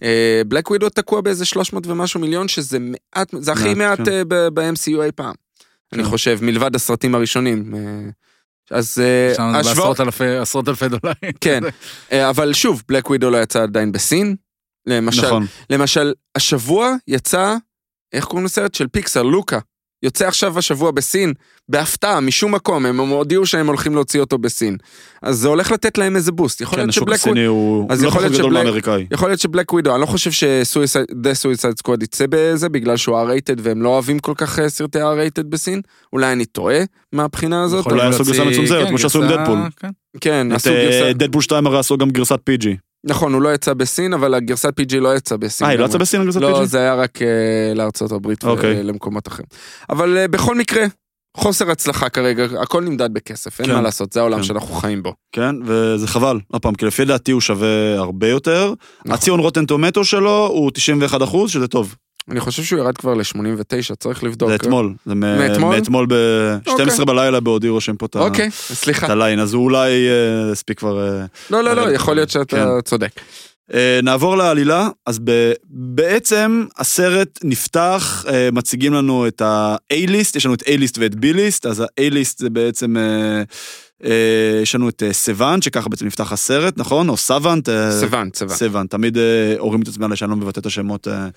[SPEAKER 1] בלק ווידו תקוע באיזה 300 ומשהו מיליון, שזה מעט, זה הכי
[SPEAKER 2] מעט,
[SPEAKER 1] מעט
[SPEAKER 2] כן.
[SPEAKER 1] אה, ב- ב-MCU אי פעם. אני חושב, מלבד הסרטים הראשונים. אה, אז אה,
[SPEAKER 3] שם זה
[SPEAKER 1] השוואות,
[SPEAKER 3] בעשרות אלפי- עשרות אלפי דולרים. [LAUGHS]
[SPEAKER 1] כן. אה, אבל שוב, בלק ווידו לא יצא עדיין בסין. למשל,
[SPEAKER 2] נכון.
[SPEAKER 1] למשל, השבוע יצא, איך קוראים לסרט? של פיקסר, לוקה. יוצא עכשיו השבוע בסין, בהפתעה, משום מקום, הם הודיעו שהם הולכים להוציא אותו בסין. אז זה הולך לתת להם איזה בוסט. יכול
[SPEAKER 2] כן,
[SPEAKER 1] להיות
[SPEAKER 2] השוק
[SPEAKER 1] שבלק ווידו...
[SPEAKER 2] הסיני הוא
[SPEAKER 1] אז
[SPEAKER 2] לא
[SPEAKER 1] יכול
[SPEAKER 2] פחות
[SPEAKER 1] להיות
[SPEAKER 2] גדול
[SPEAKER 1] שבלק-
[SPEAKER 2] מהאמריקאי.
[SPEAKER 1] יכול להיות שבלק ווידו, אני לא חושב ש-The Suicide Squad יצא בזה, בגלל שהוא R-rated והם לא אוהבים כל כך אה, סרטי R-rated בסין. אולי אני טועה מהבחינה הזאת.
[SPEAKER 3] יכול
[SPEAKER 1] אבל-
[SPEAKER 2] אולי
[SPEAKER 3] להוציא-
[SPEAKER 2] עשו גרסה מצומצמת,
[SPEAKER 3] כן,
[SPEAKER 2] כמו שעשו עם
[SPEAKER 3] גרסה-
[SPEAKER 2] דדפול.
[SPEAKER 3] כן.
[SPEAKER 1] כן,
[SPEAKER 2] נכון, לא. את
[SPEAKER 1] עשו גרסה...
[SPEAKER 2] אה, דדפול 2 הרי עשו גם גרסת פיג'י.
[SPEAKER 1] נכון, הוא לא יצא בסין, אבל הגרסת PG לא יצאה בסין.
[SPEAKER 2] אה, היא לא
[SPEAKER 1] גם.
[SPEAKER 2] יצאה בסין על גרסת
[SPEAKER 1] לא,
[SPEAKER 2] פיג'י?
[SPEAKER 1] זה היה רק אה, לארצות הברית
[SPEAKER 2] אוקיי.
[SPEAKER 1] ולמקומות אחרים. אבל אה, בכל מקרה, חוסר הצלחה כרגע, הכל נמדד בכסף, אין
[SPEAKER 2] כן.
[SPEAKER 1] מה לעשות, זה העולם
[SPEAKER 2] כן.
[SPEAKER 1] שאנחנו חיים בו.
[SPEAKER 2] כן, וזה חבל. עוד פעם, כי לפי דעתי הוא שווה הרבה יותר.
[SPEAKER 1] נכון.
[SPEAKER 2] הציון רוטן טומטו שלו הוא 91 אחוז, שזה טוב.
[SPEAKER 1] אני חושב שהוא ירד כבר ל-89, צריך לבדוק.
[SPEAKER 2] זה אתמול. זה מ-
[SPEAKER 1] אוקיי. מאתמול?
[SPEAKER 2] מאתמול ב-12
[SPEAKER 1] אוקיי.
[SPEAKER 2] בלילה בעודי רושם פה את ה-
[SPEAKER 1] אוקיי,
[SPEAKER 2] את
[SPEAKER 1] סליחה.
[SPEAKER 2] הליין, אז הוא אולי אה, הספיק כבר... אה,
[SPEAKER 1] לא, לא, לא,
[SPEAKER 2] אה,
[SPEAKER 1] יכול להיות שאתה
[SPEAKER 2] כן.
[SPEAKER 1] צודק.
[SPEAKER 2] אה, נעבור לעלילה, אז ב- בעצם הסרט נפתח, אה, מציגים לנו את ה-A-ליסט, יש לנו את A-ליסט ואת B-ליסט, אז ה-A-ליסט זה בעצם, אה, אה, יש לנו את אה, סוואנט, שככה בעצם נפתח הסרט, נכון? או סוואנט? אה,
[SPEAKER 1] סוון, סוון.
[SPEAKER 2] סוואנט, תמיד אה, הורים את עצמם עליי שאני לא מבטא את השמות, אה,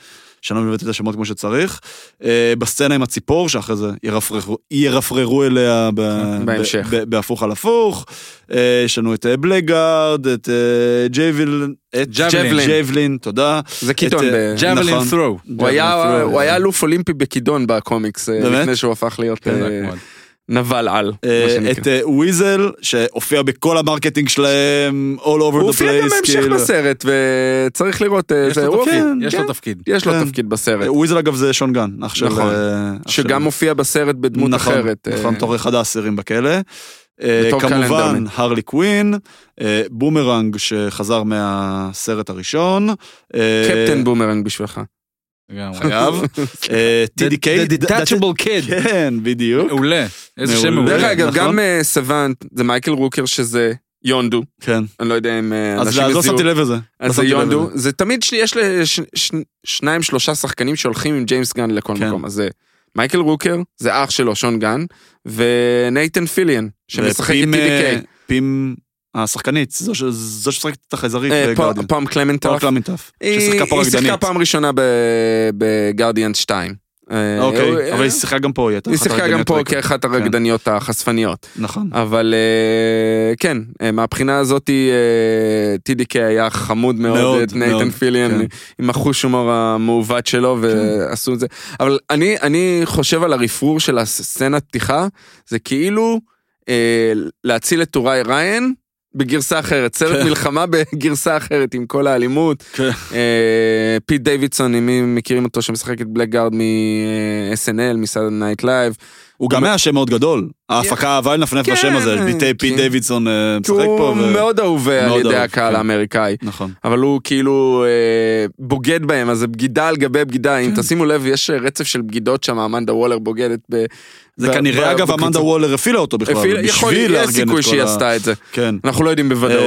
[SPEAKER 2] שאני לא מבטא את השמות כמו שצריך. אה, בסצנה עם הציפור, שאחרי זה ירפררו, ירפררו אליה ב,
[SPEAKER 1] בהמשך.
[SPEAKER 2] ב, ב, בהפוך על הפוך. אה, יש לנו את אה, בלייגארד, את אה, ג'ייבלין, את
[SPEAKER 3] ג'בלין.
[SPEAKER 2] ג'ייבלין, תודה.
[SPEAKER 1] זה קידון.
[SPEAKER 2] את, אה,
[SPEAKER 1] ב-
[SPEAKER 2] ג'ה-
[SPEAKER 3] ג'אבלין
[SPEAKER 2] נכון.
[SPEAKER 3] ת'רו.
[SPEAKER 1] הוא היה-
[SPEAKER 2] ג'ייבלין,
[SPEAKER 1] הוא היה אלוף אולימפי בכידון בקומיקס, אה,
[SPEAKER 2] באמת? כן,
[SPEAKER 1] לפני שהוא הפך להיות
[SPEAKER 3] חזק
[SPEAKER 1] אה,
[SPEAKER 3] מאוד.
[SPEAKER 1] נבל על. מה
[SPEAKER 2] אה,
[SPEAKER 1] שנקרא.
[SPEAKER 2] את אה, וויזל, שהופיע בכל המרקטינג שלהם, all over the place.
[SPEAKER 1] הוא הופיע גם בהמשך
[SPEAKER 2] כאילו.
[SPEAKER 1] בסרט, וצריך לראות אה,
[SPEAKER 3] יש
[SPEAKER 1] זה.
[SPEAKER 3] לו
[SPEAKER 1] הוא
[SPEAKER 3] תפקיד,
[SPEAKER 1] הופיע-
[SPEAKER 3] יש
[SPEAKER 1] כן,
[SPEAKER 3] לו
[SPEAKER 1] [LAUGHS]
[SPEAKER 3] תפקיד.
[SPEAKER 1] יש לו
[SPEAKER 2] כן.
[SPEAKER 1] תפקיד בסרט.
[SPEAKER 2] אה, וויזל אגב זה שון גן, אח של...
[SPEAKER 1] נכון.
[SPEAKER 2] אה, אח של-
[SPEAKER 1] שגם מופיע בסרט בדמות
[SPEAKER 2] נכון,
[SPEAKER 1] אחרת. אה,
[SPEAKER 2] נכון, בתור אחד האסירים בכלא. אה,
[SPEAKER 1] בתור
[SPEAKER 2] כמובן,
[SPEAKER 1] קלנדרמן.
[SPEAKER 2] הרלי קווין, אה, בומרנג שחזר מהסרט הראשון. אה,
[SPEAKER 1] קפטן בומרנג בשבילך.
[SPEAKER 3] לגמרי.
[SPEAKER 2] חייב.
[SPEAKER 1] [LAUGHS]
[SPEAKER 2] אה,
[SPEAKER 3] The-
[SPEAKER 2] TDK.
[SPEAKER 3] The Detachable Kid.
[SPEAKER 2] כן, בדיוק.
[SPEAKER 3] מעולה. איזה שם
[SPEAKER 2] מעולה.
[SPEAKER 3] מעולה.
[SPEAKER 1] דרך אגב,
[SPEAKER 2] נכון.
[SPEAKER 1] גם אה, סוואנט, זה מייקל רוקר שזה יונדו,
[SPEAKER 2] כן.
[SPEAKER 1] אני לא יודע אם אה,
[SPEAKER 2] אז
[SPEAKER 1] אנשים
[SPEAKER 2] לא- אז לא
[SPEAKER 1] יזיעו.
[SPEAKER 2] שמתי לב לזה. לא
[SPEAKER 1] אז זה
[SPEAKER 2] שמתי לב
[SPEAKER 1] יונדו,
[SPEAKER 2] לזה.
[SPEAKER 1] זה תמיד ש- יש ל- ש- ש- שניים שלושה שחקנים שהולכים עם ג'יימס גן לכל
[SPEAKER 2] כן.
[SPEAKER 1] מקום, אז זה מייקל רוקר, זה אח שלו שון גן, ונייתן פיליאן, שמשחק את
[SPEAKER 2] ופים, אה,
[SPEAKER 1] TDK,
[SPEAKER 2] פים, השחקנית, זו ש- זו שמשחקת את החייזרית
[SPEAKER 1] אה, פא-
[SPEAKER 2] בגרדיאן.
[SPEAKER 1] פעם
[SPEAKER 2] פארק
[SPEAKER 1] קלמנטרף,
[SPEAKER 2] למינטף.
[SPEAKER 1] היא
[SPEAKER 2] ששיחקה פה
[SPEAKER 1] היא
[SPEAKER 2] רקדנית.
[SPEAKER 1] שיחקה פעם ראשונה ב- בגרדיאנס 2. אה, הוא-
[SPEAKER 2] אוקיי, אבל
[SPEAKER 1] אה,
[SPEAKER 2] היא שיחקה גם פה, היא הייתה
[SPEAKER 1] היא
[SPEAKER 2] אחת
[SPEAKER 1] שיחקה גם
[SPEAKER 2] הרקדניות
[SPEAKER 1] פה
[SPEAKER 2] הרקע.
[SPEAKER 1] כאחת
[SPEAKER 2] כן.
[SPEAKER 1] הרקדניות החשפניות.
[SPEAKER 2] נכון.
[SPEAKER 1] אבל אה, כן, אה, מהבחינה הזאת אה, TDK היה חמוד מאוד,
[SPEAKER 2] מאוד,
[SPEAKER 1] את נייתן
[SPEAKER 2] מאוד,
[SPEAKER 1] פיליאן
[SPEAKER 2] כן.
[SPEAKER 1] עם החוש הומור המעוות שלו ועשו את זה. אבל אני, אני חושב על הרפרור של הסצנת פתיחה, זה כאילו אה, להציל את טוראי ריין. בגרסה אחרת, סרט
[SPEAKER 2] כן.
[SPEAKER 1] מלחמה [LAUGHS] בגרסה אחרת עם כל האלימות.
[SPEAKER 2] כן.
[SPEAKER 1] אה, פיט אה, דיווידסון, אם מי מכירים אותו שמשחק את בלק גארד מ-SNL, מסעד נייט לייב,
[SPEAKER 2] הוא גם היה שם מאוד גדול. ההפקה אהבה לנפנף
[SPEAKER 1] כן.
[SPEAKER 2] בשם הזה, ביטי פי
[SPEAKER 1] כן.
[SPEAKER 2] דייווידסון אה,
[SPEAKER 1] כי
[SPEAKER 2] משחק פה.
[SPEAKER 1] הוא
[SPEAKER 2] ו-
[SPEAKER 1] מאוד אהוב אה, על
[SPEAKER 2] מאוד
[SPEAKER 1] ידי
[SPEAKER 2] אהוב,
[SPEAKER 1] הקהל
[SPEAKER 2] כן.
[SPEAKER 1] האמריקאי.
[SPEAKER 2] נכון.
[SPEAKER 1] אבל הוא כאילו אה, בוגד בהם, אז זה בגידה על גבי בגידה.
[SPEAKER 2] כן.
[SPEAKER 1] אם תשימו לב, יש אה, רצף של בגידות שם, אמנדה וולר בוגדת ב...
[SPEAKER 2] זה
[SPEAKER 1] ב-
[SPEAKER 2] כנראה,
[SPEAKER 1] ב-
[SPEAKER 2] אגב,
[SPEAKER 1] בקבוצה.
[SPEAKER 2] אמנדה וולר הפעילה אותו בכלל,
[SPEAKER 1] אפילו- יכול-
[SPEAKER 2] בשביל
[SPEAKER 1] יש
[SPEAKER 2] לארגן את
[SPEAKER 1] סיכוי
[SPEAKER 2] כל
[SPEAKER 1] שהיא
[SPEAKER 2] ה...
[SPEAKER 1] עשתה את זה.
[SPEAKER 2] כן.
[SPEAKER 1] אנחנו לא יודעים בוודאות.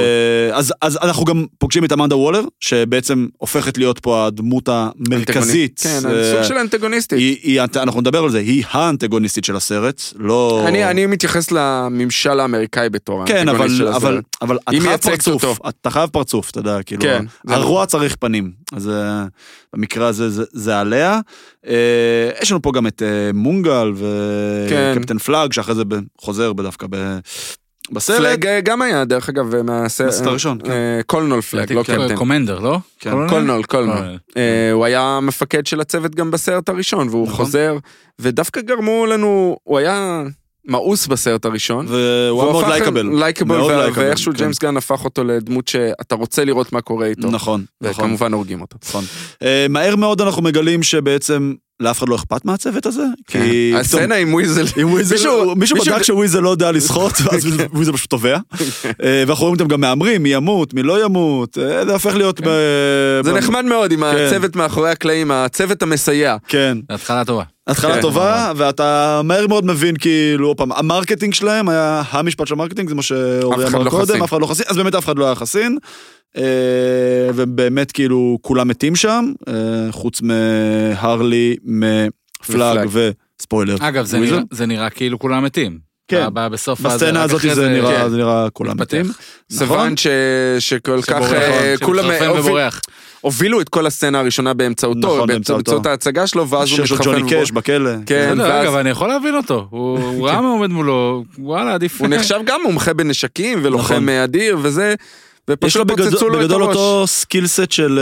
[SPEAKER 2] אה, אז, אז אנחנו גם פוגשים את אמנדה וולר, שבעצם הופכת להיות פה הדמות המרכזית.
[SPEAKER 1] כן,
[SPEAKER 2] אה,
[SPEAKER 1] סוג של אנטגוניסטית.
[SPEAKER 2] היא, היא, אנחנו נדבר על זה, היא האנטגוניסטית של הסרט, לא...
[SPEAKER 1] אני, אני מתייחס לממשל האמריקאי בתור
[SPEAKER 2] כן,
[SPEAKER 1] האנטגוניסט אה, של
[SPEAKER 2] אבל,
[SPEAKER 1] הסרט.
[SPEAKER 2] אבל, אבל את
[SPEAKER 1] היא
[SPEAKER 2] חייב
[SPEAKER 1] מייצגת
[SPEAKER 2] פרצוף,
[SPEAKER 1] אותו.
[SPEAKER 2] אתה חייב פרצוף, אתה יודע, כאילו,
[SPEAKER 1] כן,
[SPEAKER 2] ה-
[SPEAKER 1] זה
[SPEAKER 2] הרוע צריך פנים, אז אה, במקרה הזה זה, זה עליה. אה, יש לנו פה גם את אה, מונגל
[SPEAKER 1] כן.
[SPEAKER 2] וקפטן פלאג, שאחרי זה ב- חוזר דווקא ב, בסרט.
[SPEAKER 1] פלאג אה, גם היה, דרך אגב, אה, מהסרט...
[SPEAKER 2] בסרט הראשון,
[SPEAKER 1] אה, קולנול פלאג, לא קפטן.
[SPEAKER 3] קומנדר, לא?
[SPEAKER 2] כן.
[SPEAKER 3] קולונל?
[SPEAKER 1] קולנול, קולנול.
[SPEAKER 3] קולונל.
[SPEAKER 1] אה, הוא היה מפקד של הצוות גם בסרט הראשון, והוא
[SPEAKER 2] נכון.
[SPEAKER 1] חוזר, ודווקא גרמו לנו, הוא היה מאוס בסרט הראשון.
[SPEAKER 2] והוא היה מאוד
[SPEAKER 1] הפך
[SPEAKER 2] לייקבל.
[SPEAKER 1] לייקבל,
[SPEAKER 2] מאוד
[SPEAKER 1] וה-
[SPEAKER 2] לייקבל,
[SPEAKER 1] ואיכשהו
[SPEAKER 2] כן.
[SPEAKER 1] ג'יימס גן הפך אותו לדמות שאתה רוצה לראות מה קורה איתו.
[SPEAKER 2] נכון, נכון.
[SPEAKER 1] וכמובן הורגים אותו.
[SPEAKER 2] נכון. אה, מהר מאוד אנחנו מגלים שבעצם לאף אחד לא אכפת מהצוות הזה, כי פתאום
[SPEAKER 1] כן, הסצנה עם וויזל,
[SPEAKER 2] עם וויזל,
[SPEAKER 1] מישהו-
[SPEAKER 2] מישהו, מישהו
[SPEAKER 1] מישהו-
[SPEAKER 2] בדק שוויזל לא יודע [LAUGHS] לשחות, ואז וויזל פשוט [LAUGHS] טובע. אה, ואנחנו רואים אותם גם מהמרים, מי ימות, מי לא ימות, אה, זה הופך להיות... ב...
[SPEAKER 1] זה
[SPEAKER 2] ב-
[SPEAKER 1] נחמד מאוד עם הצוות מאחורי הקלעים, הצוות המסייע.
[SPEAKER 2] כן,
[SPEAKER 3] זה אה, התחלה טובה.
[SPEAKER 2] התחלה
[SPEAKER 1] כן,
[SPEAKER 2] טובה, ואתה מהר מאוד מבין, כאילו, עוד פעם, המרקטינג שלהם היה המשפט של המרקטינג, זה מה שאורי
[SPEAKER 1] אף אחד
[SPEAKER 2] אמר
[SPEAKER 1] לא
[SPEAKER 2] קודם,
[SPEAKER 1] חסין.
[SPEAKER 2] אף אחד לא חסין, אז באמת אף אחד לא היה חסין. אה, ובאמת, כאילו, כולם מתים שם, אה, חוץ מהרלי, מפלאג וספוילר.
[SPEAKER 3] אגב, זה
[SPEAKER 2] וויזל.
[SPEAKER 3] נראה- זה נראה כאילו כולם מתים.
[SPEAKER 2] כן.
[SPEAKER 3] ב- ב- בסוף הזה,
[SPEAKER 2] בסצנה
[SPEAKER 3] רק
[SPEAKER 2] הזאת
[SPEAKER 3] אחרי
[SPEAKER 2] זה נראה-
[SPEAKER 3] כן,
[SPEAKER 2] זה נראה כולם
[SPEAKER 3] מתפתח.
[SPEAKER 2] מתים. נכון?
[SPEAKER 1] סוואן ש- שכל כך,
[SPEAKER 3] שבורח,
[SPEAKER 1] אה,
[SPEAKER 3] נכון,
[SPEAKER 1] כולם
[SPEAKER 3] שמתחרפן
[SPEAKER 1] הוביל-
[SPEAKER 3] ובורח.
[SPEAKER 1] הובילו את כל הסצנה הראשונה
[SPEAKER 2] נכון,
[SPEAKER 1] באמצעותו,
[SPEAKER 2] באמצעותו.
[SPEAKER 1] באמצעות ההצגה שלו, ואז הוא
[SPEAKER 2] שיר של
[SPEAKER 1] מתחרפן.
[SPEAKER 2] ג'וני
[SPEAKER 1] ובורח.
[SPEAKER 2] קאש בכלא.
[SPEAKER 1] כן,
[SPEAKER 3] בסדר,
[SPEAKER 1] ואז- כן.
[SPEAKER 3] אגב, אני יכול להבין אותו.
[SPEAKER 1] [LAUGHS]
[SPEAKER 3] הוא הוא ראה מה עומד מולו, וואלה, עדיף.
[SPEAKER 1] הוא
[SPEAKER 3] [LAUGHS]
[SPEAKER 1] נחשב גם מומחה בנשקים ולוחם
[SPEAKER 2] נכון.
[SPEAKER 1] אדיר וזה,
[SPEAKER 2] אה. יש לו
[SPEAKER 1] ופשוט לא פוצצו
[SPEAKER 2] בגדול
[SPEAKER 1] לו את
[SPEAKER 2] בגדול
[SPEAKER 1] הראש.
[SPEAKER 2] אותו סקיל סט של...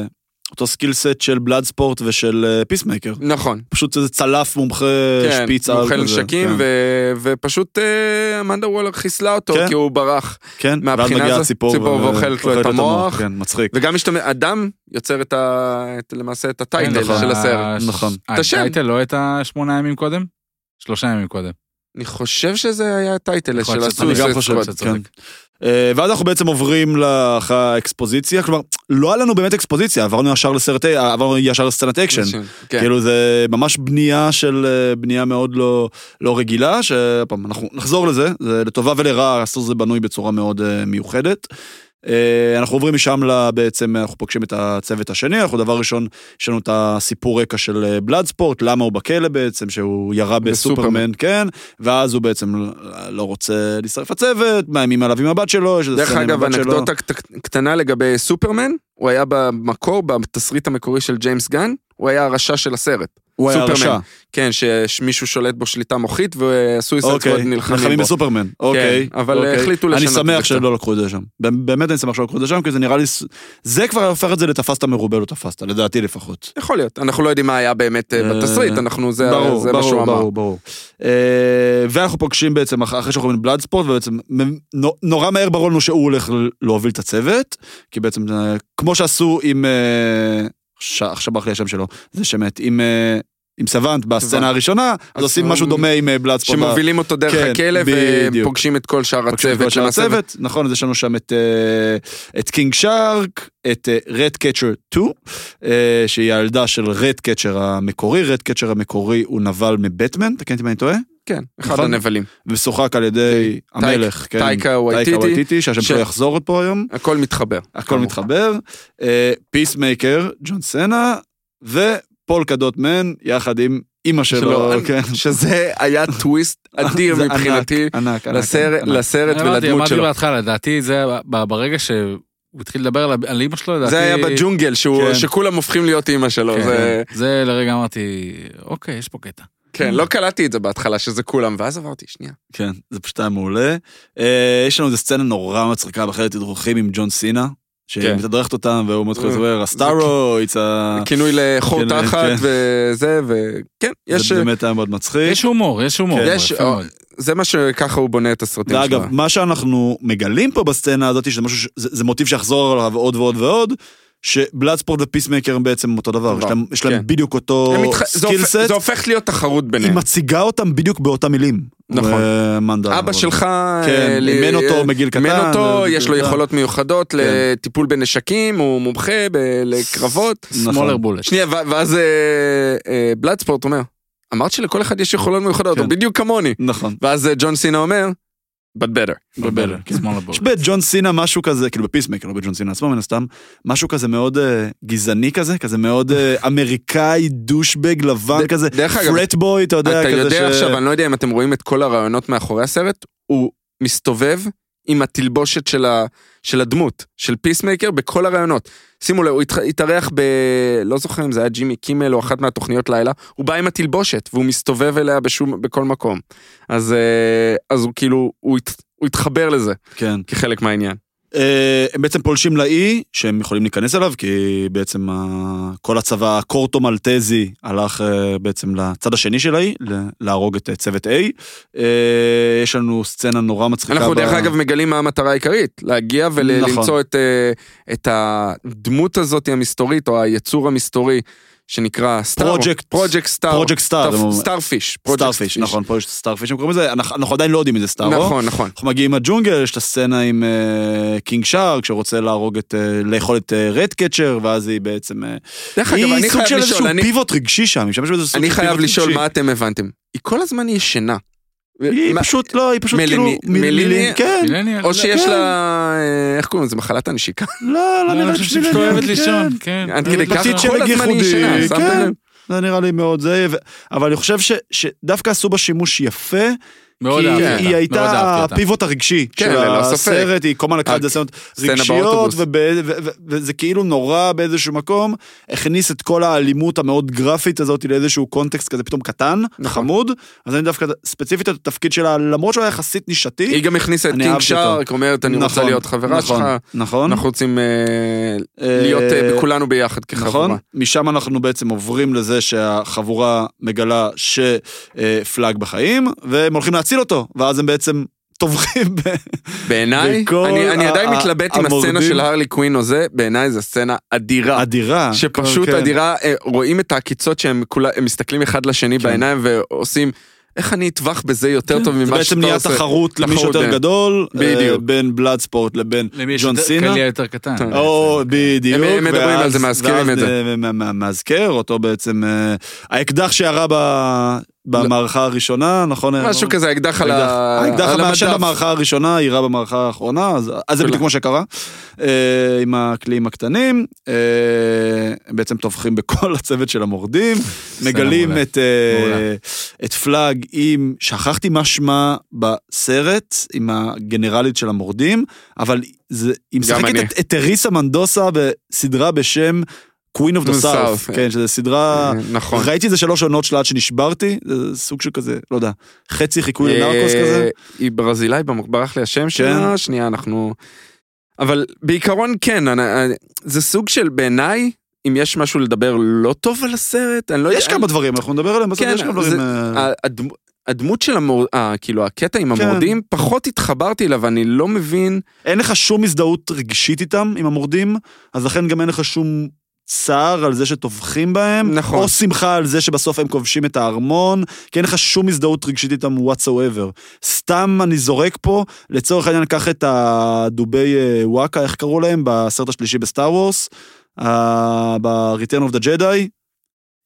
[SPEAKER 2] אה, אותו סקיל סט של בלאד ספורט ושל פיסמקר.
[SPEAKER 1] נכון,
[SPEAKER 2] פשוט איזה צלף מומחה
[SPEAKER 1] כן,
[SPEAKER 2] אה, שפיץ על
[SPEAKER 1] מומחה
[SPEAKER 2] כזה.
[SPEAKER 1] לנשקים,
[SPEAKER 2] כן.
[SPEAKER 1] ו- ופשוט אה, אמנדה וולר חיסלה אותו
[SPEAKER 2] כן.
[SPEAKER 1] כי הוא ברח.
[SPEAKER 2] כן, ואז
[SPEAKER 1] מהבחינה
[SPEAKER 2] מגיע
[SPEAKER 1] הזו,
[SPEAKER 2] הציפור.
[SPEAKER 1] ציפור
[SPEAKER 2] ו-
[SPEAKER 1] ואוכלת לו את המוח.
[SPEAKER 2] כן, מצחיק.
[SPEAKER 1] וגם משתמש, אדם יוצר את ה... את- למעשה
[SPEAKER 3] כן,
[SPEAKER 1] את הטייטל
[SPEAKER 2] נכון.
[SPEAKER 1] של הסרט.
[SPEAKER 3] אה,
[SPEAKER 2] נכון.
[SPEAKER 1] את השם.
[SPEAKER 3] הטייטל לא הייתה שמונה ימים קודם? שלושה ימים קודם.
[SPEAKER 1] אני חושב שזה היה הטייטל
[SPEAKER 3] יכול
[SPEAKER 1] של
[SPEAKER 3] להיות שאתה- אני
[SPEAKER 1] הסוס.
[SPEAKER 3] גם
[SPEAKER 1] זה
[SPEAKER 3] חושב
[SPEAKER 1] סקוואד.
[SPEAKER 3] שאתה-
[SPEAKER 2] כן.
[SPEAKER 3] צודק.
[SPEAKER 2] אה, ואז אנחנו בעצם עוברים לאחר האקספוזיציה, כלומר, לא היה לנו באמת אקספוזיציה, עברנו ישר לסרט, אה, עברנו ישר לסצנת אקשן.
[SPEAKER 1] כן.
[SPEAKER 2] כאילו זה ממש בנייה של אה, בנייה מאוד לא, לא רגילה, שעוד פעם, אנחנו נחזור לזה, זה לטובה ולרע, הסרט הזה בנוי בצורה מאוד אה, מיוחדת. אה, אנחנו עוברים משם ל- בעצם, אה, אנחנו פוגשים את הצוות השני, אנחנו דבר ראשון, יש לנו את הסיפור רקע של בלאד ספורט, למה הוא בכלא בעצם, שהוא ירה
[SPEAKER 1] בסופרמן.
[SPEAKER 2] בסופרמן, כן, ואז הוא בעצם לא רוצה להצטרף לצוות, מאיימים עליו עם הבת שלו, יש איזה
[SPEAKER 1] דרך
[SPEAKER 2] סצנה עם
[SPEAKER 1] אגב,
[SPEAKER 2] הבת שלו.
[SPEAKER 1] אנקדוטה קט- קטנה לגבי סופרמן, הוא היה במקור, בתסריט המקורי של ג'יימס גן, הוא היה הרשע של הסרט.
[SPEAKER 2] הוא היה
[SPEAKER 1] סופרמן.
[SPEAKER 2] רשע.
[SPEAKER 1] כן, שמישהו שולט בו שליטה מוחית, והסויסד
[SPEAKER 2] אוקיי,
[SPEAKER 1] סקווד נלחמים בו.
[SPEAKER 2] נלחמים
[SPEAKER 1] כן,
[SPEAKER 2] בסופרמן, אוקיי.
[SPEAKER 1] אבל
[SPEAKER 2] אוקיי.
[SPEAKER 1] החליטו לשנות את זה
[SPEAKER 2] אני שמח
[SPEAKER 1] קצת.
[SPEAKER 2] שלא לקחו את זה שם. באמת אני שמח שלא לקחו את זה שם, כי זה נראה לי... ס- זה כבר הופך את זה לתפסת מרובה לא תפסת, לדעתי לפחות.
[SPEAKER 1] יכול להיות, אנחנו לא יודעים מה היה באמת אה,
[SPEAKER 2] אה,
[SPEAKER 1] בתסריט, אנחנו, זה
[SPEAKER 2] ברור,
[SPEAKER 1] זה מה שהוא
[SPEAKER 2] ברור,
[SPEAKER 1] אמר.
[SPEAKER 2] ברור, ברור. אה, ואנחנו פוגשים בעצם, אח- אחרי שאנחנו רואים בלאד ספורט, ובעצם מ- נו- נורא מהר ברור לנו שהוא הולך ל- להוביל את הצוות, כי בעצם אה, כמו שעשו עם... אה, ש- עכשיו ברח לי השם שלו, זה שמת, עם... אה, עם
[SPEAKER 1] סוונט.
[SPEAKER 2] סוונט בסצנה הראשונה, אז
[SPEAKER 1] אז
[SPEAKER 2] עושים
[SPEAKER 1] הוא-
[SPEAKER 2] משהו דומה עם אה, בלאד ספורט.
[SPEAKER 1] שמובילים אותו דרך
[SPEAKER 2] כן,
[SPEAKER 1] הכלא
[SPEAKER 2] בדיוק.
[SPEAKER 1] ופוגשים את כל שאר
[SPEAKER 2] הצוות,
[SPEAKER 1] הצוות.
[SPEAKER 2] של
[SPEAKER 1] למעשה,
[SPEAKER 2] הצוות, נכון, אז יש לנו שם את, אה, את קינג שרק, את אה, רד קצ'ר 2, אה, שהיא הילדה של רד קצ'ר המקורי, רד קצ'ר המקורי הוא נבל מבטמן, תקן אותי אם אני טועה,
[SPEAKER 1] כן, אחד
[SPEAKER 2] נכון?
[SPEAKER 1] הנבלים.
[SPEAKER 2] ושוחק על ידי
[SPEAKER 1] אוקיי.
[SPEAKER 2] המלך, כן,
[SPEAKER 1] טייקה וואיטיטי,
[SPEAKER 2] וייטיטי, שהשם שלו
[SPEAKER 1] ש-
[SPEAKER 2] יחזור עוד פה היום,
[SPEAKER 1] הכל מתחבר.
[SPEAKER 2] הכל
[SPEAKER 1] כמובן.
[SPEAKER 2] מתחבר, אה, פיסמייקר, ג'ון סנה, ופול קדות מן, יחד עם אימא שלו,
[SPEAKER 1] שלו,
[SPEAKER 2] כן.
[SPEAKER 1] שזה היה טוויסט אדיר
[SPEAKER 2] [LAUGHS] זה ענק,
[SPEAKER 1] מבחינתי
[SPEAKER 2] ענק, ענק,
[SPEAKER 1] לסרט-
[SPEAKER 2] ענק.
[SPEAKER 1] לסרט
[SPEAKER 3] אמרתי-
[SPEAKER 1] ולדמות
[SPEAKER 3] אמרתי
[SPEAKER 1] שלו.
[SPEAKER 3] בהתחלה, לדעתי זה ב- ברגע שהוא התחיל לדבר על- על אמא שלו, לדעתי...
[SPEAKER 1] זה היה בג'ונגל, שהוא-
[SPEAKER 2] כן.
[SPEAKER 1] שכולם הופכים להיות אימא שלו.
[SPEAKER 3] כן.
[SPEAKER 1] זה-
[SPEAKER 3] זה לרגע אמרתי, אוקיי, יש פה קטע.
[SPEAKER 1] כן, לא קלטתי את זה בהתחלה, שזה כולם, ואז עברתי, שנייה.
[SPEAKER 2] כן, זה פשוט היה מעולה. אה, יש לנו איזה סצנה נורא מצחיקה בחלק תדרוכים עם ג'ון סינה,
[SPEAKER 1] כן.
[SPEAKER 2] שמתדרכת אותם והוא מתחיל
[SPEAKER 1] אה,
[SPEAKER 2] לדבר, הסטארוידס, ה-
[SPEAKER 1] כינוי לחור
[SPEAKER 2] כן,
[SPEAKER 1] תחת
[SPEAKER 2] אה. כן.
[SPEAKER 1] וזה, וכן, יש...
[SPEAKER 2] זה באמת היה מאוד מצחיק.
[SPEAKER 3] יש הומור, יש הומור.
[SPEAKER 1] כן, יש-
[SPEAKER 3] יפה מאוד.
[SPEAKER 1] זה מה שככה הוא בונה את הסרטים שלו.
[SPEAKER 2] ואגב, מה שאנחנו מגלים פה בסצנה הזאת, שזה משהו, ש- זה זה מוטיב שיחזור עליו עוד ועוד ועוד, שבלאדספורט ופיסמקר הם בעצם אותו דבר,
[SPEAKER 1] דבר,
[SPEAKER 2] יש להם- יש
[SPEAKER 1] כן.
[SPEAKER 2] להם בדיוק אותו
[SPEAKER 1] הם מתח- זה הופך-
[SPEAKER 2] סקילסט,
[SPEAKER 1] זה הופך להיות תחרות
[SPEAKER 2] היא
[SPEAKER 1] ביניהם.
[SPEAKER 2] מציגה אותם בדיוק באותם מילים.
[SPEAKER 1] נכון.
[SPEAKER 2] אה, מנדל.
[SPEAKER 1] אבא שלך, אה,
[SPEAKER 2] כן,
[SPEAKER 1] ל-
[SPEAKER 2] אימן
[SPEAKER 1] אה,
[SPEAKER 2] אותו מגיל קטן.
[SPEAKER 1] אימן אותו,
[SPEAKER 2] אה,
[SPEAKER 1] יש לו
[SPEAKER 2] אה,
[SPEAKER 1] יכולות מיוחדות לטיפול בנשקים, הוא מומחה ב- לקרבות.
[SPEAKER 2] נכון.
[SPEAKER 3] סמולר בולט.
[SPEAKER 1] שנייה, ו- ואז אה, אה, בלאדספורט אומר, אמרת שלכל אחד יש יכולות מיוחדות,
[SPEAKER 2] כן.
[SPEAKER 1] הוא בדיוק כמוני.
[SPEAKER 2] נכון.
[SPEAKER 1] ואז אה, ג'ון סינה אומר, but better.
[SPEAKER 3] בבלר,
[SPEAKER 2] כן.
[SPEAKER 3] שמאלה בולט.
[SPEAKER 2] יש בג'ון סינה משהו כזה, כאילו בפיסמקר, לא בג'ון סינה עצמו, מן הסתם, משהו כזה מאוד אה, גזעני כזה, כזה
[SPEAKER 1] [LAUGHS]
[SPEAKER 2] מאוד אה, אמריקאי, דושבג, לבן
[SPEAKER 1] ד-
[SPEAKER 2] כזה,
[SPEAKER 1] דרך אגב,
[SPEAKER 2] פרט בוי, אתה יודע,
[SPEAKER 1] אתה
[SPEAKER 2] כזה ש...
[SPEAKER 1] יודע עכשיו, אני לא יודע אם אתם רואים את כל הרעיונות מאחורי הסרט, הוא מסתובב עם התלבושת של, ה, של הדמות, של פיסמייקר, בכל הרעיונות. שימו לב, הוא התח- התארח ב... לא זוכר אם זה היה ג'ימי קימל או אחת מהתוכניות לילה, הוא בא עם התלבושת והוא מסתובב אליה בשום, בכל מקום. אז, אה, אז הוא כאילו, הוא, הת, הוא התחבר לזה
[SPEAKER 2] כן.
[SPEAKER 1] כחלק מהעניין.
[SPEAKER 2] אה, הם בעצם פולשים לאי, שהם יכולים להיכנס אליו, כי בעצם ה- כל הצבא הקורטו-מלטזי הלך אה, בעצם לצד השני של האי, ל- להרוג את אה, צוות A. אה, יש לנו סצנה נורא מצחיקה.
[SPEAKER 1] אנחנו
[SPEAKER 2] ב-
[SPEAKER 1] דרך אגב מגלים מה המטרה העיקרית, להגיע
[SPEAKER 2] נכון.
[SPEAKER 1] ולמצוא את, אה, את הדמות הזאת המסתורית, או היצור המסתורי, שנקרא סטאר.
[SPEAKER 2] Project-
[SPEAKER 1] פרויקט סטאר.
[SPEAKER 2] Project Star, הם אומרים.
[SPEAKER 1] סטארפיש.
[SPEAKER 2] סטארפיש, נכון, פה יש סטארפיש, הם קוראים לזה, אנחנו אנחנו עדיין לא יודעים אם זה סטארו.
[SPEAKER 1] נכון, נכון.
[SPEAKER 2] אנחנו מגיעים לג'ונגל, יש את הסצנה עם אה, קינג שארק, שרוצה להרוג את, אה, לאכול את רד קצ'ר, ואז היא בעצם... אה,
[SPEAKER 1] דרך אגב,
[SPEAKER 2] היא
[SPEAKER 1] אני
[SPEAKER 2] סוג
[SPEAKER 1] חייב
[SPEAKER 2] של איזשהו
[SPEAKER 1] לשאול, אני-
[SPEAKER 2] פיבוט רגשי שם, היא משתמשת באיזה סוג
[SPEAKER 1] אני
[SPEAKER 2] של
[SPEAKER 1] חייב
[SPEAKER 2] פיבוט
[SPEAKER 1] לשאול
[SPEAKER 2] רגשי.
[SPEAKER 1] מה אתם הבנתם. היא כל הזמן ישנה.
[SPEAKER 2] היא
[SPEAKER 1] מה-
[SPEAKER 2] פשוט לא, היא פשוט
[SPEAKER 1] מליני-
[SPEAKER 2] כאילו... מיל-
[SPEAKER 1] מליני-
[SPEAKER 2] מילים, כן,
[SPEAKER 3] מילניאל.
[SPEAKER 1] או שיש
[SPEAKER 2] כן.
[SPEAKER 1] לה, אה, איך קוראים לזה, מחלת הנשיקה.
[SPEAKER 2] לא, לא
[SPEAKER 3] לא,
[SPEAKER 2] נראה לי
[SPEAKER 3] אני חושב שהיא
[SPEAKER 2] שזה
[SPEAKER 3] פשוט אוהבת
[SPEAKER 2] מילים,
[SPEAKER 3] לישון,
[SPEAKER 2] כן.
[SPEAKER 3] כן.
[SPEAKER 1] עד כדי כך
[SPEAKER 2] פתית של
[SPEAKER 1] כל הזמן היא
[SPEAKER 2] גיחודי,
[SPEAKER 1] ישנה, שמתם
[SPEAKER 2] כן.
[SPEAKER 1] לב?
[SPEAKER 2] זה נראה לי מאוד זה, ו- אבל אני חושב ש- שדווקא עשו בה שימוש יפה,
[SPEAKER 1] לא
[SPEAKER 3] מאוד
[SPEAKER 2] כי
[SPEAKER 3] אהבתי
[SPEAKER 2] היא-
[SPEAKER 3] אותה.
[SPEAKER 2] היא
[SPEAKER 3] מאוד
[SPEAKER 2] הייתה
[SPEAKER 3] אהבתי אותה.
[SPEAKER 2] הפיבוט הרגשי
[SPEAKER 1] כן,
[SPEAKER 2] של
[SPEAKER 1] ללא ספק.
[SPEAKER 2] הסרט, היא כל הזמן לקחה את זה
[SPEAKER 1] הק-
[SPEAKER 2] סצנות
[SPEAKER 1] סצנה
[SPEAKER 2] רגשיות,
[SPEAKER 1] באוטובוס.
[SPEAKER 2] וב- ו- ו- וזה כאילו נורא באיזשהו מקום, הכניס את כל האלימות המאוד גרפית הזאת לאיזשהו קונטקסט כזה פתאום קטן,
[SPEAKER 1] נכון.
[SPEAKER 2] חמוד, אז אני דווקא ספציפית את התפקיד שלה, למרות שהוא היה יחסית נישתי,
[SPEAKER 1] היא גם הכניסה את
[SPEAKER 2] אני
[SPEAKER 1] קינג
[SPEAKER 2] אהבתי
[SPEAKER 1] שארק, אומרת, אני רוצה
[SPEAKER 2] נכון,
[SPEAKER 1] להיות חברה
[SPEAKER 2] נכון,
[SPEAKER 1] שלך.
[SPEAKER 2] נכון,
[SPEAKER 1] אנחנו רוצים אה,
[SPEAKER 2] אה,
[SPEAKER 1] להיות אה, בכולנו ביחד כחברה.
[SPEAKER 2] נכון? משם אנחנו בעצם עוברים לזה שהחבורה מגלה שפלאג בחיים, והם הולכים להציל אותו, ואז הם בעצם טובחים ב...
[SPEAKER 1] בעיניי,
[SPEAKER 2] וכל
[SPEAKER 1] אני, אני
[SPEAKER 2] ה-
[SPEAKER 1] עדיין
[SPEAKER 2] ה-
[SPEAKER 1] מתלבט עם
[SPEAKER 2] המורדים-
[SPEAKER 1] הסצנה של הרלי קווין או זה, בעיניי זו סצנה אדירה.
[SPEAKER 2] אדירה.
[SPEAKER 1] שפשוט
[SPEAKER 2] כן.
[SPEAKER 1] אדירה, אה, רואים את העקיצות שהם כולה, הם מסתכלים אחד לשני
[SPEAKER 2] כן.
[SPEAKER 1] בעיניים ועושים, איך אני אטבח בזה יותר טוב
[SPEAKER 2] זה
[SPEAKER 1] ממה
[SPEAKER 2] בעצם
[SPEAKER 1] שאתה
[SPEAKER 2] נהיה
[SPEAKER 1] עושה.
[SPEAKER 2] תחרות למי
[SPEAKER 1] תחרות
[SPEAKER 2] שיותר
[SPEAKER 1] בין.
[SPEAKER 2] גדול, אה,
[SPEAKER 1] בדיוק.
[SPEAKER 2] בין בלאד ספורט לבין
[SPEAKER 3] למי יש
[SPEAKER 2] ג'ון
[SPEAKER 3] יותר-
[SPEAKER 2] סינה.
[SPEAKER 3] קליע יותר קטן.
[SPEAKER 1] כן.
[SPEAKER 2] או, בדיוק.
[SPEAKER 1] הם- הם מדברים
[SPEAKER 2] ואז-
[SPEAKER 1] על זה, מאזכירים את
[SPEAKER 2] ואז,
[SPEAKER 1] זה.
[SPEAKER 2] אה, מה- מה- מאזכר אותו בעצם, אה, האקדח שירה ב- במערכה הראשונה, נכון?
[SPEAKER 1] משהו כזה, האקדח על
[SPEAKER 2] האקדח-
[SPEAKER 1] ה-
[SPEAKER 2] האקדח
[SPEAKER 1] על
[SPEAKER 2] המעשן
[SPEAKER 1] המדף.
[SPEAKER 2] במערכה הראשונה, יירה במערכה האחרונה, אז אז זה
[SPEAKER 1] כולם.
[SPEAKER 2] בדיוק כמו שקרה. אה, עם הקליעים הקטנים, אה, בעצם טובחים בכל הצוות של המורדים, מגלים
[SPEAKER 3] מעולה.
[SPEAKER 2] את, אה,
[SPEAKER 3] מעולה.
[SPEAKER 2] את פלאג עם, שכחתי מה שמה בסרט, עם הגנרלית של המורדים, אבל זה, היא משחקת
[SPEAKER 1] אני.
[SPEAKER 2] את- את טריסה מנדוסה בסדרה בשם Queen of
[SPEAKER 1] The
[SPEAKER 2] the
[SPEAKER 1] South,
[SPEAKER 2] South, כן, שזו סדרה...
[SPEAKER 1] אה, נכון.
[SPEAKER 2] ראיתי איזה שלוש עונות שלה עד שנשברתי, זה סוג של כזה, לא יודע, חצי חיקוי
[SPEAKER 1] אה,
[SPEAKER 2] לנרקוס כזה. כן.
[SPEAKER 1] היא ברזילאי, במ- ברח לי השם שלה, שנייה אנחנו... אבל בעיקרון כן, אני- אני- זה סוג של בעיניי, אם יש משהו לדבר לא טוב על הסרט, אני לא יודע...
[SPEAKER 2] יש כמה דברים, אנחנו נדבר עליהם, בסוף
[SPEAKER 1] כן,
[SPEAKER 2] יש כמה
[SPEAKER 1] זה-
[SPEAKER 2] דברים. אה,
[SPEAKER 1] הדמ- הדמות של המור... אה, כאילו הקטע עם
[SPEAKER 2] כן.
[SPEAKER 1] המורדים, פחות התחברתי אליו, אני לא מבין.
[SPEAKER 2] אין לך שום הזדהות רגשית איתם, עם המורדים, אז לכן גם אין לך שום צער על זה שטובחים בהם,
[SPEAKER 1] נכון.
[SPEAKER 2] או שמחה על זה שבסוף הם כובשים את הארמון, כי אין לך שום הזדהות רגשית איתם whatsoever. סתם אני זורק פה, לצורך העניין קח את הדובי אה, וואקה, איך קראו להם, בסרט השלישי בסטאר וורס, אה, ב-Return of the Jedi,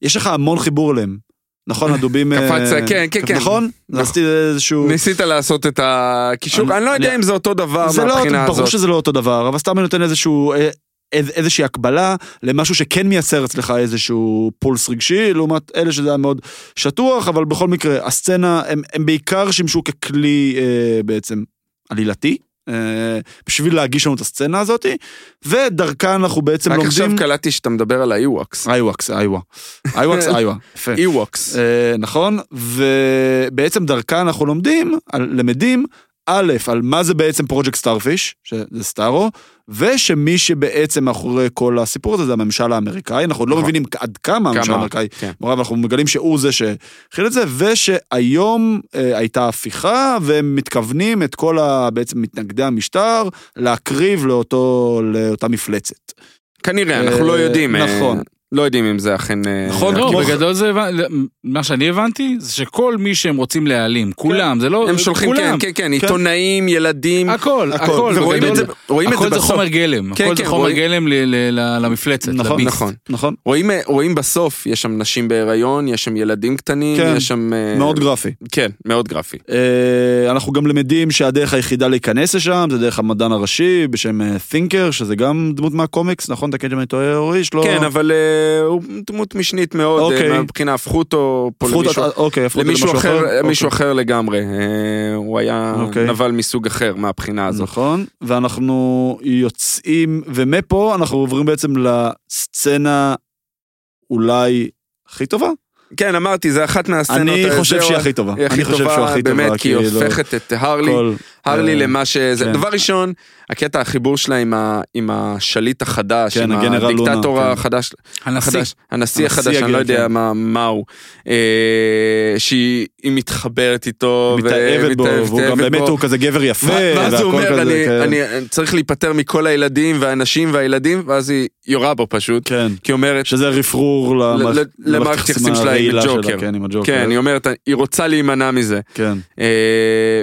[SPEAKER 2] יש לך המון חיבור אליהם. נכון, הדובים... אה,
[SPEAKER 1] [LAUGHS] קפץ, כן, כן, כן.
[SPEAKER 2] נכון?
[SPEAKER 1] נכון.
[SPEAKER 2] עשיתי איזשהו...
[SPEAKER 1] ניסית לעשות את הקישור,
[SPEAKER 2] אני-
[SPEAKER 1] אני לא יודע
[SPEAKER 2] אני-
[SPEAKER 1] אם זה אותו דבר
[SPEAKER 2] זה לא,
[SPEAKER 1] מהבחינה
[SPEAKER 2] ברור
[SPEAKER 1] הזאת.
[SPEAKER 2] שזה לא אותו דבר, אבל סתם אני נותן איזשהו, אה, איז- איזושהי הקבלה למשהו שכן מייצר אצלך איזשהו פולס רגשי, לעומת אלה שזה היה מאוד שטוח, אבל בכל מקרה, הסצנה, הם, הם בעיקר שימשו ככלי אה, בעצם עלילתי. אה, בשביל להגיש לנו את הסצנה הזאת, ודרכה אנחנו בעצם
[SPEAKER 1] רק עכשיו
[SPEAKER 2] לומדים...
[SPEAKER 1] קלטתי שאתה מדבר על האיווקס.
[SPEAKER 2] איווקס, איווה. איווקס,
[SPEAKER 1] [LAUGHS]
[SPEAKER 2] איווה. יפה.
[SPEAKER 1] איווקס.
[SPEAKER 2] אה, נכון, ובעצם דרכה אנחנו לומדים, על, למדים, א', על מה זה בעצם פרויקט סטארפיש, שזה סטארו, ושמי שבעצם מאחורי כל הסיפור הזה זה הממשל האמריקאי, אנחנו עוד לא
[SPEAKER 1] נכון.
[SPEAKER 2] מבינים עד כמה הממשל
[SPEAKER 1] כמה,
[SPEAKER 2] האמריקאי
[SPEAKER 1] כן.
[SPEAKER 2] מעורב, אנחנו מגלים שהוא זה שהכיל את זה, ושהיום אה, הייתה הפיכה, והם מתכוונים את כל ה, בעצם מתנגדי המשטר להקריב לאותו, לאותה מפלצת.
[SPEAKER 1] כנראה, אנחנו
[SPEAKER 2] אה,
[SPEAKER 1] לא יודעים. אה,
[SPEAKER 2] נכון.
[SPEAKER 1] לא יודעים אם זה אכן... אה,
[SPEAKER 2] נכון,
[SPEAKER 1] אה,
[SPEAKER 3] לא,
[SPEAKER 2] כי בח-
[SPEAKER 3] בגדול זה, הבנ- מה שאני הבנתי, זה שכל מי שהם רוצים להעלים, כולם, זה לא,
[SPEAKER 1] כן.
[SPEAKER 2] נכון,
[SPEAKER 1] הם שולחים, כן,
[SPEAKER 3] כולם,
[SPEAKER 1] כן, כן, עיתונאים, ילדים.
[SPEAKER 2] אה,
[SPEAKER 3] הכל,
[SPEAKER 2] הכל.
[SPEAKER 3] הכל,
[SPEAKER 1] ורואים
[SPEAKER 3] בגדול.
[SPEAKER 1] את זה- רואים את
[SPEAKER 3] הכל
[SPEAKER 1] זה
[SPEAKER 3] זה
[SPEAKER 1] בסוף.
[SPEAKER 3] חומר גלם,
[SPEAKER 1] כן,
[SPEAKER 3] הכל זה
[SPEAKER 1] כן,
[SPEAKER 3] חומר
[SPEAKER 1] רואים-
[SPEAKER 3] גלם ל- ל- ל- למפלצת,
[SPEAKER 2] נכון,
[SPEAKER 3] לביסט.
[SPEAKER 1] נכון.
[SPEAKER 2] נכון.
[SPEAKER 1] רואים, אה, רואים בסוף, יש שם נשים בהיריון, יש שם ילדים קטנים,
[SPEAKER 2] כן.
[SPEAKER 1] יש שם... אה,
[SPEAKER 2] מאוד גרפי.
[SPEAKER 1] כן, מאוד גרפי.
[SPEAKER 2] אה, אנחנו גם למדים שהדרך היחידה להיכנס לשם זה דרך המדען הראשי בשם אה, תינקר, שזה גם דמות מהקומיקס, נכון? תקן אם אני טועה, אורי, יש לו...
[SPEAKER 1] כן, אבל אה, הוא דמות משנית מאוד,
[SPEAKER 2] לא- אוקיי.
[SPEAKER 1] אה, מהבחינה, הפכו אותו פה
[SPEAKER 2] הפכו אותו-
[SPEAKER 1] למישהו-
[SPEAKER 2] אוקיי, הפכו אותו
[SPEAKER 1] למישהו אחר,
[SPEAKER 2] אוקיי.
[SPEAKER 1] מישהו אחר לגמרי. אה, הוא היה
[SPEAKER 2] אוקיי.
[SPEAKER 1] נבל מסוג אחר מהבחינה הזאת.
[SPEAKER 2] נכון, ואנחנו יוצאים, ומפה אנחנו עוברים בעצם לסצנה אולי הכי טובה.
[SPEAKER 1] כן, אמרתי, זה אחת מהסצנות...
[SPEAKER 2] אני
[SPEAKER 1] אה,
[SPEAKER 2] חושב
[SPEAKER 1] זהו,
[SPEAKER 2] שהיא הכי טובה.
[SPEAKER 1] היא הכי
[SPEAKER 2] אני חושב
[SPEAKER 1] טובה,
[SPEAKER 2] שהוא הכי טובה,
[SPEAKER 1] באמת, כי היא
[SPEAKER 2] כאילו,
[SPEAKER 1] הופכת את הרלי,
[SPEAKER 2] כל-
[SPEAKER 1] הרלי
[SPEAKER 2] אה,
[SPEAKER 1] למה שזה.
[SPEAKER 2] כן.
[SPEAKER 1] דבר ראשון, הקטע, החיבור שלה עם ה- עם השליט החדש,
[SPEAKER 2] כן,
[SPEAKER 1] עם
[SPEAKER 2] הגנרל לונה,
[SPEAKER 1] הדיקטטור
[SPEAKER 2] כן.
[SPEAKER 1] החדש,
[SPEAKER 3] הנשיא.
[SPEAKER 1] החדש, הנשיא
[SPEAKER 2] הנשיא
[SPEAKER 1] החדש, אני
[SPEAKER 2] הגיע,
[SPEAKER 1] לא יודע
[SPEAKER 2] כן.
[SPEAKER 1] מה- מה הוא, אה, שהיא היא מתחברת איתו, ו-
[SPEAKER 2] מתאהבת בו,
[SPEAKER 1] מתאהבת
[SPEAKER 2] והוא גם
[SPEAKER 1] בו.
[SPEAKER 2] באמת הוא כזה גבר יפה,
[SPEAKER 1] ו- ואז הוא
[SPEAKER 2] והכל
[SPEAKER 1] אומר,
[SPEAKER 2] כזה,
[SPEAKER 1] אני,
[SPEAKER 2] כן.
[SPEAKER 1] אני אה, צריך להיפטר מכל הילדים והנשים והילדים, ואז היא יורה בו פשוט,
[SPEAKER 2] כן.
[SPEAKER 1] כי היא אומרת,
[SPEAKER 2] שזה רפרור
[SPEAKER 1] ל- למערכת היחסים שלה עם
[SPEAKER 2] הרעילה
[SPEAKER 1] הג'וקר.
[SPEAKER 2] כן, עם הג'וקר.
[SPEAKER 1] כן, היא אומרת, היא רוצה להימנע מזה.
[SPEAKER 2] כן.
[SPEAKER 1] אה,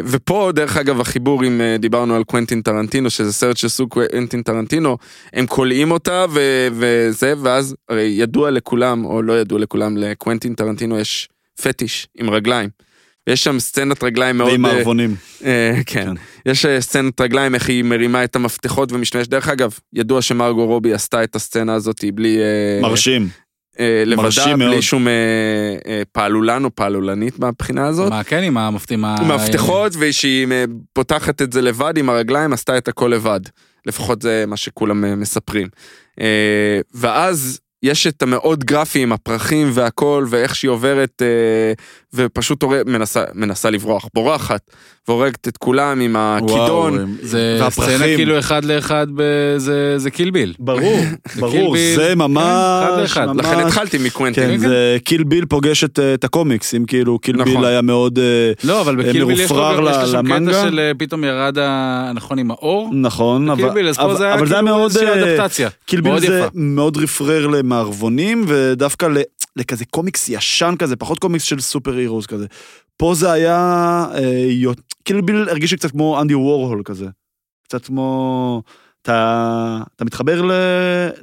[SPEAKER 1] ופה, דרך אגב, החיבור, אם אה, דיברנו על קוונטין טרנטינו, שזה סרט של סוג קוונטין טרנטינו, הם כולאים אותה ו- וזה, ואז הרי ידוע לכולם, או לא ידוע לכולם, לקוונטין טרנטינו יש פטיש עם רגליים. יש שם סצנת רגליים מאוד...
[SPEAKER 2] ועם
[SPEAKER 1] אה,
[SPEAKER 2] מערבונים.
[SPEAKER 1] אה, כן.
[SPEAKER 2] כן.
[SPEAKER 1] יש אה, סצנת רגליים, איך היא מרימה את המפתחות ומשתמשת. דרך אגב, ידוע שמרגו רובי עשתה את הסצנה הזאת בלי... אה,
[SPEAKER 2] מרשים.
[SPEAKER 1] אה, לבדה,
[SPEAKER 2] מרשים
[SPEAKER 1] בלי
[SPEAKER 2] מאוד.
[SPEAKER 1] שום אה, אה, פעלולן או פעלולנית מהבחינה הזאת.
[SPEAKER 3] מה, כן, עם המפתים ה...
[SPEAKER 2] אה,
[SPEAKER 1] עם המפתחות, ושהיא אה, פותחת את זה לבד עם הרגליים, עשתה את הכל לבד. לפחות זה מה שכולם אה, מספרים. אה, ואז יש את המאוד גרפי עם הפרחים והכל, ואיך שהיא עוברת, אה, ופשוט הורג- מנסה, מנסה לברוח, בורחת, והורגת את כולם עם הכידון.
[SPEAKER 2] וואו, אה,
[SPEAKER 3] זה
[SPEAKER 2] והפרחים.
[SPEAKER 3] סצנה כאילו אחד לאחד, ב- זה- זה קילביל. [LAUGHS]
[SPEAKER 2] ברור, ברור,
[SPEAKER 3] ביל.
[SPEAKER 2] זה
[SPEAKER 3] כן, אחד
[SPEAKER 2] ממש,
[SPEAKER 3] לאחד.
[SPEAKER 2] ממש.
[SPEAKER 1] לכן התחלתי מקוונטין.
[SPEAKER 2] כן, זה קיל ביל פוגש את אה, את הקומיקס, אם כאילו קיל
[SPEAKER 1] נכון.
[SPEAKER 2] ביל היה מאוד, אה,
[SPEAKER 3] לא, אבל
[SPEAKER 2] אה,
[SPEAKER 3] בקילביל יש לו
[SPEAKER 2] מרופרר
[SPEAKER 3] גם- יש לו
[SPEAKER 2] ל-
[SPEAKER 3] שם
[SPEAKER 2] למנגה?
[SPEAKER 3] קטע של אה, פתאום ירד, ה- נכון, עם האור.
[SPEAKER 2] נכון, אבל
[SPEAKER 3] קילביל, אז פה
[SPEAKER 2] אבל-
[SPEAKER 3] זה היה
[SPEAKER 2] אבל זה היה
[SPEAKER 3] כאילו
[SPEAKER 2] מאוד,
[SPEAKER 3] איזושהי
[SPEAKER 2] אה,
[SPEAKER 3] אדפטציה.
[SPEAKER 2] קיל ביל
[SPEAKER 3] מאוד
[SPEAKER 2] זה
[SPEAKER 3] יפה.
[SPEAKER 2] מאוד רפרר למערבונים, ודווקא ל- לכזה קומיקס ישן כזה, פחות קומיקס של סופר הירוס כזה. פה זה היה, אה, יו- קיל ביל הרגיש לי קצת כמו אנדי וורהול כזה. קצת כמו... אתה, אתה מתחבר ל,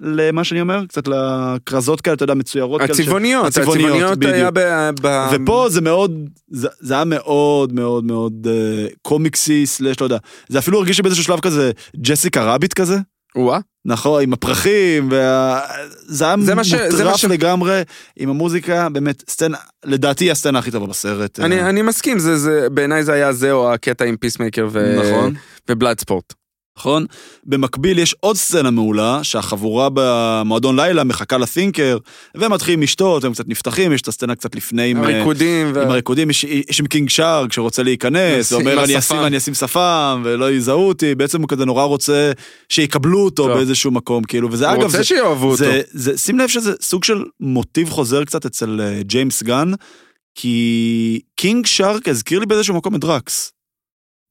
[SPEAKER 2] למה שאני אומר? קצת לכרזות כאלה, אתה יודע, מצוירות כאלה. ש-
[SPEAKER 1] הצבעוניות,
[SPEAKER 2] הצבעוניות,
[SPEAKER 1] הצבעוניות היה ב... ב-
[SPEAKER 2] ופה זה מאוד, זה, זה היה מאוד מאוד מאוד אה, קומיקסי, סלש, לא יודע. זה אפילו הרגיש לי באיזשהו שלב כזה, ג'סיקה רביט כזה.
[SPEAKER 1] וואה.
[SPEAKER 2] נכון, עם הפרחים, וה... זה היה
[SPEAKER 1] זה מה ש- זה מה
[SPEAKER 2] מוטרף
[SPEAKER 1] ש-
[SPEAKER 2] לגמרי, עם המוזיקה, באמת, סצנה, לדעתי היא הסצנה הכי טובה בסרט.
[SPEAKER 1] אני,
[SPEAKER 2] אה,
[SPEAKER 1] אני מסכים, זה, זה, בעיניי זה היה זה או הקטע עם פיסמייקר ו...
[SPEAKER 2] נכון.
[SPEAKER 1] ובלאד ספורט.
[SPEAKER 2] נכון? במקביל יש עוד סצנה מעולה, שהחבורה במועדון לילה מחכה לתינקר, והם מתחילים לשתות, הם קצת נפתחים, יש את הסצנה קצת לפני עם... אה,
[SPEAKER 1] הריקודים, ו...
[SPEAKER 2] עם הריקודים, יש, יש עם קינג שארק שרוצה להיכנס,
[SPEAKER 1] עם
[SPEAKER 2] ואומר אני
[SPEAKER 1] השפם."
[SPEAKER 2] אשים, אני אשים שפם, ולא יזהו אותי, בעצם הוא כזה נורא רוצה שיקבלו אותו
[SPEAKER 1] טוב.
[SPEAKER 2] באיזשהו מקום, כאילו, וזה
[SPEAKER 1] הוא
[SPEAKER 2] אגב,
[SPEAKER 1] רוצה
[SPEAKER 2] זה,
[SPEAKER 1] שיאהבו
[SPEAKER 2] זה,
[SPEAKER 1] אותו.
[SPEAKER 2] זה, שים לב שזה סוג של מוטיב חוזר קצת אצל אה, ג'יימס גן, כי קינג שרק הזכיר לי באיזשהו מקום את דרקס.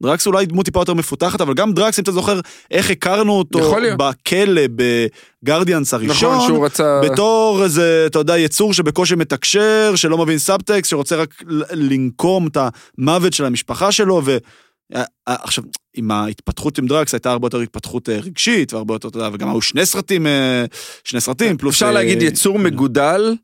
[SPEAKER 2] דרקס אולי דמות טיפה יותר מפותחת, אבל גם דרקס, אם אתה זוכר איך הכרנו אותו
[SPEAKER 1] יכול להיות.
[SPEAKER 2] בכלא בגרדיאנס הראשון,
[SPEAKER 1] נכון, שהוא רצה...
[SPEAKER 2] בתור איזה, אתה יודע, יצור שבקושי מתקשר, שלא מבין סאבטקסט, שרוצה רק ל- לנקום את המוות של המשפחה שלו, ו... אה, אה, עכשיו, עם ההתפתחות עם דרקס הייתה הרבה יותר התפתחות אה, רגשית, והרבה יותר, אתה יודע, וגם היו שני סרטים, אה, שני סרטים, פלוס...
[SPEAKER 1] אפשר
[SPEAKER 2] אה,
[SPEAKER 1] להגיד יצור מגודל,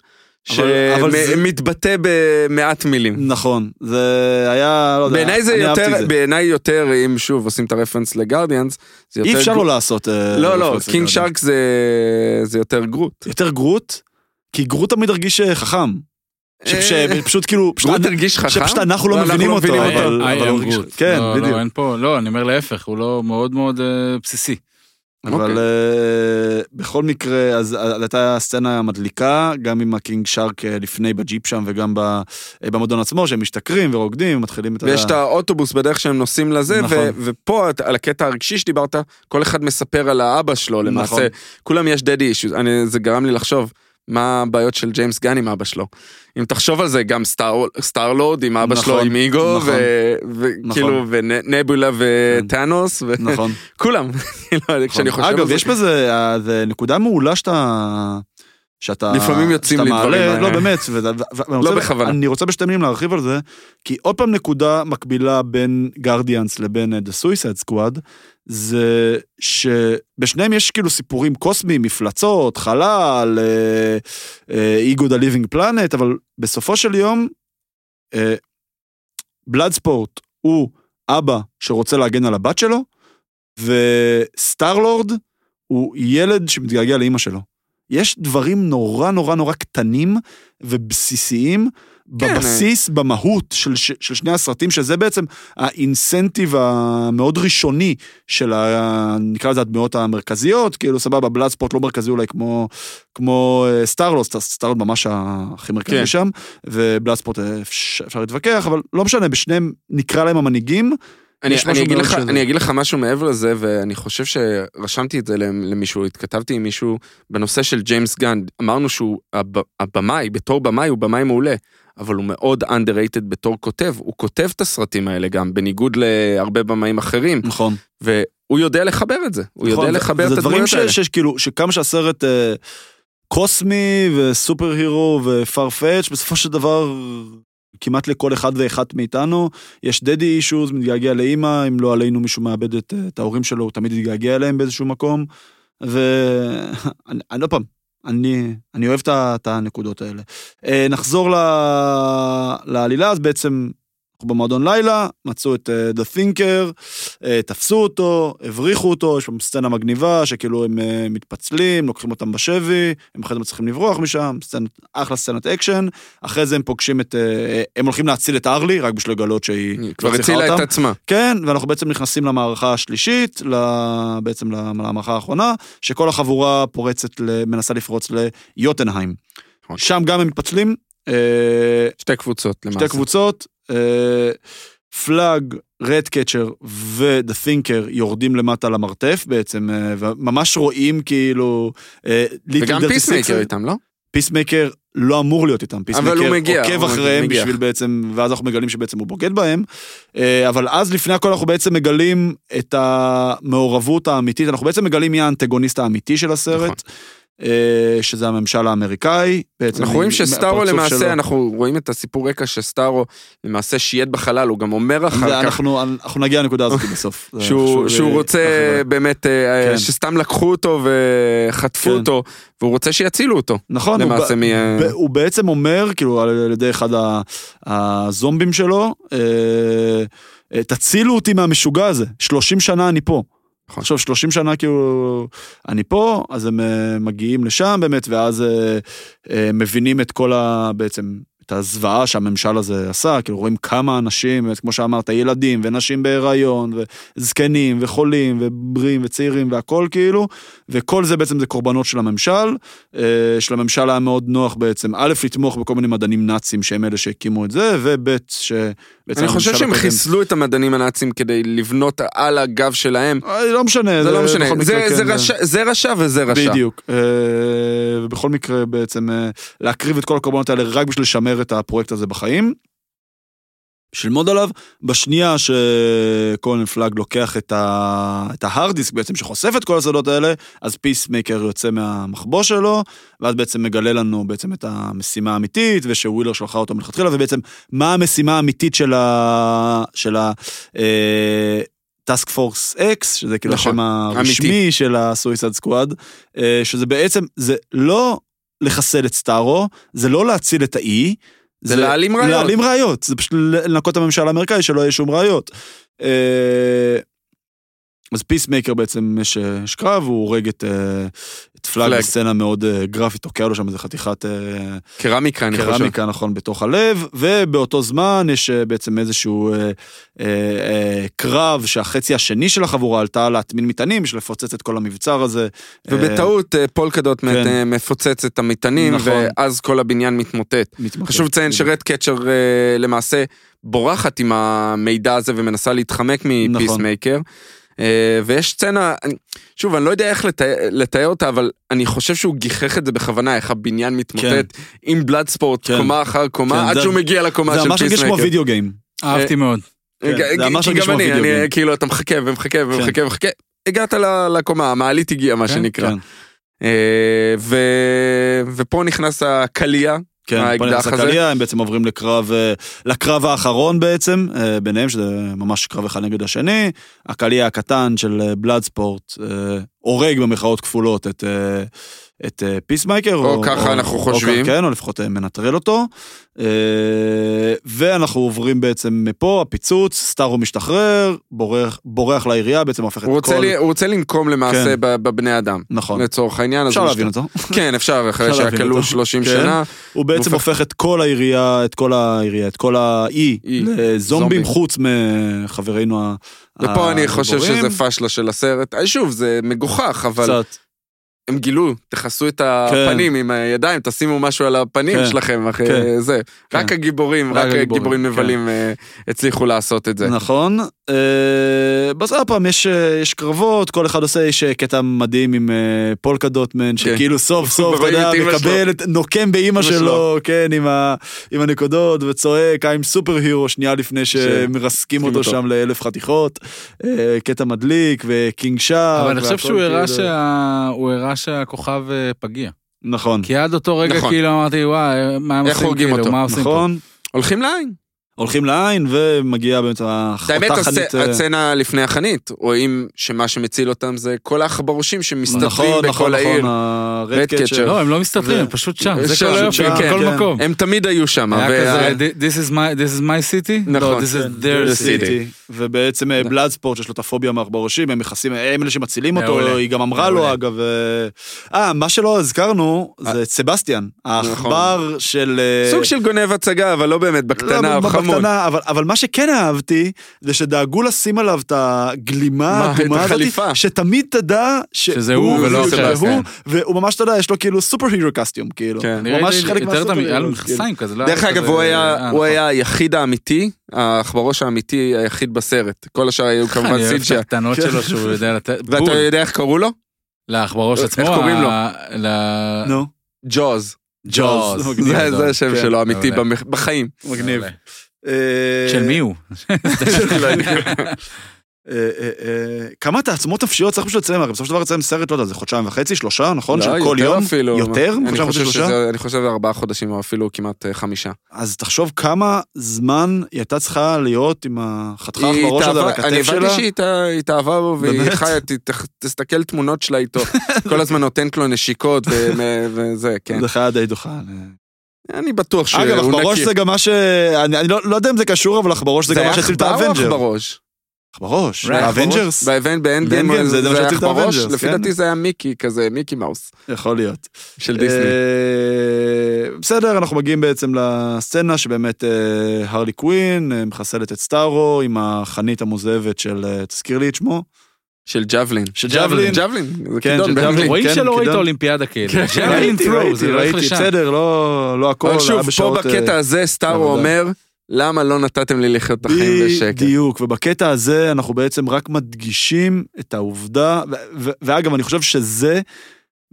[SPEAKER 2] אבל זה-
[SPEAKER 1] שמתבטא במעט מילים.
[SPEAKER 2] נכון, זה היה, לא יודע,
[SPEAKER 1] בעיניי זה
[SPEAKER 2] אני
[SPEAKER 1] יותר,
[SPEAKER 2] אהבתי את זה.
[SPEAKER 1] בעיניי יותר, אם שוב עושים את הרפרנס לגרדיאנס, זה יותר...
[SPEAKER 2] אי אפשר
[SPEAKER 1] גרו-
[SPEAKER 2] לא לעשות... אה,
[SPEAKER 1] לא, לא,
[SPEAKER 2] רפרנס
[SPEAKER 1] קינג
[SPEAKER 2] לגרדיאנס.
[SPEAKER 1] שרק זה זה יותר גרוט.
[SPEAKER 2] יותר גרוט, כי גרוט תמיד הרגיש אה, חכם. שפש-
[SPEAKER 1] אה,
[SPEAKER 2] שפשוט כאילו... פשוט
[SPEAKER 1] גרוט
[SPEAKER 2] אנ-
[SPEAKER 1] הרגיש חכם?
[SPEAKER 2] שפשוט אנחנו לא
[SPEAKER 1] אנחנו
[SPEAKER 2] מבינים
[SPEAKER 1] לא
[SPEAKER 3] אה,
[SPEAKER 2] אותו,
[SPEAKER 1] מבינים
[SPEAKER 2] אבל...
[SPEAKER 3] I
[SPEAKER 2] אבל
[SPEAKER 3] am
[SPEAKER 2] הוא הרגיש-
[SPEAKER 3] good.
[SPEAKER 2] כן,
[SPEAKER 3] לא,
[SPEAKER 2] בדיוק.
[SPEAKER 3] לא, אין פה, לא, אני אומר להפך, הוא לא מאוד מאוד אה, בסיסי.
[SPEAKER 2] אבל
[SPEAKER 1] אוקיי.
[SPEAKER 2] okay. בכל מקרה, אז אה, הייתה סצנה מדליקה, גם עם הקינג שרק אה, לפני בג'יפ שם וגם ב- אה, במועדון עצמו, שהם משתכרים ורוקדים, מתחילים את
[SPEAKER 1] ויש את האוטובוס בדרך שהם נוסעים לזה,
[SPEAKER 2] נכון.
[SPEAKER 1] ו- ופה את- על הקטע הרגשי שדיברת, כל אחד מספר על האבא שלו למעשה.
[SPEAKER 2] נכון.
[SPEAKER 1] כולם יש דדי אישוז, אני- זה גרם לי לחשוב. מה הבעיות של ג'יימס גן עם אבא שלו. אם תחשוב על זה, גם סטאר- סטארלורד עם אבא שלו,
[SPEAKER 2] נכון,
[SPEAKER 1] עם איגו,
[SPEAKER 2] נכון. כן.
[SPEAKER 1] וכאילו, ונבולה וטאנוס, [LAUGHS]
[SPEAKER 2] נכון.
[SPEAKER 1] וכולם, כאילו, כשאני חושב על
[SPEAKER 2] אגב,
[SPEAKER 1] זה.
[SPEAKER 2] יש בזה, אה, זה נקודה מעולה שאתה... שאתה...
[SPEAKER 1] לפעמים יוצאים
[SPEAKER 2] שאתה
[SPEAKER 1] לי דברים
[SPEAKER 2] מעלה, לא,
[SPEAKER 1] האלה.
[SPEAKER 2] באמת, ו- ו- ו- ואני רוצה-
[SPEAKER 1] בכוונה.
[SPEAKER 2] אני רוצה בשתי מילים להרחיב על זה, כי עוד פעם נקודה מקבילה בין גרדיאנס לבין אה, The Suicide Squad, זה שבשניהם יש כאילו סיפורים קוסמיים, מפלצות, חלל, אה, אה, איגוד הליבינג פלנט, אבל בסופו של יום, אה, בלאד ספורט הוא אבא שרוצה להגן על הבת שלו, וסטארלורד הוא ילד שמתגעגע לאימא שלו. יש דברים נורא נורא נורא קטנים ובסיסיים
[SPEAKER 1] כן,
[SPEAKER 2] בבסיס, במהות של, ש- של שני הסרטים, שזה בעצם האינסנטיב המאוד ראשוני של, ה, נקרא לזה הדמויות המרכזיות, כאילו סבבה, בלאד ספורט לא מרכזי אולי כמו, כמו אה, סטארלורד, סט- סטארלורד ממש הכי מרכזי
[SPEAKER 1] כן.
[SPEAKER 2] שם, ובלאד ספורט אה, אפשר, אפשר להתווכח, אבל לא משנה, בשניהם נקרא להם המנהיגים,
[SPEAKER 1] אני,
[SPEAKER 2] יש
[SPEAKER 1] אני,
[SPEAKER 2] משהו
[SPEAKER 1] אגיד
[SPEAKER 2] מאוד
[SPEAKER 1] לך,
[SPEAKER 2] שזה.
[SPEAKER 1] אני אגיד לך משהו מעבר לזה, ואני חושב שרשמתי את זה למ- למישהו, התכתבתי עם מישהו בנושא של ג'יימס גן, אמרנו שהוא הב, הבמאי, בתור במאי הוא במאי מעולה, אבל הוא מאוד underrated בתור כותב, הוא כותב את הסרטים האלה גם, בניגוד להרבה במאים אחרים,
[SPEAKER 2] נכון.
[SPEAKER 1] והוא יודע לחבר את זה, הוא יודע
[SPEAKER 2] נכון,
[SPEAKER 1] לחבר את
[SPEAKER 2] וזה דברים
[SPEAKER 1] הדמויות
[SPEAKER 2] ש-
[SPEAKER 1] האלה.
[SPEAKER 2] שיש כאילו, שכמה שהסרט אה, קוסמי וסופר הירו ופרפץ', בסופו של דבר כמעט לכל אחד ואחת מאיתנו יש דדי אישוז, מתגעגע לאימא, אם לא עלינו מישהו מאבד את, אה, את ההורים שלו, הוא תמיד יתגעגע אליהם באיזשהו מקום. ואני [LAUGHS] אני- עוד פעם, אני, אני אוהב את ה- את הנקודות האלה. אה, נחזור ל... לעלילה, אז בעצם אנחנו במועדון לילה, מצאו את אה, The Thinker, אה, תפסו אותו, הבריחו אותו, יש שם סצנה מגניבה שכאילו הם אה, מתפצלים, לוקחים אותם בשבי, הם אחרי זה מצליחים לברוח משם, סצנת, אחלה סצנת אקשן, אחרי זה הם פוגשים את... אה, הם הולכים להציל את ארלי, רק בשביל לגלות שהיא
[SPEAKER 1] היא
[SPEAKER 2] לא
[SPEAKER 1] כבר
[SPEAKER 2] צריכה
[SPEAKER 1] הצילה את
[SPEAKER 2] אותם.
[SPEAKER 1] עצמה.
[SPEAKER 2] כן, ואנחנו בעצם נכנסים למערכה השלישית, ל... בעצם למערכה האחרונה, שכל החבורה פורצת, ל... מנסה לפרוץ ליוטנהיים.
[SPEAKER 1] נכון.
[SPEAKER 2] שם גם הם מתפצלים, אה,
[SPEAKER 1] שתי קבוצות למעשה.
[SPEAKER 2] שתי קבוצות, אה, פלאג, רד קצ'ר ודה תינקר יורדים למטה למרתף בעצם, אה, וממש רואים כאילו... אה, ליטל
[SPEAKER 1] וגם
[SPEAKER 2] דרטי
[SPEAKER 1] פיסמייקר
[SPEAKER 2] סיקסר-
[SPEAKER 1] איתם, לא?
[SPEAKER 2] פיסמקר לא אמור להיות איתם, פיסמקר
[SPEAKER 1] הוא מגיע,
[SPEAKER 2] עוקב
[SPEAKER 1] הוא
[SPEAKER 2] אחריהם
[SPEAKER 1] מגיע.
[SPEAKER 2] בשביל בעצם, ואז אנחנו מגלים שבעצם הוא בוגד בהם, אה, אבל אז לפני הכל אנחנו בעצם מגלים את המעורבות האמיתית, אנחנו בעצם מגלים מי האנטגוניסט האמיתי של
[SPEAKER 1] נכון.
[SPEAKER 2] הסרט, אה, שזה הממשל האמריקאי, בעצם
[SPEAKER 1] אנחנו רואים
[SPEAKER 2] עם-
[SPEAKER 1] שסטארו
[SPEAKER 2] מהפרצוף
[SPEAKER 1] למעשה,
[SPEAKER 2] שלו.
[SPEAKER 1] אנחנו רואים את הסיפור רקע שסטארו למעשה שייט בחלל, הוא גם אומר אחר כך
[SPEAKER 2] ואנחנו אנחנו נגיע לנקודה הזאת בסוף. זה אה, חשוב
[SPEAKER 1] שהוא,
[SPEAKER 2] לי-
[SPEAKER 1] שהוא רוצה באמת, אה,
[SPEAKER 2] כן.
[SPEAKER 1] שסתם לקחו אותו וחטפו
[SPEAKER 2] כן.
[SPEAKER 1] אותו, והוא רוצה שיצילו אותו.
[SPEAKER 2] נכון, הוא
[SPEAKER 1] למעשה
[SPEAKER 2] ב-
[SPEAKER 1] מ...
[SPEAKER 2] ב- הוא בעצם אומר, כאילו, על על ידי אחד ה- הזומבים שלו, אה, אה, תצילו אותי מהמשוגע הזה, 30 שנה אני פה.
[SPEAKER 1] נכון.
[SPEAKER 2] עכשיו, 30 שנה כאילו אני פה, אז הם אה, מגיעים לשם באמת, ואז אה, אה, מבינים את כל ה... בעצם, את הזוועה שהממשל הזה עשה, כאילו רואים כמה אנשים, באמת, כמו שאמרת, ילדים ונשים בהיריון, וזקנים וחולים ובריאים וצעירים והכל כאילו, וכל זה בעצם זה קורבנות של הממשל, אה, שלממשל היה מאוד נוח בעצם, א', לתמוך בכל מיני מדענים נאצים שהם אלה שהקימו את זה, וב', שבעצם
[SPEAKER 1] אני חושב
[SPEAKER 2] הממשל
[SPEAKER 1] שהם
[SPEAKER 2] הקודם-
[SPEAKER 1] חיסלו את המדענים הנאצים כדי לבנות על הגב שלהם,
[SPEAKER 2] אה, לא משנה,
[SPEAKER 1] זה לא משנה,
[SPEAKER 2] בכל
[SPEAKER 1] זה-
[SPEAKER 2] מקרה,
[SPEAKER 1] זה
[SPEAKER 2] כן,
[SPEAKER 1] רשע- זה רשע וזה רשע.
[SPEAKER 2] בדיוק. אה, ובכל מקרה בעצם אה, להקריב את כל הקורבנות האלה רק בשביל לשמר את הפרויקט הזה בחיים. בשביל ללמוד עליו, בשנייה שקולן פלאג לוקח את, ה... את ההארד דיסק בעצם שחושף את כל הסודות האלה, אז פיסמייקר יוצא מהמחבוא שלו, ואז בעצם מגלה לנו בעצם את המשימה האמיתית, ושווילר שלחה אותו מלכתחילה, ובעצם מה המשימה האמיתית של ה... של ה... אה... טאסק פורס אקס, שזה כאילו
[SPEAKER 1] נכון,
[SPEAKER 2] השם הרשמי
[SPEAKER 1] אמיתי.
[SPEAKER 2] של הסויסד סקוואד, אה, שזה בעצם, זה לא לחסל את סטארו, זה לא להציל את האי,
[SPEAKER 1] זה להעלים ראיות.
[SPEAKER 2] להעלים ראיות, זה פשוט לנקות את הממשל האמריקאי שלא יהיה שום ראיות. אה, אז פיסמייקר בעצם יש, אה, יש קרב, הוא הורג את, אה, את פלאג
[SPEAKER 1] פלאג.
[SPEAKER 2] בסצנה מאוד אה, גרפית, תוקע לו שם איזה חתיכת אה,
[SPEAKER 1] קרמיקה, אני חושב.
[SPEAKER 2] קרמיקה, נכון, בתוך הלב, ובאותו זמן יש אה, בעצם איזשהו אה, אה, אה, קרב שהחצי השני של החבורה עלתה להטמין מטענים בשביל לפוצץ את כל המבצר הזה. אה,
[SPEAKER 1] ובטעות אה, פולקדוט מת-
[SPEAKER 2] כן.
[SPEAKER 1] אה, מפוצץ את המטענים,
[SPEAKER 2] נכון.
[SPEAKER 1] ואז כל הבניין מתמוטט.
[SPEAKER 2] מתמקד.
[SPEAKER 1] חשוב לציין שרד קצ'ר
[SPEAKER 2] נכון.
[SPEAKER 1] אה, למעשה בורחת עם המידע הזה ומנסה להתחמק מפיסמייקר. אה, ויש סצנה, אני- שוב, אני לא יודע איך לתאר, לתאר אותה, אבל אני חושב שהוא גיחך את זה בכוונה, איך הבניין מתמוטט עם בלאד ספורט,
[SPEAKER 2] כן.
[SPEAKER 1] קומה אחר קומה,
[SPEAKER 2] כן,
[SPEAKER 1] עד
[SPEAKER 2] זה-
[SPEAKER 1] שהוא מגיע לקומה
[SPEAKER 2] זה
[SPEAKER 1] של
[SPEAKER 2] ממש מרגיש כמו
[SPEAKER 1] פיסמקר.
[SPEAKER 2] וידאו גיים.
[SPEAKER 3] אהבתי מאוד.
[SPEAKER 2] כן,
[SPEAKER 1] כי-
[SPEAKER 2] זה ממש
[SPEAKER 1] כי
[SPEAKER 2] מרגיש
[SPEAKER 1] גם
[SPEAKER 2] כמו
[SPEAKER 1] אני,
[SPEAKER 2] וידאו
[SPEAKER 1] אני
[SPEAKER 2] גיים.
[SPEAKER 1] כאילו, אתה מחכה ומחכה ומחכה
[SPEAKER 2] כן.
[SPEAKER 1] ומחכה, הגעת ל- לקומה, המעלית הגיעה, מה
[SPEAKER 3] כן,
[SPEAKER 1] שנקרא.
[SPEAKER 2] כן.
[SPEAKER 1] אה, ו- ופה נכנס הקליע,
[SPEAKER 2] כן,
[SPEAKER 1] האקדח
[SPEAKER 2] פאנל הסקליה, הם בעצם עוברים לקרב, אה, לקרב האחרון בעצם, אה, ביניהם, שזה ממש קרב אחד נגד השני. הקליע הקטן של אה, בלאדספורט אה, הורג במרכאות כפולות את, אה, את אה, פיסמייקר.
[SPEAKER 1] או ככה אנחנו חושבים.
[SPEAKER 2] או, כן, או לפחות אה, מנטרל אותו. אה, ואנחנו עוברים בעצם מפה, הפיצוץ, סטארו משתחרר, בורח, בורח לעירייה, בעצם הופך את
[SPEAKER 1] הוא רוצה
[SPEAKER 2] כל...
[SPEAKER 1] לי- הוא רוצה לנקום למעשה
[SPEAKER 2] כן.
[SPEAKER 1] ב- בבני אדם,
[SPEAKER 2] נכון,
[SPEAKER 1] לצורך העניין. אז
[SPEAKER 2] אפשר
[SPEAKER 1] הוא
[SPEAKER 2] להבין
[SPEAKER 1] משת-
[SPEAKER 2] אותו.
[SPEAKER 1] כן, אפשר, אחרי
[SPEAKER 2] אפשר להבין
[SPEAKER 1] שהכלוא
[SPEAKER 2] אותו.
[SPEAKER 1] 30
[SPEAKER 2] כן.
[SPEAKER 1] שנה.
[SPEAKER 2] הוא בעצם
[SPEAKER 1] הופך-
[SPEAKER 2] הופך את כל העירייה, את כל העירייה, את כל האי,
[SPEAKER 1] אי, זומבים.
[SPEAKER 2] לזומבים חוץ מחברינו ה- אה,
[SPEAKER 1] ופה אני חושב
[SPEAKER 2] הגיבורים.
[SPEAKER 1] שזה פשלה של הסרט. אה, שוב, זה מגוחך, אבל
[SPEAKER 2] קצת,
[SPEAKER 1] הם גילו, תכסו את הפנים עם הידיים, תשימו משהו על הפנים
[SPEAKER 2] כן.
[SPEAKER 1] שלכם, אחרי
[SPEAKER 2] כן.
[SPEAKER 1] זה. רק
[SPEAKER 2] כן.
[SPEAKER 1] הגיבורים,
[SPEAKER 2] רק
[SPEAKER 1] רק
[SPEAKER 2] הגיבורים, כן.
[SPEAKER 1] הגיבורים נבלים אה, הצליחו לעשות את זה.
[SPEAKER 2] נכון. אה, אז עוד פעם, יש, אה, יש קרבות, כל אחד עושה, יש אה, קטע מדהים עם אה, פולקדוט מן,
[SPEAKER 1] [LAUGHS]
[SPEAKER 2] שכאילו סוף סוף, אתה
[SPEAKER 1] ורואים
[SPEAKER 2] יודע,
[SPEAKER 1] כן. את אמא שלו.
[SPEAKER 2] מקבל, את- נוקם באימא
[SPEAKER 1] אמא
[SPEAKER 2] שלו, כן, עם ה- עם הנקודות, וצועק, I'm סופר הירו, שנייה לפני שמרסקים אותו
[SPEAKER 1] אותו.
[SPEAKER 2] שם לאלף חתיכות. אה, קטע מדליק, וקינג שער.
[SPEAKER 3] אבל אני חושב
[SPEAKER 2] אה, והכל
[SPEAKER 3] שהוא הראה
[SPEAKER 2] כאילו-
[SPEAKER 3] שה- הוא הראה שהכוכב אה, פגיע.
[SPEAKER 2] נכון.
[SPEAKER 3] כי עד אותו רגע
[SPEAKER 1] נכון.
[SPEAKER 3] כאילו אמרתי, וואי, מה הם
[SPEAKER 1] איך
[SPEAKER 3] עושים
[SPEAKER 1] הורגים
[SPEAKER 3] כאילו,
[SPEAKER 1] אותו?"
[SPEAKER 3] מה עושים פה?
[SPEAKER 2] נכון,
[SPEAKER 1] הולכים לעין.
[SPEAKER 2] הולכים לעין ומגיע באמת
[SPEAKER 1] האמת,
[SPEAKER 2] החתך
[SPEAKER 1] הסצ-
[SPEAKER 2] אה,
[SPEAKER 1] הסצנה לפני החנית, רואים שמה שמציל אותם זה כל העכברושים שמסתתרים
[SPEAKER 2] נכון, נכון,
[SPEAKER 1] בכל העיר.
[SPEAKER 2] נכון, הרד
[SPEAKER 1] Red catcher.
[SPEAKER 2] קצ'ר.
[SPEAKER 3] לא, הם לא מסתתרים,
[SPEAKER 2] ו-
[SPEAKER 3] הם פשוט שם, זה
[SPEAKER 1] שם,
[SPEAKER 3] כל היופי,
[SPEAKER 1] שם,
[SPEAKER 3] בכל
[SPEAKER 2] כן.
[SPEAKER 3] מקום.
[SPEAKER 1] הם תמיד היו שם.
[SPEAKER 3] היה
[SPEAKER 1] וה-
[SPEAKER 3] כזה, this is my- this is my city?
[SPEAKER 1] נכון.
[SPEAKER 3] לא, this is their
[SPEAKER 1] Their city.
[SPEAKER 3] city.
[SPEAKER 2] ובעצם בלאד ספורט שיש לו את הפוביה מהעכברושים, הם מכסים, הם אלה שמצילים
[SPEAKER 3] מעולה.
[SPEAKER 2] אותו, היא גם אמרה לו
[SPEAKER 3] מעולה.
[SPEAKER 2] אגב. אה, אה, מה שלא הזכרנו זה את סבסטיאן, העכבר של... אה,
[SPEAKER 1] אה. נכון. סוג של גונב הצגה, אבל לא באמת,
[SPEAKER 2] לא,
[SPEAKER 1] בקטנה, הוא חמוד.
[SPEAKER 2] בקטנה, אבל, אבל מה שכן אהבתי, זה שדאגו לשים עליו את הגלימה
[SPEAKER 1] מה, את
[SPEAKER 2] האדומה הזאת,
[SPEAKER 1] החליפה.
[SPEAKER 2] שתמיד תדע שהוא,
[SPEAKER 3] שזה הוא
[SPEAKER 1] ולא
[SPEAKER 2] שזה
[SPEAKER 1] סבסטיאן.
[SPEAKER 2] הוא, והוא ממש, אתה יודע, יש לו כאילו סופר הירו קסטיום, כאילו.
[SPEAKER 1] כן.
[SPEAKER 3] נראה
[SPEAKER 2] ממש
[SPEAKER 3] לי
[SPEAKER 2] חלק
[SPEAKER 3] יותר
[SPEAKER 2] מהסרט
[SPEAKER 3] דמי, היה לו
[SPEAKER 2] הזה,
[SPEAKER 3] מכסיים כזה, לא
[SPEAKER 1] דרך
[SPEAKER 3] היה
[SPEAKER 1] אגב,
[SPEAKER 3] כזה-
[SPEAKER 1] הוא
[SPEAKER 3] אה,
[SPEAKER 1] היה-
[SPEAKER 3] נכון.
[SPEAKER 1] הוא היה היחיד האמיתי, העכברוש האמיתי היחיד בסרט. כל השאר [LAUGHS] היו כמובן
[SPEAKER 3] אני אוהב את
[SPEAKER 1] סיג'ה.
[SPEAKER 3] הקטנות שלו שהוא יודע לתת.
[SPEAKER 1] כן. ואתה
[SPEAKER 3] בול.
[SPEAKER 1] יודע איך קראו לו?
[SPEAKER 3] לעכברוש
[SPEAKER 1] איך
[SPEAKER 3] עצמו.
[SPEAKER 1] קוראים לו?
[SPEAKER 3] ה- ל-
[SPEAKER 2] נו,
[SPEAKER 1] ג'וז.
[SPEAKER 3] ג'וז.
[SPEAKER 2] ג'וז.
[SPEAKER 3] מגניב
[SPEAKER 1] זה
[SPEAKER 3] גדול.
[SPEAKER 1] זה השם
[SPEAKER 2] כן,
[SPEAKER 1] שלו, אמיתי,
[SPEAKER 3] מעולה.
[SPEAKER 1] במח- בחיים. [LAUGHS]
[SPEAKER 2] מגניב.
[SPEAKER 3] מעולה.
[SPEAKER 2] אה,
[SPEAKER 3] של מי הוא?
[SPEAKER 1] [LAUGHS]
[SPEAKER 2] לא יודע. אה, אה, אה, כמה תעצומות נפשיות צריך בשביל לצלם, הרי בסופו של דבר לצלם סרט, לא יודע, זה חודשיים וחצי, שלושה, נכון?
[SPEAKER 1] לא,
[SPEAKER 2] של כל
[SPEAKER 1] יותר
[SPEAKER 2] יום?
[SPEAKER 1] אפילו.
[SPEAKER 2] יותר?
[SPEAKER 1] אני
[SPEAKER 2] חודשיים
[SPEAKER 1] חושב
[SPEAKER 2] וחצי, שלושה?
[SPEAKER 1] שזה- אני חושב ארבעה חודשים, או אפילו כמעט אה, חמישה.
[SPEAKER 2] אז תחשוב כמה זמן היא הייתה צריכה להיות עם החתיכה
[SPEAKER 1] היא
[SPEAKER 2] בראש הזה על
[SPEAKER 1] התאהבה- אני
[SPEAKER 2] הכתף שלה.
[SPEAKER 1] הבנתי שהיא התא- התאהבה בו, והיא
[SPEAKER 2] באמת?
[SPEAKER 1] חיה, ת- ת- תסתכל תמונות שלה [LAUGHS] איתו. כל הזמן נותנת לו נשיקות ו- ו- וזה, כן.
[SPEAKER 2] [LAUGHS] זה חיה די דוחה.
[SPEAKER 1] אני בטוח שהוא נקי.
[SPEAKER 2] אגב, עכברוש זה גם מה ש... אני אני לא לא יודע אם זה קשור, אבל עכברוש זה גם מה שהציל את
[SPEAKER 1] זה היה עכבר
[SPEAKER 2] האבנג'ר.
[SPEAKER 1] או עכברוש?
[SPEAKER 2] עכברוש,
[SPEAKER 3] Right.
[SPEAKER 2] האבנג'רס.
[SPEAKER 1] באבנ- באנדגיים
[SPEAKER 2] באנדגיים, זה
[SPEAKER 1] זה
[SPEAKER 2] מה
[SPEAKER 1] היה
[SPEAKER 2] שהציל את
[SPEAKER 1] עכברוש?
[SPEAKER 2] האבנג'רס,
[SPEAKER 1] לפי
[SPEAKER 2] כן.
[SPEAKER 1] דעתי זה היה מיקי כזה, מיקי מאוס
[SPEAKER 2] יכול להיות.
[SPEAKER 1] של דיסני.
[SPEAKER 2] אה, בסדר, אנחנו מגיעים בעצם לסצנה שבאמת אה, הרלי קווין אה, מחסלת את סטארו עם החנית המוזבת של, אה, תזכיר לי את שמו?
[SPEAKER 1] של ג'בלין.
[SPEAKER 2] של ג'בלין.
[SPEAKER 3] ג'בלין.
[SPEAKER 1] ג'בלין, זה
[SPEAKER 2] כן,
[SPEAKER 1] כידון
[SPEAKER 2] של
[SPEAKER 1] באנגלית.
[SPEAKER 2] ג'בלין.
[SPEAKER 3] רואים
[SPEAKER 2] כן,
[SPEAKER 3] שלא ראית
[SPEAKER 2] קידון.
[SPEAKER 3] אולימפיאדה
[SPEAKER 1] כן,
[SPEAKER 3] כאילו.
[SPEAKER 2] ראיתי,
[SPEAKER 3] throw,
[SPEAKER 2] ראיתי,
[SPEAKER 3] זה לא הולך
[SPEAKER 2] ראיתי,
[SPEAKER 3] לשם.
[SPEAKER 2] בסדר, לא לא הכל,
[SPEAKER 1] אבל
[SPEAKER 2] היה
[SPEAKER 1] שוב, פה
[SPEAKER 2] בשעות, אה,
[SPEAKER 1] בקטע הזה סטארו
[SPEAKER 2] עבודה.
[SPEAKER 1] אומר, למה לא נתתם לי לחיות את החיים בשקט?
[SPEAKER 2] בדיוק, ובקטע הזה אנחנו בעצם רק מדגישים את העובדה, ו- ו- ואגב, אני חושב שזה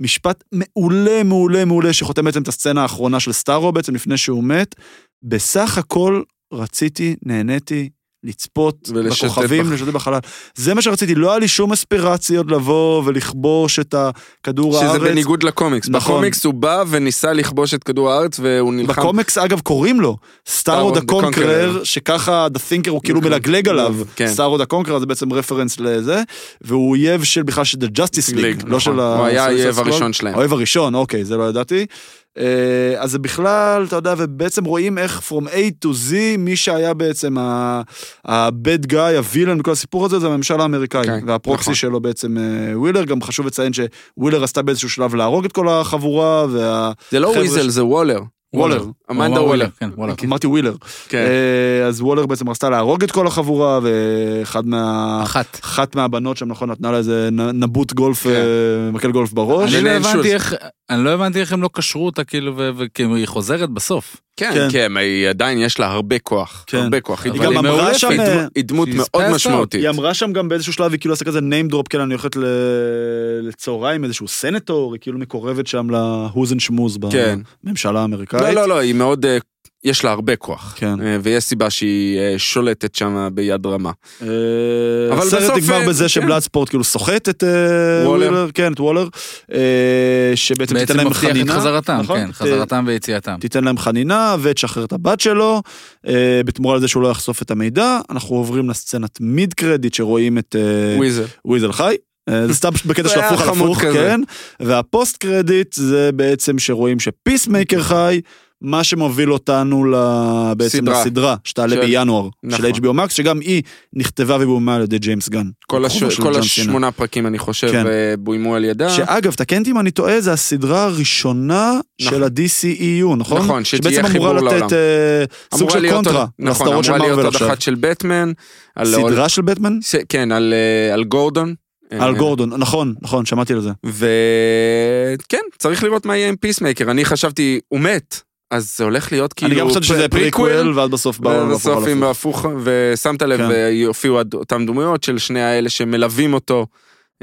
[SPEAKER 2] משפט מעולה, מעולה, מעולה, שחותם בעצם את הסצנה האחרונה של סטארו בעצם, לפני שהוא מת. בסך הכל רציתי, נהניתי. לצפות
[SPEAKER 1] ולשוטט בח-
[SPEAKER 2] בכוכבים, לשוטט בחלל. זה מה שרציתי, לא היה לי שום אספירציות לבוא ולכבוש את הכדור הארץ.
[SPEAKER 1] שזה בניגוד לקומיקס.
[SPEAKER 2] נכון.
[SPEAKER 1] בקומיקס הוא בא וניסה לכבוש את כדור הארץ והוא נלחם.
[SPEAKER 2] בקומיקס אגב קוראים לו סטארו דה
[SPEAKER 1] the Conqueror.
[SPEAKER 2] קונקרר, שככה דה תינקר הוא כאילו
[SPEAKER 1] נכון.
[SPEAKER 2] מלגלג עליו,
[SPEAKER 1] כן.
[SPEAKER 2] סטארו דה קונקרר זה בעצם רפרנס לזה, והוא אויב של בכלל של דה ג'סטיס ליג, לא
[SPEAKER 1] נכון.
[SPEAKER 2] של ה...
[SPEAKER 1] הוא היה
[SPEAKER 2] Suicide
[SPEAKER 1] האויב
[SPEAKER 2] Squad.
[SPEAKER 1] הראשון שלהם.
[SPEAKER 2] האויב הראשון, אוקיי, זה לא ידעתי. אה, אז זה בכלל, אתה יודע, ובעצם רואים איך From A to Z, מי שהיה בעצם ה- ה-bad guy, הווילן בכל הסיפור הזה, זה הממשל האמריקאי.
[SPEAKER 1] אוקיי, נכון.
[SPEAKER 2] והפרוקסי שלו בעצם אה, ווילר, גם חשוב לציין שווילר עשתה באיזשהו שלב להרוג את כל החבורה, וה...
[SPEAKER 1] זה לא
[SPEAKER 2] חבר'ה
[SPEAKER 1] וויזל,
[SPEAKER 2] ש-
[SPEAKER 1] זה וולר.
[SPEAKER 2] וולר.
[SPEAKER 1] אמנדה וולר.
[SPEAKER 3] כן, וולר.
[SPEAKER 1] אוקיי.
[SPEAKER 2] אמרתי ווילר.
[SPEAKER 1] כן.
[SPEAKER 2] אה, אז וולר בעצם רצתה להרוג את כל החבורה, ואחד מה...
[SPEAKER 3] אחת.
[SPEAKER 2] אחת מהבנות שם, נכון, נתנה לה איזה נ- נבוט גולף,
[SPEAKER 1] כן.
[SPEAKER 2] אה, מקל גולף בראש.
[SPEAKER 3] אני לא
[SPEAKER 1] ביניהם שולס.
[SPEAKER 3] הבנתי איך, אני לא הבנתי איך הם לא קשרו אותה כאילו, וכאילו היא חוזרת בסוף.
[SPEAKER 1] כן,
[SPEAKER 2] כן.
[SPEAKER 1] כן, היא עדיין יש לה הרבה כוח.
[SPEAKER 2] כן.
[SPEAKER 1] הרבה כוח.
[SPEAKER 3] היא
[SPEAKER 1] היא
[SPEAKER 3] גם
[SPEAKER 1] גם
[SPEAKER 3] אמרה
[SPEAKER 1] מעולה,
[SPEAKER 2] שם,
[SPEAKER 1] היא
[SPEAKER 2] אה,
[SPEAKER 1] דמו- היא דמות
[SPEAKER 3] שהיא
[SPEAKER 1] מאוד
[SPEAKER 3] spaced out.
[SPEAKER 1] משמעותית.
[SPEAKER 2] היא אמרה שם גם באיזשהו שלב, היא כאילו עשה כזה name drop, כן, אני הולכת ל- לצהריים, איזשהו סנטור, היא כאילו מקורבת שם להוזן שמוז
[SPEAKER 1] כן.
[SPEAKER 2] בממשלה האמריקאית.
[SPEAKER 1] לא, לא, לא, היא מאוד, אה, יש לה הרבה כוח.
[SPEAKER 2] כן.
[SPEAKER 1] אה, ויש סיבה שהיא אה, שולטת שם ביד רמה.
[SPEAKER 2] אה,
[SPEAKER 1] אבל
[SPEAKER 2] הסרט
[SPEAKER 1] בסוף,
[SPEAKER 2] נגמר
[SPEAKER 1] אה,
[SPEAKER 2] בזה
[SPEAKER 1] כן.
[SPEAKER 2] שבלאדספורט כאילו סוחט את אה,
[SPEAKER 1] וולר.
[SPEAKER 2] וולר, כן, את וולר, אה, שבעצם תיתן
[SPEAKER 3] בעצם
[SPEAKER 2] להם
[SPEAKER 3] מבטיח את
[SPEAKER 2] חנינה,
[SPEAKER 3] חזרתם,
[SPEAKER 2] נכון?
[SPEAKER 3] כן,
[SPEAKER 2] ת-
[SPEAKER 3] חזרתם ויציאתם.
[SPEAKER 2] תיתן להם חנינה ותשחרר את הבת שלו, אה, בתמורה לזה שהוא לא יחשוף את המידע. אנחנו עוברים לסצנת מיד קרדיט שרואים את אה,
[SPEAKER 1] וויזל.
[SPEAKER 2] וויזל חי. אה, זה סתם בקטע
[SPEAKER 1] [LAUGHS] זה
[SPEAKER 2] של
[SPEAKER 1] היה
[SPEAKER 2] הפוך על
[SPEAKER 1] חמוד
[SPEAKER 2] הפוך,
[SPEAKER 1] כזה.
[SPEAKER 2] כן. והפוסט קרדיט זה בעצם שרואים שפיסמייקר חי, מה שמוביל אותנו ל- בעצם
[SPEAKER 1] סדרה.
[SPEAKER 2] לסדרה, שתעלה
[SPEAKER 1] של-
[SPEAKER 2] בינואר, של
[SPEAKER 1] נכון.
[SPEAKER 2] HBO Max, שגם היא נכתבה ובוימה על ידי ג'יימס גן.
[SPEAKER 1] כל הש-
[SPEAKER 2] הבחור של
[SPEAKER 1] כל
[SPEAKER 2] ג'ון סינה.
[SPEAKER 1] השמונה פרקים, אני חושב,
[SPEAKER 2] כן.
[SPEAKER 1] אה, בוימו על ידה.
[SPEAKER 2] שאגב, תקן אותי אם אני טועה, זו הסדרה הראשונה
[SPEAKER 1] נכון.
[SPEAKER 2] של ה-DCEU, נכון?
[SPEAKER 1] נכון, שתהיה
[SPEAKER 2] שבעצם אמורה
[SPEAKER 1] חיבור
[SPEAKER 2] לתת
[SPEAKER 1] לעולם.
[SPEAKER 2] אה, סוג
[SPEAKER 1] אמורה
[SPEAKER 2] של
[SPEAKER 1] להיות
[SPEAKER 2] קונטרה
[SPEAKER 1] עוד- נכון,
[SPEAKER 2] לסדרות של
[SPEAKER 1] אמורה להיות
[SPEAKER 2] מרוויל
[SPEAKER 1] עוד
[SPEAKER 2] עכשיו.
[SPEAKER 1] אחת של בטמן. על-
[SPEAKER 2] סדרה של בטמן?
[SPEAKER 1] ש- כן, על אה, על גורדון.
[SPEAKER 2] על
[SPEAKER 1] אה,
[SPEAKER 2] גורדון, נכון, נכון, שמעתי על זה.
[SPEAKER 1] וכן, כן, צריך לראות מה יהיה עם פיסמייקר. אני חשבתי, הוא מת, אז זה הולך להיות כאילו...
[SPEAKER 2] אני גם חשבתי שזה פריקוול, ועד בסוף באו
[SPEAKER 1] ובסוף
[SPEAKER 2] להפוך על
[SPEAKER 1] עם
[SPEAKER 2] הפוך.
[SPEAKER 1] הפוך, ושמת לב,
[SPEAKER 2] כן.
[SPEAKER 1] יופיעו עד- אותם דמויות של שני האלה שמלווים אותו.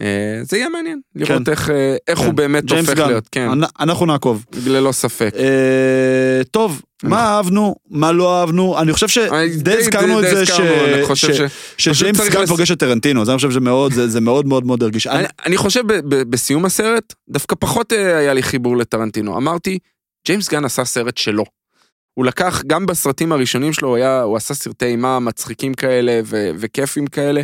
[SPEAKER 1] אה, זה יהיה מעניין, לראות איך, אה, איך
[SPEAKER 2] כן.
[SPEAKER 1] הוא באמת
[SPEAKER 2] ג'יימס
[SPEAKER 1] הופך
[SPEAKER 2] גן.
[SPEAKER 1] להיות, כן,
[SPEAKER 2] אנ- אנחנו נעקוב.
[SPEAKER 1] ללא ספק.
[SPEAKER 2] אה, טוב, מה אהבנו, מה לא אהבנו, אני חושב
[SPEAKER 1] אני-
[SPEAKER 2] שדי הזכרנו את
[SPEAKER 1] אה, די
[SPEAKER 2] זה ש-
[SPEAKER 1] הזכרנו, אני חושב
[SPEAKER 2] ש-
[SPEAKER 1] ש... פשוט
[SPEAKER 2] שג'יימס
[SPEAKER 1] צריך
[SPEAKER 2] גן
[SPEAKER 1] לס-
[SPEAKER 2] פוגש את טרנטינו, זה אני חושב שזה מאוד, זה זה מאוד מאוד מאוד הרגיש.
[SPEAKER 1] אני,
[SPEAKER 2] אני-
[SPEAKER 1] אני חושב ב, ב, בסיום הסרט, דווקא פחות אה, היה לי חיבור לטרנטינו. אמרתי, ג'יימס גן עשה סרט שלו. הוא לקח, גם בסרטים הראשונים שלו, הוא, היה, הוא עשה סרטי אימה מצחיקים כאלה ו, וכיפים כאלה.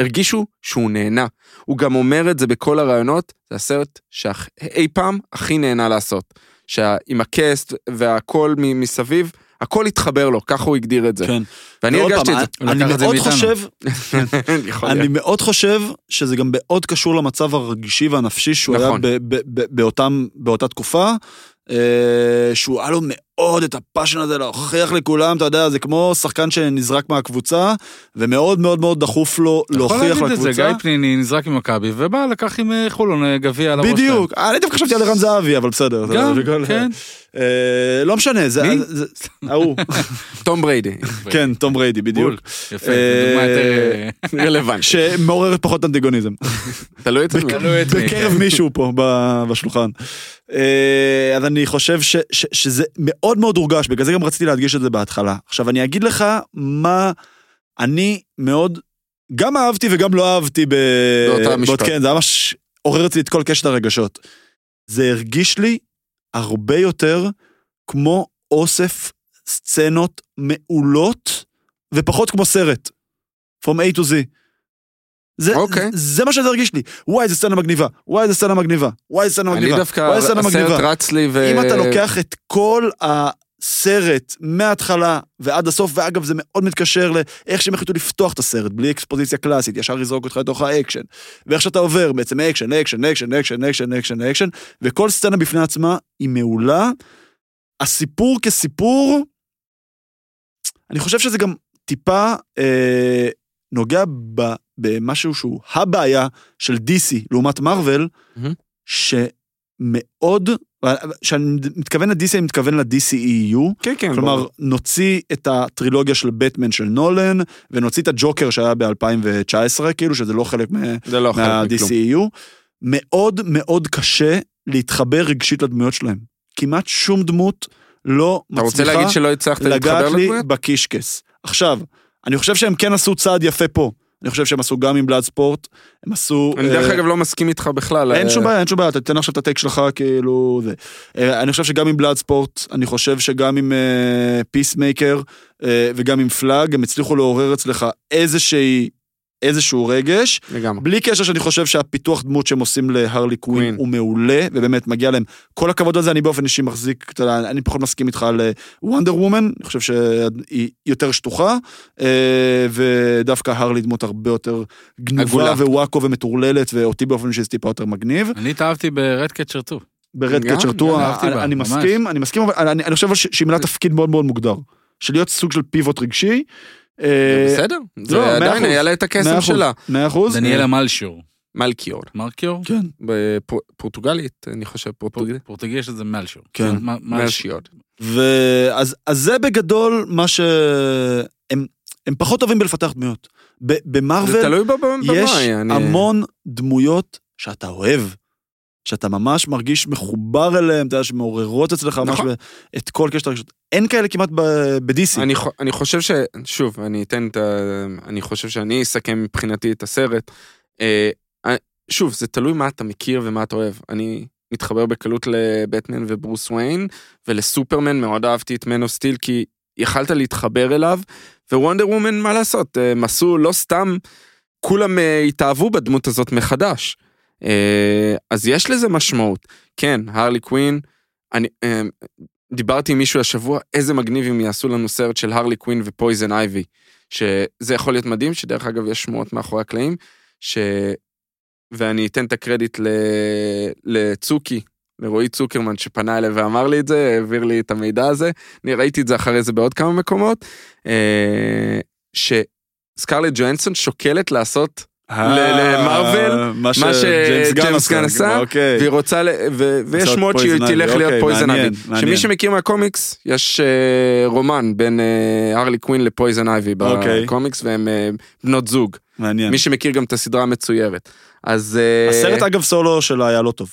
[SPEAKER 1] הרגישו שהוא נהנה. הוא גם אומר את זה בכל הראיונות, זה הסרט שאי פעם הכי נהנה לעשות. שה, עם הקאסט והכל מ- מסביב, הכל התחבר לו, ככה הוא הגדיר את זה.
[SPEAKER 2] כן.
[SPEAKER 1] ואני
[SPEAKER 2] ועוד
[SPEAKER 1] הרגשתי
[SPEAKER 2] פעם,
[SPEAKER 1] את
[SPEAKER 3] הוא
[SPEAKER 2] אני
[SPEAKER 3] לקח את זה
[SPEAKER 2] מאוד
[SPEAKER 3] מאיתנו.
[SPEAKER 2] חושב,
[SPEAKER 1] זה. [LAUGHS] יכול
[SPEAKER 2] אני
[SPEAKER 1] להיות.
[SPEAKER 2] מאוד חושב שזה גם מאוד קשור למצב הרגשי והנפשי שהוא היה
[SPEAKER 1] נכון.
[SPEAKER 2] ב- ב- ב- באותם- באותה תקופה. אה, שהוא היה לו מאוד את הפאשן הזה להוכיח לכולם, אתה יודע, זה כמו שחקן שנזרק מהקבוצה, ומאוד מאוד מאוד דחוף לו
[SPEAKER 3] יכול
[SPEAKER 2] להוכיח
[SPEAKER 3] להגיד את זה,
[SPEAKER 2] לקבוצה.
[SPEAKER 3] גיא פניני נזרק ממכבי, ובא, לקח עם אה, חולון אה, גביע על הראש.
[SPEAKER 2] בדיוק, אה, אני דווקא חשבתי על ערן זהבי, אבל בסדר.
[SPEAKER 3] שלהם.
[SPEAKER 2] אתה יודע,
[SPEAKER 3] גם,
[SPEAKER 2] בכל-
[SPEAKER 3] כן.
[SPEAKER 2] אה, לא משנה, זה...
[SPEAKER 3] מי?
[SPEAKER 2] זה-
[SPEAKER 3] [LAUGHS]
[SPEAKER 2] ההוא.
[SPEAKER 1] תום
[SPEAKER 2] [LAUGHS]
[SPEAKER 1] בריידי,
[SPEAKER 2] כן, תום בריידי, בדיוק.
[SPEAKER 3] בול. יפה, זו דוגמה יותר... אה,
[SPEAKER 1] רלוונטי. לא
[SPEAKER 2] שמעוררת פחות אנטגוניזם.
[SPEAKER 1] תלוי אצל מי.
[SPEAKER 3] תלוי את מי,
[SPEAKER 2] בקרב
[SPEAKER 3] כן.
[SPEAKER 2] מישהו פה ב- בשולחן. אה, אז אני חושב ש- ש- שזה מאוד מאוד הורגש, בגלל זה גם רציתי להדגיש את זה בהתחלה. עכשיו אני אגיד לך מה אני מאוד, גם אהבתי וגם לא אהבתי ב...
[SPEAKER 1] באותה המשפט.
[SPEAKER 2] בעוד- כן, זה ממש עורר אצלי את כל קשת הרגשות. זה הרגיש לי הרבה יותר כמו אוסף סצנות מעולות, ופחות כמו סרט. From A to Z. זה,
[SPEAKER 1] אוקיי.
[SPEAKER 2] זה מה שזה הרגיש לי. וואי, איזה סצנה מגניבה. וואי, איזה סצנה מגניבה. וואי, איזה סצנה
[SPEAKER 1] אני
[SPEAKER 2] מגניבה.
[SPEAKER 1] דווקא,
[SPEAKER 2] וואי, איזה סצנה
[SPEAKER 1] הסרט
[SPEAKER 2] מגניבה.
[SPEAKER 1] רץ לי ו...
[SPEAKER 2] אם אתה לוקח את כל הסרט מההתחלה ועד הסוף, ואגב, זה מאוד מתקשר לאיך שהם החליטו לפתוח את הסרט, בלי אקספוזיציה קלאסית, ישר לזרוק אותך לתוך האקשן. ואיך שאתה עובר בעצם מאקשן, לאקשן, לאקשן, לאקשן, לאקשן, לאקשן, לאקשן, וכל סצנה בפני עצמה היא מעולה. הסיפור כסיפור, אני חושב שזה גם טיפה אה, נוגע ב, במשהו שהוא הבעיה של DC לעומת מארוול,
[SPEAKER 1] מהמם.
[SPEAKER 2] שמאוד, כשאני מתכוון ל-DC, אני מתכוון ל-DCEU,
[SPEAKER 1] כן, כן.
[SPEAKER 2] כלומר,
[SPEAKER 1] ברור.
[SPEAKER 2] נוציא את הטרילוגיה של בטמן של נולן, ונוציא את הג'וקר שהיה ב-2019, כאילו, שזה לא חלק מה-
[SPEAKER 1] זה לא חלק מכלום.
[SPEAKER 2] מה-DCEU, מאוד מאוד קשה להתחבר רגשית לדמויות שלהם. כמעט שום דמות לא
[SPEAKER 1] אתה
[SPEAKER 2] מצליחה...
[SPEAKER 1] רוצה להגיד שלא הצלחת להתחבר
[SPEAKER 2] לגעת לי
[SPEAKER 1] לדמויות?
[SPEAKER 2] בקישקס. עכשיו, אני חושב שהם כן עשו צעד יפה פה. אני חושב שהם עשו גם עם בלאד ספורט, הם עשו...
[SPEAKER 1] אני
[SPEAKER 2] אה,
[SPEAKER 1] דרך אגב לא מסכים איתך בכלל.
[SPEAKER 2] אין
[SPEAKER 1] אה,
[SPEAKER 2] שום בעיה, אין שום בעיה, אתה תתן עכשיו את הטייק שלך, כאילו... זה. אה, אני חושב שגם עם בלאד ספורט, אני חושב שגם עם פיסמייקר וגם עם פלאג, הם הצליחו לעורר אצלך איזושהי... איזשהו רגש,
[SPEAKER 1] לגמרי.
[SPEAKER 2] בלי קשר שאני חושב שהפיתוח דמות שהם עושים להרלי קווין
[SPEAKER 1] קווין.
[SPEAKER 2] הוא מעולה, ובאמת מגיע להם כל הכבוד על זה, אני באופן אישי מחזיק, אתה יודע, אני פחות מסכים איתך על וונדר וומן, אני חושב שהיא יותר שטוחה, אה, ודווקא הרלי דמות הרבה יותר גנובה
[SPEAKER 1] עגולה.
[SPEAKER 2] ווואקו ומטורללת, ואותי באופן אישי זה טיפה יותר מגניב.
[SPEAKER 3] אני התאהבתי ברד קצ'ר 2.
[SPEAKER 2] ברד
[SPEAKER 1] גם,
[SPEAKER 2] קצ'רטורה,
[SPEAKER 1] גם
[SPEAKER 3] אהבתי
[SPEAKER 2] אני
[SPEAKER 3] בה,
[SPEAKER 2] אני
[SPEAKER 3] ממש.
[SPEAKER 2] מסכים, אני מסכים, אבל אני אני חושב אבל ש- שהיא מילאה תפקיד מאוד מאוד מוגדר, של להיות סוג של פיבוט רגשי.
[SPEAKER 1] זה בסדר.
[SPEAKER 2] לא, מאה
[SPEAKER 1] זה עדיין
[SPEAKER 2] אחוז.
[SPEAKER 1] היה לה את הקסם שלה.
[SPEAKER 2] מאה אחוז. אה,
[SPEAKER 3] דניאלה מלשיור.
[SPEAKER 1] מלכיאור.
[SPEAKER 3] מרקיור?
[SPEAKER 2] כן.
[SPEAKER 1] בפורטוגלית, אני חושב, פורטוגלית.
[SPEAKER 3] פורטוגי יש את זה מלשיור.
[SPEAKER 2] כן.
[SPEAKER 3] מ- מלשיור.
[SPEAKER 1] מלשיאור.
[SPEAKER 2] ואז אז זה בגדול מה ש... הם, הם פחות טובים בלפתח דמויות. ב-
[SPEAKER 1] זה
[SPEAKER 2] במרוויל
[SPEAKER 1] תלוי בב- בבמאי.
[SPEAKER 2] יש
[SPEAKER 1] אני-
[SPEAKER 2] המון דמויות שאתה אוהב, שאתה ממש מרגיש מחובר אליהן, אתה יודע, שמעוררות אצלך ממש
[SPEAKER 1] נכון.
[SPEAKER 2] ב- את כל קשת הרגשות. אין כאלה כמעט ב- ב-DC.
[SPEAKER 1] אני, חו- אני חושב ש... שוב, אני אתן את ה... אני חושב שאני אסכם מבחינתי את הסרט. אה, אה, שוב, זה תלוי מה אתה מכיר ומה אתה אוהב. אני מתחבר בקלות לבטמן וברוס וויין, ולסופרמן מאוד אהבתי את מן אוף סטיל, כי יכלת להתחבר אליו, ווונדר וומן, מה לעשות, אה, הם עשו לא סתם, כולם אה, התאהבו בדמות הזאת מחדש. אה, אז יש לזה משמעות. כן, הרלי קווין, אני... אה, דיברתי עם מישהו השבוע, איזה מגניב אם יעשו לנו סרט של הרלי קווין ופויזן אייבי. שזה יכול להיות מדהים, שדרך אגב יש שמועות מאחורי הקלעים, ש... ואני אתן את הקרדיט ל... לצוקי, לרועי צוקרמן שפנה אליי ואמר לי את זה, העביר לי את המידע הזה, אני ראיתי את זה אחרי זה בעוד כמה מקומות, אה, שסקרלט ג'ואנסון שוקלת לעשות, למרוויל,
[SPEAKER 2] אה, מה
[SPEAKER 1] מה שג'יימס גן עשה,
[SPEAKER 2] אוקיי.
[SPEAKER 1] והיא רוצה, ל... ו... ויש
[SPEAKER 2] לעשות
[SPEAKER 1] שמועות
[SPEAKER 2] פויזן
[SPEAKER 1] שהיא
[SPEAKER 2] אייבי,
[SPEAKER 1] תלך להיות
[SPEAKER 2] אוקיי,
[SPEAKER 1] פויזן אייבי.
[SPEAKER 2] מעניין, מעניין.
[SPEAKER 1] שמי שמכיר מהקומיקס, יש אה, רומן בין אה, הרלי קווין לפויזן אייבי
[SPEAKER 2] אוקיי.
[SPEAKER 1] בקומיקס, והן אה, בנות זוג.
[SPEAKER 2] מעניין.
[SPEAKER 1] מי שמכיר גם את הסדרה המצוירת. אז... אה,
[SPEAKER 2] הסרט אגב סולו שלה היה לא טוב,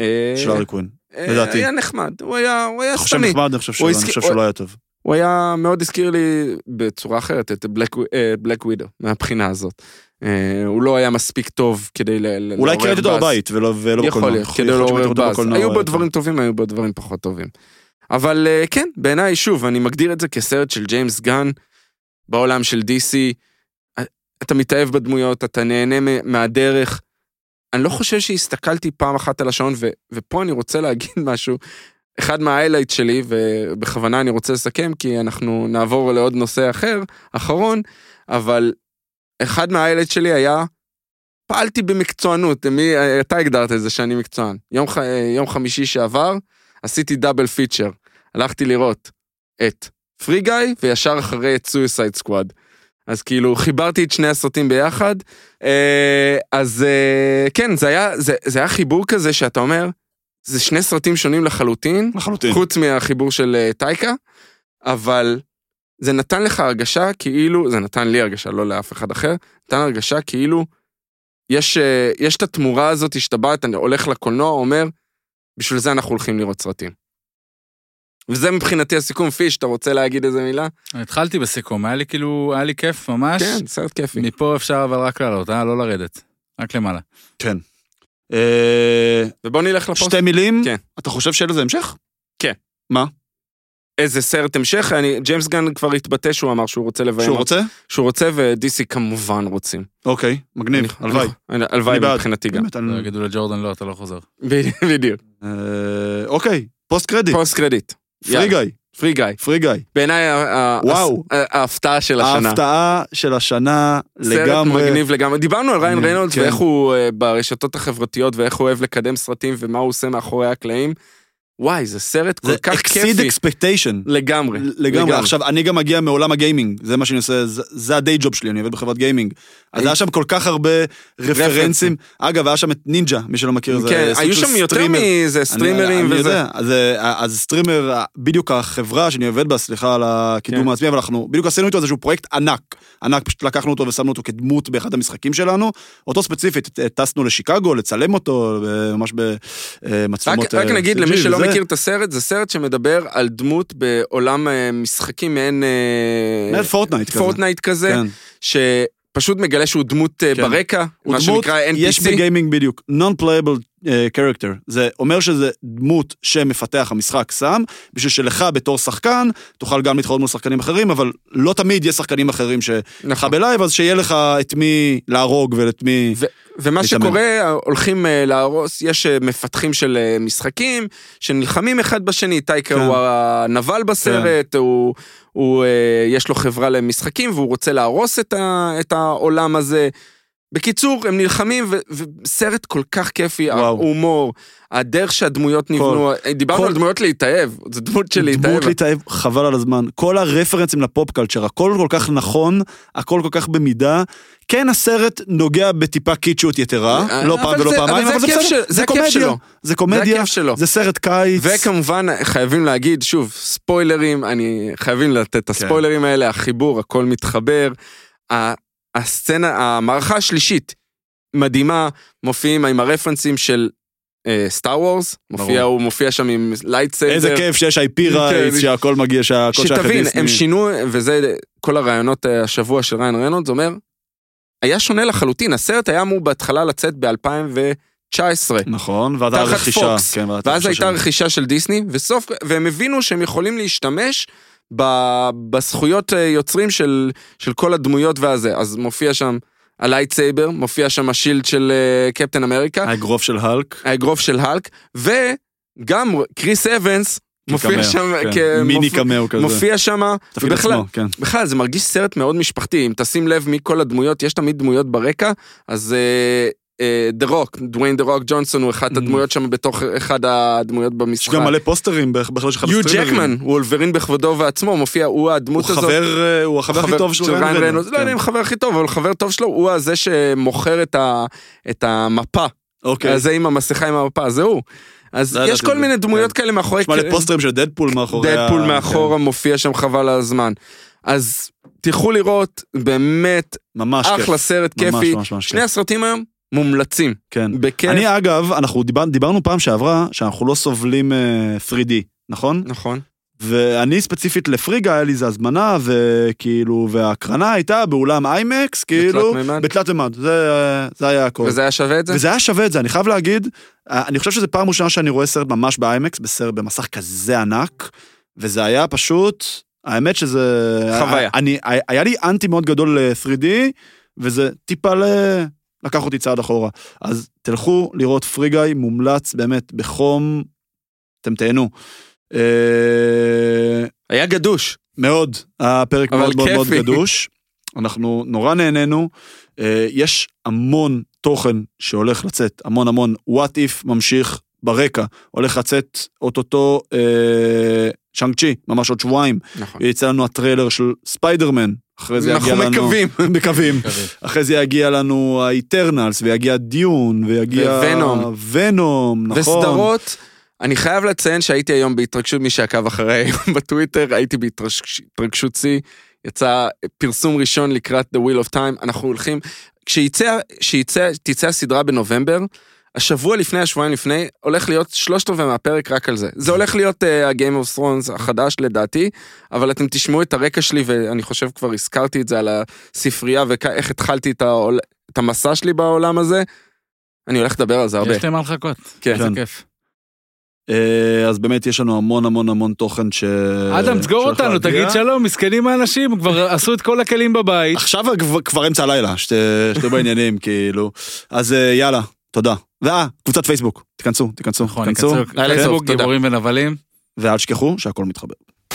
[SPEAKER 1] אה,
[SPEAKER 2] של הארי קווין.
[SPEAKER 1] אה,
[SPEAKER 2] לדעתי.
[SPEAKER 1] היה נחמד, הוא היה הוא היה
[SPEAKER 2] אני חושב
[SPEAKER 1] סתמי.
[SPEAKER 2] נחמד, אני חושב שלא,
[SPEAKER 1] הוא
[SPEAKER 2] אני
[SPEAKER 1] הסכי-
[SPEAKER 2] חושב
[SPEAKER 1] הוא-
[SPEAKER 2] שלא היה טוב.
[SPEAKER 1] הוא היה, מאוד הזכיר לי בצורה אחרת את בלק ווידו, מהבחינה הזאת. אה, הוא לא היה מספיק טוב כדי ל- ל- לעורר
[SPEAKER 2] אולי קראתי אותו
[SPEAKER 1] לא באז.
[SPEAKER 2] בבית ולא ולא
[SPEAKER 1] יכול
[SPEAKER 2] בקולנוע.
[SPEAKER 1] להיות, כדי
[SPEAKER 2] להיות
[SPEAKER 1] לעורר
[SPEAKER 2] שקראתי אותו
[SPEAKER 1] באז.
[SPEAKER 2] בקולנוע,
[SPEAKER 1] היו
[SPEAKER 2] הוא
[SPEAKER 1] בו
[SPEAKER 2] היה
[SPEAKER 1] דברים
[SPEAKER 2] טוב.
[SPEAKER 1] טובים, היו בו דברים פחות טובים. אבל אה, כן, בעיניי, שוב, אני מגדיר את זה כסרט של ג'יימס גן בעולם של DC. אה, אתה מתאהב בדמויות, אתה נהנה מ- מהדרך. אני לא חושב שהסתכלתי פעם אחת על השעון, ו- ופה אני רוצה להגיד [LAUGHS] משהו. אחד מההיילייט שלי, ובכוונה אני רוצה לסכם, כי אנחנו נעבור לעוד נושא אחר, אחרון, אבל אחד מההיילייט שלי היה, פעלתי במקצוענות, מי, אתה הגדרת את זה שאני מקצוען. יום, ח- יום חמישי שעבר, עשיתי דאבל פיצ'ר. הלכתי לראות את פרי גיא, וישר אחרי את סויסייד סקוואד. אז כאילו, חיברתי את שני הסרטים ביחד. אה, אז אה, כן, זה היה, זה, זה היה חיבור כזה שאתה אומר, זה שני סרטים שונים לחלוטין,
[SPEAKER 2] לחלוטין.
[SPEAKER 1] חוץ מהחיבור של אה, טייקה, אבל זה נתן לך הרגשה כאילו, זה נתן לי הרגשה, לא לאף אחד אחר, נתן הרגשה כאילו, יש, אה, יש את התמורה הזאת שאתה בא, אתה הולך לקולנוע, אומר, בשביל זה אנחנו הולכים לראות סרטים. וזה מבחינתי הסיכום, פיש, אתה רוצה להגיד איזה מילה?
[SPEAKER 3] התחלתי בסיכום, היה לי כאילו, היה לי כיף ממש.
[SPEAKER 1] כן, סרט כיפי.
[SPEAKER 3] מפה אפשר אבל רק לעלות, אה? לא לרדת. רק למעלה.
[SPEAKER 2] Mm. אה,
[SPEAKER 1] ובוא נלך לפוסט.
[SPEAKER 2] שתי מילים,
[SPEAKER 1] כן.
[SPEAKER 2] אתה חושב שיהיה לזה המשך?
[SPEAKER 1] איזה סרט המשך, אני, ג'יימס גן כבר התבטא שהוא אמר שהוא רוצה לביים.
[SPEAKER 2] שהוא רוצה?
[SPEAKER 1] שהוא רוצה, ו-DC כמובן רוצים.
[SPEAKER 2] אוקיי, מגניב,
[SPEAKER 1] אני-
[SPEAKER 2] הלוואי.
[SPEAKER 1] אני- הלוואי
[SPEAKER 2] אני בעד.
[SPEAKER 1] מבחינתי גם.
[SPEAKER 2] באמת, אני-
[SPEAKER 3] לא יגידו לג'ורדן לא, אתה לא
[SPEAKER 2] [LAUGHS]
[SPEAKER 3] חוזר.
[SPEAKER 1] בדיוק.
[SPEAKER 2] אה, אוקיי, פוסט קרדיט,
[SPEAKER 1] פוסט קרדיט.
[SPEAKER 2] פרי גיא,
[SPEAKER 1] פרי גיא.
[SPEAKER 2] פרי גיא.
[SPEAKER 1] בעיניי ה- ה-
[SPEAKER 2] וואו.
[SPEAKER 1] ה- ההפתעה של השנה.
[SPEAKER 2] ההפתעה של השנה לגמרי.
[SPEAKER 1] סרט מגניב לגמרי. דיברנו על ריין
[SPEAKER 2] כן.
[SPEAKER 1] ריינולדס ואיך הוא אה, ברשתות החברתיות ואיך הוא אוהב לקדם סרטים ומה הוא עושה מאחורי הקלעים. וואי, זה סרט כל
[SPEAKER 2] זה
[SPEAKER 1] כך
[SPEAKER 2] exceed
[SPEAKER 1] כיפי.
[SPEAKER 2] expectation.
[SPEAKER 1] לגמרי.
[SPEAKER 2] לגמרי. עכשיו, אני גם מגיע מעולם הגיימינג, זה מה שאני עושה, זה- זה הדיי ג'וב שלי, אני עובד בחברת גיימינג. אז היה שם כל כך הרבה רפרנסים.
[SPEAKER 1] רפרנסים.
[SPEAKER 2] אגב, היה שם את נינג'ה, מי שלא מכיר, זה
[SPEAKER 1] כן,
[SPEAKER 2] סוג
[SPEAKER 1] היו
[SPEAKER 2] של
[SPEAKER 1] שם יותר
[SPEAKER 2] סטרימר.
[SPEAKER 1] מזה, סטרימרים
[SPEAKER 2] אני, אני
[SPEAKER 1] וזה.
[SPEAKER 2] יודע, אז, אה, אז סטרימר, בדיוק החברה שאני עובד בה, סליחה על הקידום
[SPEAKER 1] כן.
[SPEAKER 2] העצמי, אבל אנחנו בדיוק עשינו איתו איזשהו פרויקט ענק. ענק, פשוט לקחנו אותו ושמנו אותו כדמות באחד המשחקים שלנו. אותו ספציפית, אה, טסנו לשיקגו לצלם אותו, אה, ממש אה,
[SPEAKER 1] רק,
[SPEAKER 2] במצלמות...
[SPEAKER 1] רק נגיד למי שלא מכיר את הסרט, זה סרט שמדבר על דמות בעולם אה, משחקים מעין אה,
[SPEAKER 2] מעין פורטנייט כזה.
[SPEAKER 1] פורטנייט כזה,
[SPEAKER 2] כן.
[SPEAKER 1] שפשוט מגלה שהוא דמות אה,
[SPEAKER 2] כן.
[SPEAKER 1] ברקע,
[SPEAKER 2] הוא
[SPEAKER 1] מה
[SPEAKER 2] דמות,
[SPEAKER 1] שנקרא NPC.
[SPEAKER 2] יש בגיימינג בדיוק, non-playable uh, character. זה אומר שזה דמות שמפתח המשחק שם, בשביל שלך בתור שחקן, תוכל גם להתחרות מול שחקנים אחרים, אבל לא תמיד יש שחקנים אחרים שלך
[SPEAKER 1] נכון.
[SPEAKER 2] בלייב, אז שיהיה לך את מי להרוג ואת מי...
[SPEAKER 1] ו- ומה
[SPEAKER 2] להתאמן.
[SPEAKER 1] שקורה, הולכים אה, להרוס, יש אה, מפתחים של אה, משחקים שנלחמים אחד בשני, טייקר
[SPEAKER 2] כן.
[SPEAKER 1] הוא הנבל בסרט, הוא, הוא, אה, יש לו חברה למשחקים והוא רוצה להרוס את, ה, את העולם הזה. בקיצור, הם נלחמים, ו- וסרט כל כך כיפי,
[SPEAKER 2] וואו.
[SPEAKER 1] ההומור, הדרך שהדמויות נבנו, אה, דיברנו
[SPEAKER 2] כל-
[SPEAKER 1] על דמויות להתאהב, זו דמות של להתאהב.
[SPEAKER 2] דמות להתאהב, חבל על הזמן. כל הרפרנסים לפופ קלצ'ר, הכל כל כך נכון, הכל כל כך במידה. כן, הסרט נוגע בטיפה קיצ'יות יתרה,
[SPEAKER 1] אה,
[SPEAKER 2] לא
[SPEAKER 1] אבל
[SPEAKER 2] פעם
[SPEAKER 1] זה-
[SPEAKER 2] ולא
[SPEAKER 1] אבל
[SPEAKER 2] פעמיים,
[SPEAKER 1] זה
[SPEAKER 2] אבל זה
[SPEAKER 1] הכיף
[SPEAKER 2] בסדר,
[SPEAKER 1] של- זה
[SPEAKER 2] זה
[SPEAKER 1] הכיף
[SPEAKER 2] קומדיה,
[SPEAKER 1] שלו.
[SPEAKER 2] זה
[SPEAKER 1] זה
[SPEAKER 2] קומדיה,
[SPEAKER 1] הכיף שלו.
[SPEAKER 2] זה סרט קיץ.
[SPEAKER 1] וכמובן, חייבים להגיד, שוב, ספוילרים, אני חייבים לתת את
[SPEAKER 2] כן.
[SPEAKER 1] הספוילרים האלה, החיבור, הכל מתחבר. ה- הסצנה, המערכה השלישית, מדהימה, מופיעים עם הרפרנסים של סטאר וורס, מופיע,
[SPEAKER 2] ברור.
[SPEAKER 1] הוא מופיע שם עם לייטסייבר.
[SPEAKER 2] איזה כיף שיש IP רייט,
[SPEAKER 1] כן.
[SPEAKER 2] שהכל מגיע, שהכל שייך
[SPEAKER 1] שתבין,
[SPEAKER 2] לדיסני.
[SPEAKER 1] הם שינו, וזה כל הרעיונות אה, השבוע של ריין ריינולדס אומר, היה שונה לחלוטין, הסרט היה אמור בהתחלה לצאת ב-2019.
[SPEAKER 2] נכון, ואז הייתה
[SPEAKER 1] תחת
[SPEAKER 2] רכישה.
[SPEAKER 1] פוקס.
[SPEAKER 2] כן,
[SPEAKER 1] ואז הייתה
[SPEAKER 2] רכישה.
[SPEAKER 1] רכישה של דיסני, וסוף, והם הבינו שהם יכולים להשתמש ב, בזכויות אה, יוצרים של, של כל הדמויות והזה. אז מופיע שם הלייטסייבר, מופיע שם השילד של אה, קפטן אמריקה,
[SPEAKER 2] האגרוף של האלק.
[SPEAKER 1] האגרוף של האלק, וגם קריס אבנס מופיע
[SPEAKER 2] כקמע,
[SPEAKER 1] שם,
[SPEAKER 2] כן.
[SPEAKER 1] כ-
[SPEAKER 2] מיני
[SPEAKER 1] מופ-
[SPEAKER 2] קמאו כזה.
[SPEAKER 1] אה, מופיע שם,
[SPEAKER 2] תפקיד
[SPEAKER 1] ובכלל-
[SPEAKER 2] עצמו, כן.
[SPEAKER 1] בכלל זה מרגיש סרט מאוד משפחתי, אם תשים לב מכל הדמויות, יש תמיד דמויות ברקע, אז אה, דה רוק, דוויין דה רוק ג'ונסון הוא אחת
[SPEAKER 2] Mm.
[SPEAKER 1] הדמויות שם בתוך אחד הדמויות
[SPEAKER 2] יש
[SPEAKER 1] במשחק.
[SPEAKER 2] גם מלא פוסטרים בכ- בכלל של
[SPEAKER 1] יו
[SPEAKER 2] חלוצים.
[SPEAKER 1] ג'קמן, וולברין בכבודו ועצמו, מופיע, הוא הדמות
[SPEAKER 2] הוא
[SPEAKER 1] הזאת.
[SPEAKER 2] חבר, אה, הוא החבר הכי טוב של ריין רנולדס.
[SPEAKER 1] לא יודע אם
[SPEAKER 2] כן.
[SPEAKER 1] חבר הכי טוב, אבל חבר טוב שלו, הוא הזה שמוכר את ה- את המפה.
[SPEAKER 2] אוקיי.
[SPEAKER 1] זה עם המסכה עם המפה, זה הוא. אז
[SPEAKER 2] לא
[SPEAKER 1] יש
[SPEAKER 2] ידעתי
[SPEAKER 1] כל
[SPEAKER 2] את זה.
[SPEAKER 1] מיני דמויות כאלה מאחורי...
[SPEAKER 2] יש מלא פוסטרים של דדפול מאחורי ה-
[SPEAKER 1] דדפול
[SPEAKER 2] כן.
[SPEAKER 1] מאחורה מופיע שם חבל על הזמן. אז תלכו לראות, באמת,
[SPEAKER 2] ממש כיף.
[SPEAKER 1] אחלה סרט
[SPEAKER 2] ממש,
[SPEAKER 1] כיפי.
[SPEAKER 2] ממש ממש
[SPEAKER 1] שני
[SPEAKER 2] כיף.
[SPEAKER 1] הסרטים היום מומלצים.
[SPEAKER 2] כן.
[SPEAKER 1] בכיף.
[SPEAKER 2] אני אגב, אנחנו דיבר- דיברנו פעם שעברה שאנחנו לא סובלים אה, 3D, נכון?
[SPEAKER 1] נכון.
[SPEAKER 2] ואני ספציפית לפריגה היה לי איזה הזמנה, וכאילו, וההקרנה הייתה באולם איימקס, כאילו,
[SPEAKER 1] בתלת מימד.
[SPEAKER 2] בתלת מימד, זה, אה, זה היה הכל.
[SPEAKER 1] וזה היה שווה את זה?
[SPEAKER 2] וזה היה שווה את זה, אני חייב להגיד, אה, אני חושב שזו פעם ראשונה שאני רואה סרט ממש באיימקס, בסרט במסך כזה ענק, וזה היה פשוט, האמת שזה... אה,
[SPEAKER 1] חוויה.
[SPEAKER 2] אני, היה לי אנטי מאוד גדול ל-3D, וזה טיפה ל... לקח אותי צעד אחורה. אז תלכו לראות פרי גיא, מומלץ באמת בחום, אתם תהנו. אה,
[SPEAKER 1] היה גדוש.
[SPEAKER 2] מאוד, הפרק
[SPEAKER 1] אבל
[SPEAKER 2] מאוד מאוד מאוד
[SPEAKER 1] כיפי.
[SPEAKER 2] גדוש. אנחנו נורא נהנינו, אה, יש המון תוכן שהולך לצאת, המון המון what if ממשיך ברקע, הולך לצאת אוטוטו אה, צ'אנג צ'י, ממש עוד שבועיים,
[SPEAKER 1] נכון.
[SPEAKER 2] יצא לנו הטריילר של ספיידרמן, אחרי זה יגיע
[SPEAKER 1] אנחנו
[SPEAKER 2] לנו...
[SPEAKER 1] מקווים.
[SPEAKER 2] [LAUGHS] מקווים. אחרי זה יגיע לנו האיטרנלס, ויגיע דיון, ויגיע...
[SPEAKER 1] וונום.
[SPEAKER 2] ונום, נכון.
[SPEAKER 1] וסדרות, אני חייב לציין שהייתי היום בהתרגשות, מי שעקב אחריי היום בטוויטר, הייתי בהתרגש- בהתרגשות שיא, יצא פרסום ראשון לקראת The Wheel of Time, אנחנו הולכים, כשיצא, כשיצא, תצא הסדרה בנובמבר, השבוע לפני, השבועיים לפני, הולך להיות שלושת רבעי מהפרק רק על זה. זה הולך להיות uh, ה-game of Thrones החדש לדעתי, אבל אתם תשמעו את הרקע שלי, ואני חושב כבר הזכרתי את זה על הספרייה ואיך התחלתי את, העול... את המסע שלי בעולם הזה. אני הולך לדבר על זה הרבה.
[SPEAKER 3] יש להם מה לחכות.
[SPEAKER 1] כן.
[SPEAKER 3] איזה
[SPEAKER 2] כן.
[SPEAKER 3] כיף.
[SPEAKER 2] אה, אז באמת יש לנו המון המון המון תוכן ש...
[SPEAKER 3] אדם, תסגור
[SPEAKER 2] שהולך
[SPEAKER 3] אותנו,
[SPEAKER 2] להגיע.
[SPEAKER 3] תגיד שלום, מסכנים האנשים, כבר עשו את כל הכלים בבית.
[SPEAKER 2] עכשיו כבר- כבר אמצע הלילה, שת- שתהיו בעניינים, [LAUGHS] כאילו. אז אה, יאללה, תודה. ואה, קבוצת פייסבוק, תיכנסו, תיכנסו,
[SPEAKER 3] נכון, ניכנסו.
[SPEAKER 1] לילה
[SPEAKER 2] כן.
[SPEAKER 1] טוב,
[SPEAKER 3] פייסבוק,
[SPEAKER 1] תודה.
[SPEAKER 3] גיבורים ונבלים.
[SPEAKER 2] ואל תשכחו שהכל מתחבר.